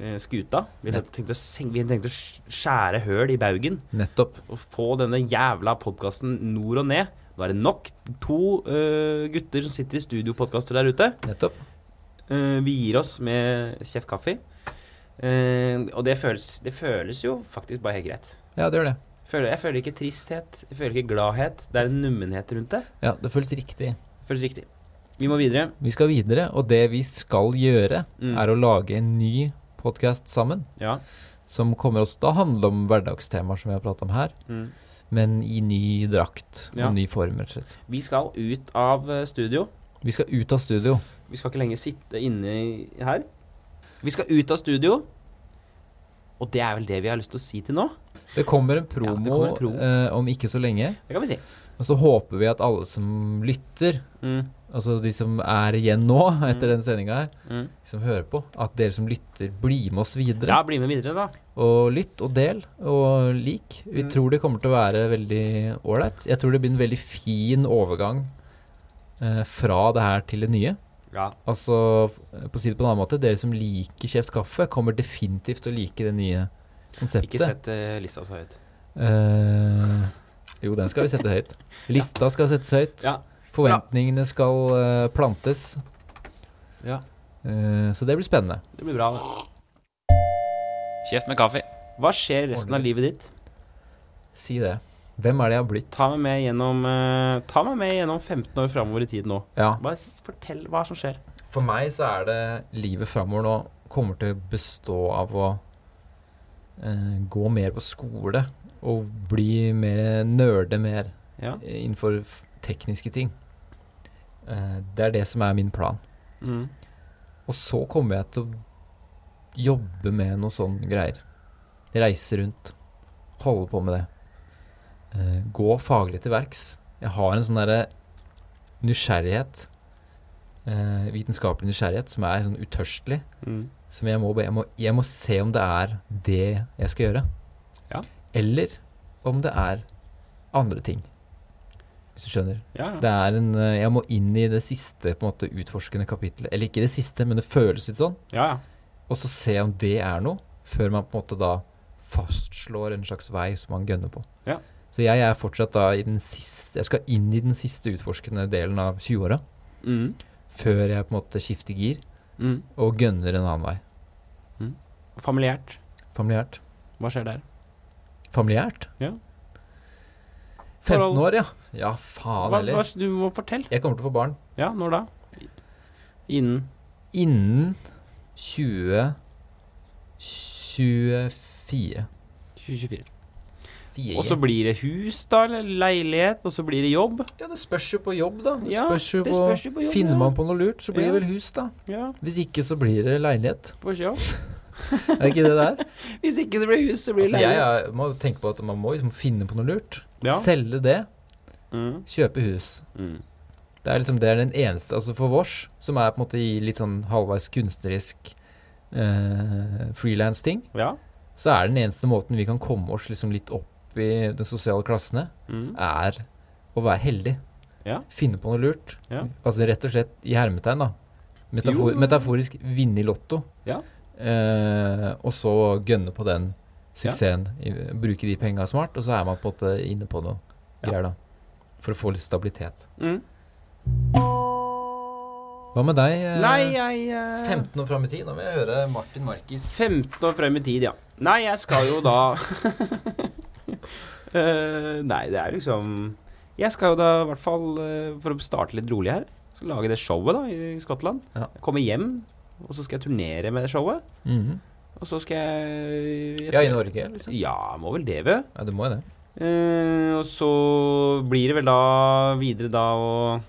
Speaker 1: eh, skuta. Vi har tenkt å, sen- vi har tenkt å sk- skjære høl i baugen
Speaker 2: Nettopp.
Speaker 1: og få denne jævla podkasten nord og ned. Nå er det nok to eh, gutter som sitter i studiopodkaster der ute.
Speaker 2: Nettopp.
Speaker 1: Eh, vi gir oss med kjeft kaffe. Eh, og det føles, det føles jo faktisk bare helt greit.
Speaker 2: Ja, det gjør det.
Speaker 1: Føler, jeg føler ikke tristhet, jeg føler ikke gladhet. Det er en nummenhet rundt det.
Speaker 2: Ja, Det føles riktig.
Speaker 1: Føles riktig. Vi må videre.
Speaker 2: Vi skal videre, og det vi skal gjøre,
Speaker 1: Mm.
Speaker 2: er å lage en ny podkast sammen.
Speaker 1: Ja.
Speaker 2: Som kommer også til å handle om hverdagstemaer som vi har pratet om her,
Speaker 1: Mm.
Speaker 2: men i ny drakt
Speaker 1: Ja.
Speaker 2: og ny form, rett og slett.
Speaker 1: Vi skal ut av eh, studio.
Speaker 2: Vi skal ut av studio.
Speaker 1: Vi skal ikke lenger sitte inne i- her. Vi skal ut av studio. Og det er vel det vi har lyst til å si til nå.
Speaker 2: Det kommer en
Speaker 1: Ja,
Speaker 2: promo,
Speaker 1: det kommer en promo.
Speaker 2: Eh, om ikke så lenge.
Speaker 1: Det kan vi si.
Speaker 2: Og så håper vi at alle som lytter,
Speaker 1: Mm,
Speaker 2: altså de som er igjen nå etter den sendinga her,
Speaker 1: mm.
Speaker 2: de som hører på, at dere som lytter, blir med oss videre.
Speaker 1: Ja, bli med videre, da.
Speaker 2: Og lytt og del og lik. Vi
Speaker 1: Mm.
Speaker 2: tror det kommer til å være veldig ålreit. Jeg tror det blir en veldig fin overgang eh, fra det her til det nye.
Speaker 1: Ja.
Speaker 2: Altså, f- på å si det på en annen måte, dere som liker Kjeft kaffe, kommer definitivt til å like det nye konseptet.
Speaker 1: Ikke sett eh, lista så høyt.
Speaker 2: Eh, jo, den skal vi sette høyt. Lista skal settes høyt.
Speaker 1: Ja.
Speaker 2: Forventningene skal eh, plantes.
Speaker 1: Ja.
Speaker 2: Eh, så det blir spennende.
Speaker 1: Det blir bra. det.
Speaker 9: Kjeft med kaffe.
Speaker 1: Hva skjer resten av
Speaker 2: Ordentlig.
Speaker 1: livet ditt?
Speaker 2: Si det. Hvem er det jeg har blitt?
Speaker 1: Ta meg med gjennom, eh, ta meg med gjennom 15 år framover i tid nå.
Speaker 2: Ja.
Speaker 1: Bare s- fortell hva som skjer.
Speaker 2: For meg så er det livet framover nå kommer til å bestå av å eh, gå mer på skole og bli mer nerde mer
Speaker 1: Ja.
Speaker 2: eh, innenfor f- tekniske ting. Eh, det er det som er min plan.
Speaker 1: Mm.
Speaker 2: Og så kommer jeg til å jobbe med noe sånn greier. Reise rundt. Holde på med det. Eh, gå faglig til verks. Jeg har en sånn derre nysgjerrighet. Eh, vitenskapelig nysgjerrighet som er sånn utørstelig.
Speaker 1: Mm.
Speaker 2: Som jeg må, bare- jeg, må, jeg må se om det er det jeg skal gjøre.
Speaker 1: Ja.
Speaker 2: Eller om det er andre ting. Hvis du skjønner.
Speaker 1: Ja, ja.
Speaker 2: Det er en, eh, jeg må inn i det siste på en måte, utforskende kapitlet. Eller ikke det siste, men det føles litt sånn.
Speaker 1: ja, ja.
Speaker 2: Og så se om det er noe, før man på en måte da fastslår en slags vei som man gønner på.
Speaker 1: Ja.
Speaker 2: Så jeg er fortsatt da i den siste Jeg skal inn i den siste utforskende delen av 20-åra.
Speaker 1: Mm.
Speaker 2: Før jeg på en måte skifter gir
Speaker 1: Mm.
Speaker 2: og gønner en annen vei.
Speaker 1: Familiært.
Speaker 2: Familiært.
Speaker 1: Hva skjer der?
Speaker 2: Familiært?
Speaker 1: Ja.
Speaker 2: 15
Speaker 1: Forhold-
Speaker 2: år, ja. Ja, faen
Speaker 1: Hva, hva,
Speaker 2: heller.
Speaker 1: du må fortelle.
Speaker 2: Jeg kommer til å få barn
Speaker 1: Ja, når da? Innen
Speaker 2: innen 20 24.
Speaker 9: 2024.
Speaker 2: Fire.
Speaker 1: Og så blir det hus, da, eller leilighet, og så blir det jobb.
Speaker 2: Ja, det spørs jo på jobb, da. Det
Speaker 1: Ja,
Speaker 2: spørs jo
Speaker 1: det
Speaker 2: på,
Speaker 1: spørs jo på jobb,
Speaker 2: Finner
Speaker 1: ja.
Speaker 2: man på noe lurt, så blir
Speaker 1: Ja.
Speaker 2: det vel hus, da.
Speaker 1: Ja,
Speaker 2: Hvis ikke, så blir det leilighet.
Speaker 1: på jobb.
Speaker 2: Er det ikke det det er?
Speaker 1: Hvis ikke det blir hus, så blir det
Speaker 2: altså, jeg
Speaker 1: leilighet.
Speaker 2: er, må tenke på at man må liksom finne på noe lurt.
Speaker 1: Ja.
Speaker 2: Selge det,
Speaker 1: Mm,
Speaker 2: kjøpe hus.
Speaker 1: mm.
Speaker 2: Det er liksom det er den eneste Altså for vårs, som er på en måte i litt sånn halvveis kunstnerisk eh, frilans-ting,
Speaker 1: Ja.
Speaker 2: så er den eneste måten vi kan komme oss liksom litt opp i de sosiale klassene,
Speaker 1: Mm.
Speaker 2: er å være heldig.
Speaker 1: Ja.
Speaker 2: Finne på noe lurt.
Speaker 1: Ja.
Speaker 2: Altså rett og slett i hermetegn, da. Metafor,
Speaker 1: Jo.
Speaker 2: metaforisk vinne i lotto.
Speaker 1: Ja.
Speaker 2: Eh, og så gønne på den suksessen. I- Bruke de penga smart, og så er man på en måte inne på noe
Speaker 1: Ja.
Speaker 2: greier, da. For å få litt stabilitet.
Speaker 1: Mm.
Speaker 2: Hva med deg? eh,
Speaker 1: Nei, jeg eh,
Speaker 2: 15 år fram i tid. Nå vil jeg høre Martin Markis.
Speaker 1: 15 år frem i tid, ja. Nei, jeg skal jo da Eh, Nei, det er liksom Jeg skal jo da i hvert fall, eh, for å starte litt rolig her Skal lage det showet da i Skottland.
Speaker 2: Ja.
Speaker 1: Jeg kommer hjem, og så skal jeg turnere med det showet. Og så skal jeg, jeg
Speaker 2: Ja, i
Speaker 1: tror-
Speaker 2: Norge, liksom.
Speaker 1: Ja, må vel det, vel.
Speaker 2: Ja, du må jo det.
Speaker 1: Eh, og så blir det vel da videre da å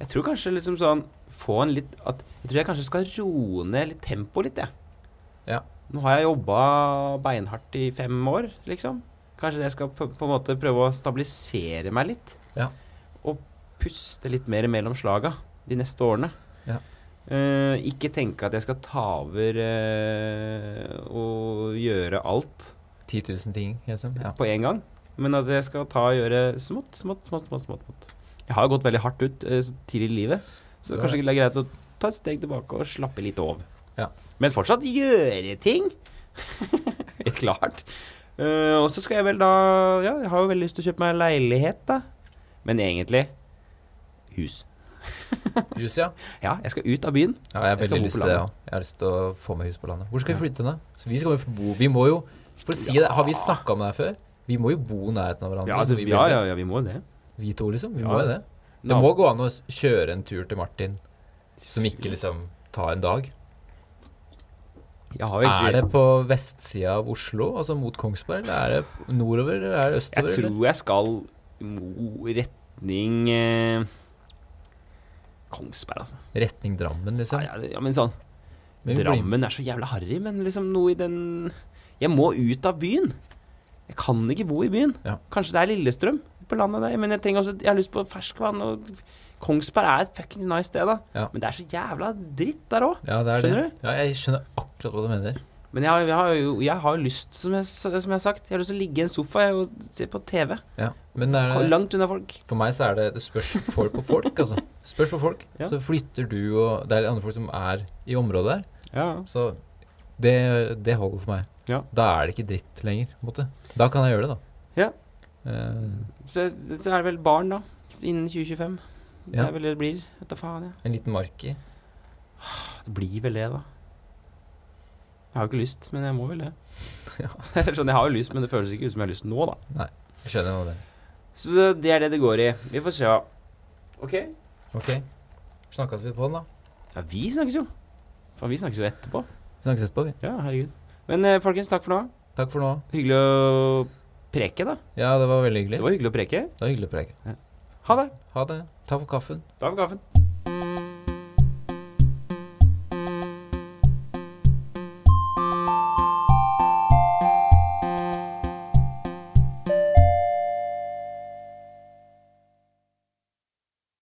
Speaker 1: Jeg tror kanskje liksom sånn Få en litt at, Jeg tror jeg kanskje skal roe ned litt tempoet litt, jeg.
Speaker 2: Ja.
Speaker 1: Nå har jeg jobba beinhardt i fem år, liksom. Kanskje jeg skal på, på en måte prøve å stabilisere meg litt.
Speaker 2: Ja.
Speaker 1: Og puste litt mer mellom slaga de neste årene.
Speaker 2: Ja.
Speaker 1: Eh, ikke tenke at jeg skal ta over eh, og gjøre alt
Speaker 2: 10 000 ting, liksom. Ja.
Speaker 1: på én gang. Men at jeg skal ta og gjøre smått, smått, smått. smått, smått, smått. Jeg har jo gått veldig hardt ut eh, så tidlig i livet, så det er kanskje det er greit å ta et steg tilbake og slappe litt av.
Speaker 2: Ja.
Speaker 1: Men fortsatt gjøre ting. Helt klart. Eh, og så skal jeg vel da Ja, jeg har jo veldig lyst til å kjøpe meg leilighet, da. Men egentlig hus.
Speaker 2: Hus, ja.
Speaker 1: Ja, jeg skal ut av byen.
Speaker 2: ja jeg har
Speaker 1: Jeg skal
Speaker 2: veldig
Speaker 1: bo
Speaker 2: lyst
Speaker 1: på
Speaker 2: til det. Ja.
Speaker 1: landet.
Speaker 2: Jeg har lyst til å få meg hus på landet. Hvor skal vi flytte til, da? Så vi, skal jo få bo. vi må jo For å si det, Har vi snakka om det her før? Vi må jo bo i nærheten av hverandre.
Speaker 1: Ja, altså,
Speaker 2: når vi,
Speaker 1: ja,
Speaker 2: velger.
Speaker 1: ja, ja, vi må det.
Speaker 2: vi to, liksom. Vi
Speaker 1: Ja.
Speaker 2: må jo det. Det må gå an å s- kjøre en tur til Martin som ikke liksom tar en dag.
Speaker 1: Jeg har jo
Speaker 2: Er
Speaker 1: egentlig
Speaker 2: det på vestsida av Oslo, altså mot Kongsberg, eller er det nordover, eller er
Speaker 1: Jeg
Speaker 2: det østover? eller?
Speaker 1: tror jeg skal mo- retning eh, Kongsberg, altså.
Speaker 2: Retning Drammen, liksom?
Speaker 1: Ja, ja, ja, men sånn
Speaker 2: Men vi blir-
Speaker 1: Drammen er så jævla harry, men liksom noe i den Jeg må ut av byen. Jeg kan ikke bo i byen.
Speaker 2: Ja.
Speaker 1: Kanskje det er Lillestrøm på landet der, men jeg trenger også Jeg har lyst på ferskvann, og Kongsberg er et fucking nice sted, da.
Speaker 2: Ja.
Speaker 1: Men det er så jævla dritt der òg.
Speaker 2: Ja, det er
Speaker 1: Skjønner
Speaker 2: det. Ja, jeg skjønner akkurat hva du mener.
Speaker 1: Men jeg har, jeg har jo jeg har jo lyst, som jeg, s- som jeg har sagt, jeg har lyst til å ligge i en sofa jeg, og se på TV.
Speaker 2: Ja. Men er det,
Speaker 1: Langt unna folk.
Speaker 2: for meg så er det Det spørs for på folk, altså. Spørs på folk.
Speaker 1: Ja.
Speaker 2: Så flytter du og Det er andre folk som er i området der.
Speaker 1: Ja.
Speaker 2: Så det, det holder for meg.
Speaker 1: Ja.
Speaker 2: Da er det ikke dritt lenger. På en måte. Da kan jeg gjøre det, da.
Speaker 1: Ja.
Speaker 2: Eh,
Speaker 1: Så, så er det vel barn, da. Innen 2025. Det
Speaker 2: Ja.
Speaker 1: er vel det det blir. Vet da faen, jeg.
Speaker 2: en liten marki.
Speaker 1: Det blir vel det, da. Jeg har jo ikke lyst, men jeg må vel det. sånn, jeg har jo lyst, men det føles ikke ut som jeg har lyst nå, da.
Speaker 2: Jeg skjønner hva du mener.
Speaker 1: Så det- det er det det går i. Vi får se. OK?
Speaker 2: Ok. Snakkes vi på den, da?
Speaker 1: Ja, vi snakkes jo. Faen, vi snakkes jo etterpå.
Speaker 2: Vi snakkes på, vi.
Speaker 1: Ja, herregud. Men eh, folkens, takk for nå.
Speaker 2: Takk for nå.
Speaker 1: Hyggelig å preke, da.
Speaker 2: Ja, det var veldig hyggelig.
Speaker 1: Det var hyggelig å preke.
Speaker 2: Det var hyggelig å preke.
Speaker 1: Ha det.
Speaker 2: Ha det. Takk for kaffen.
Speaker 1: Ta for kaffen.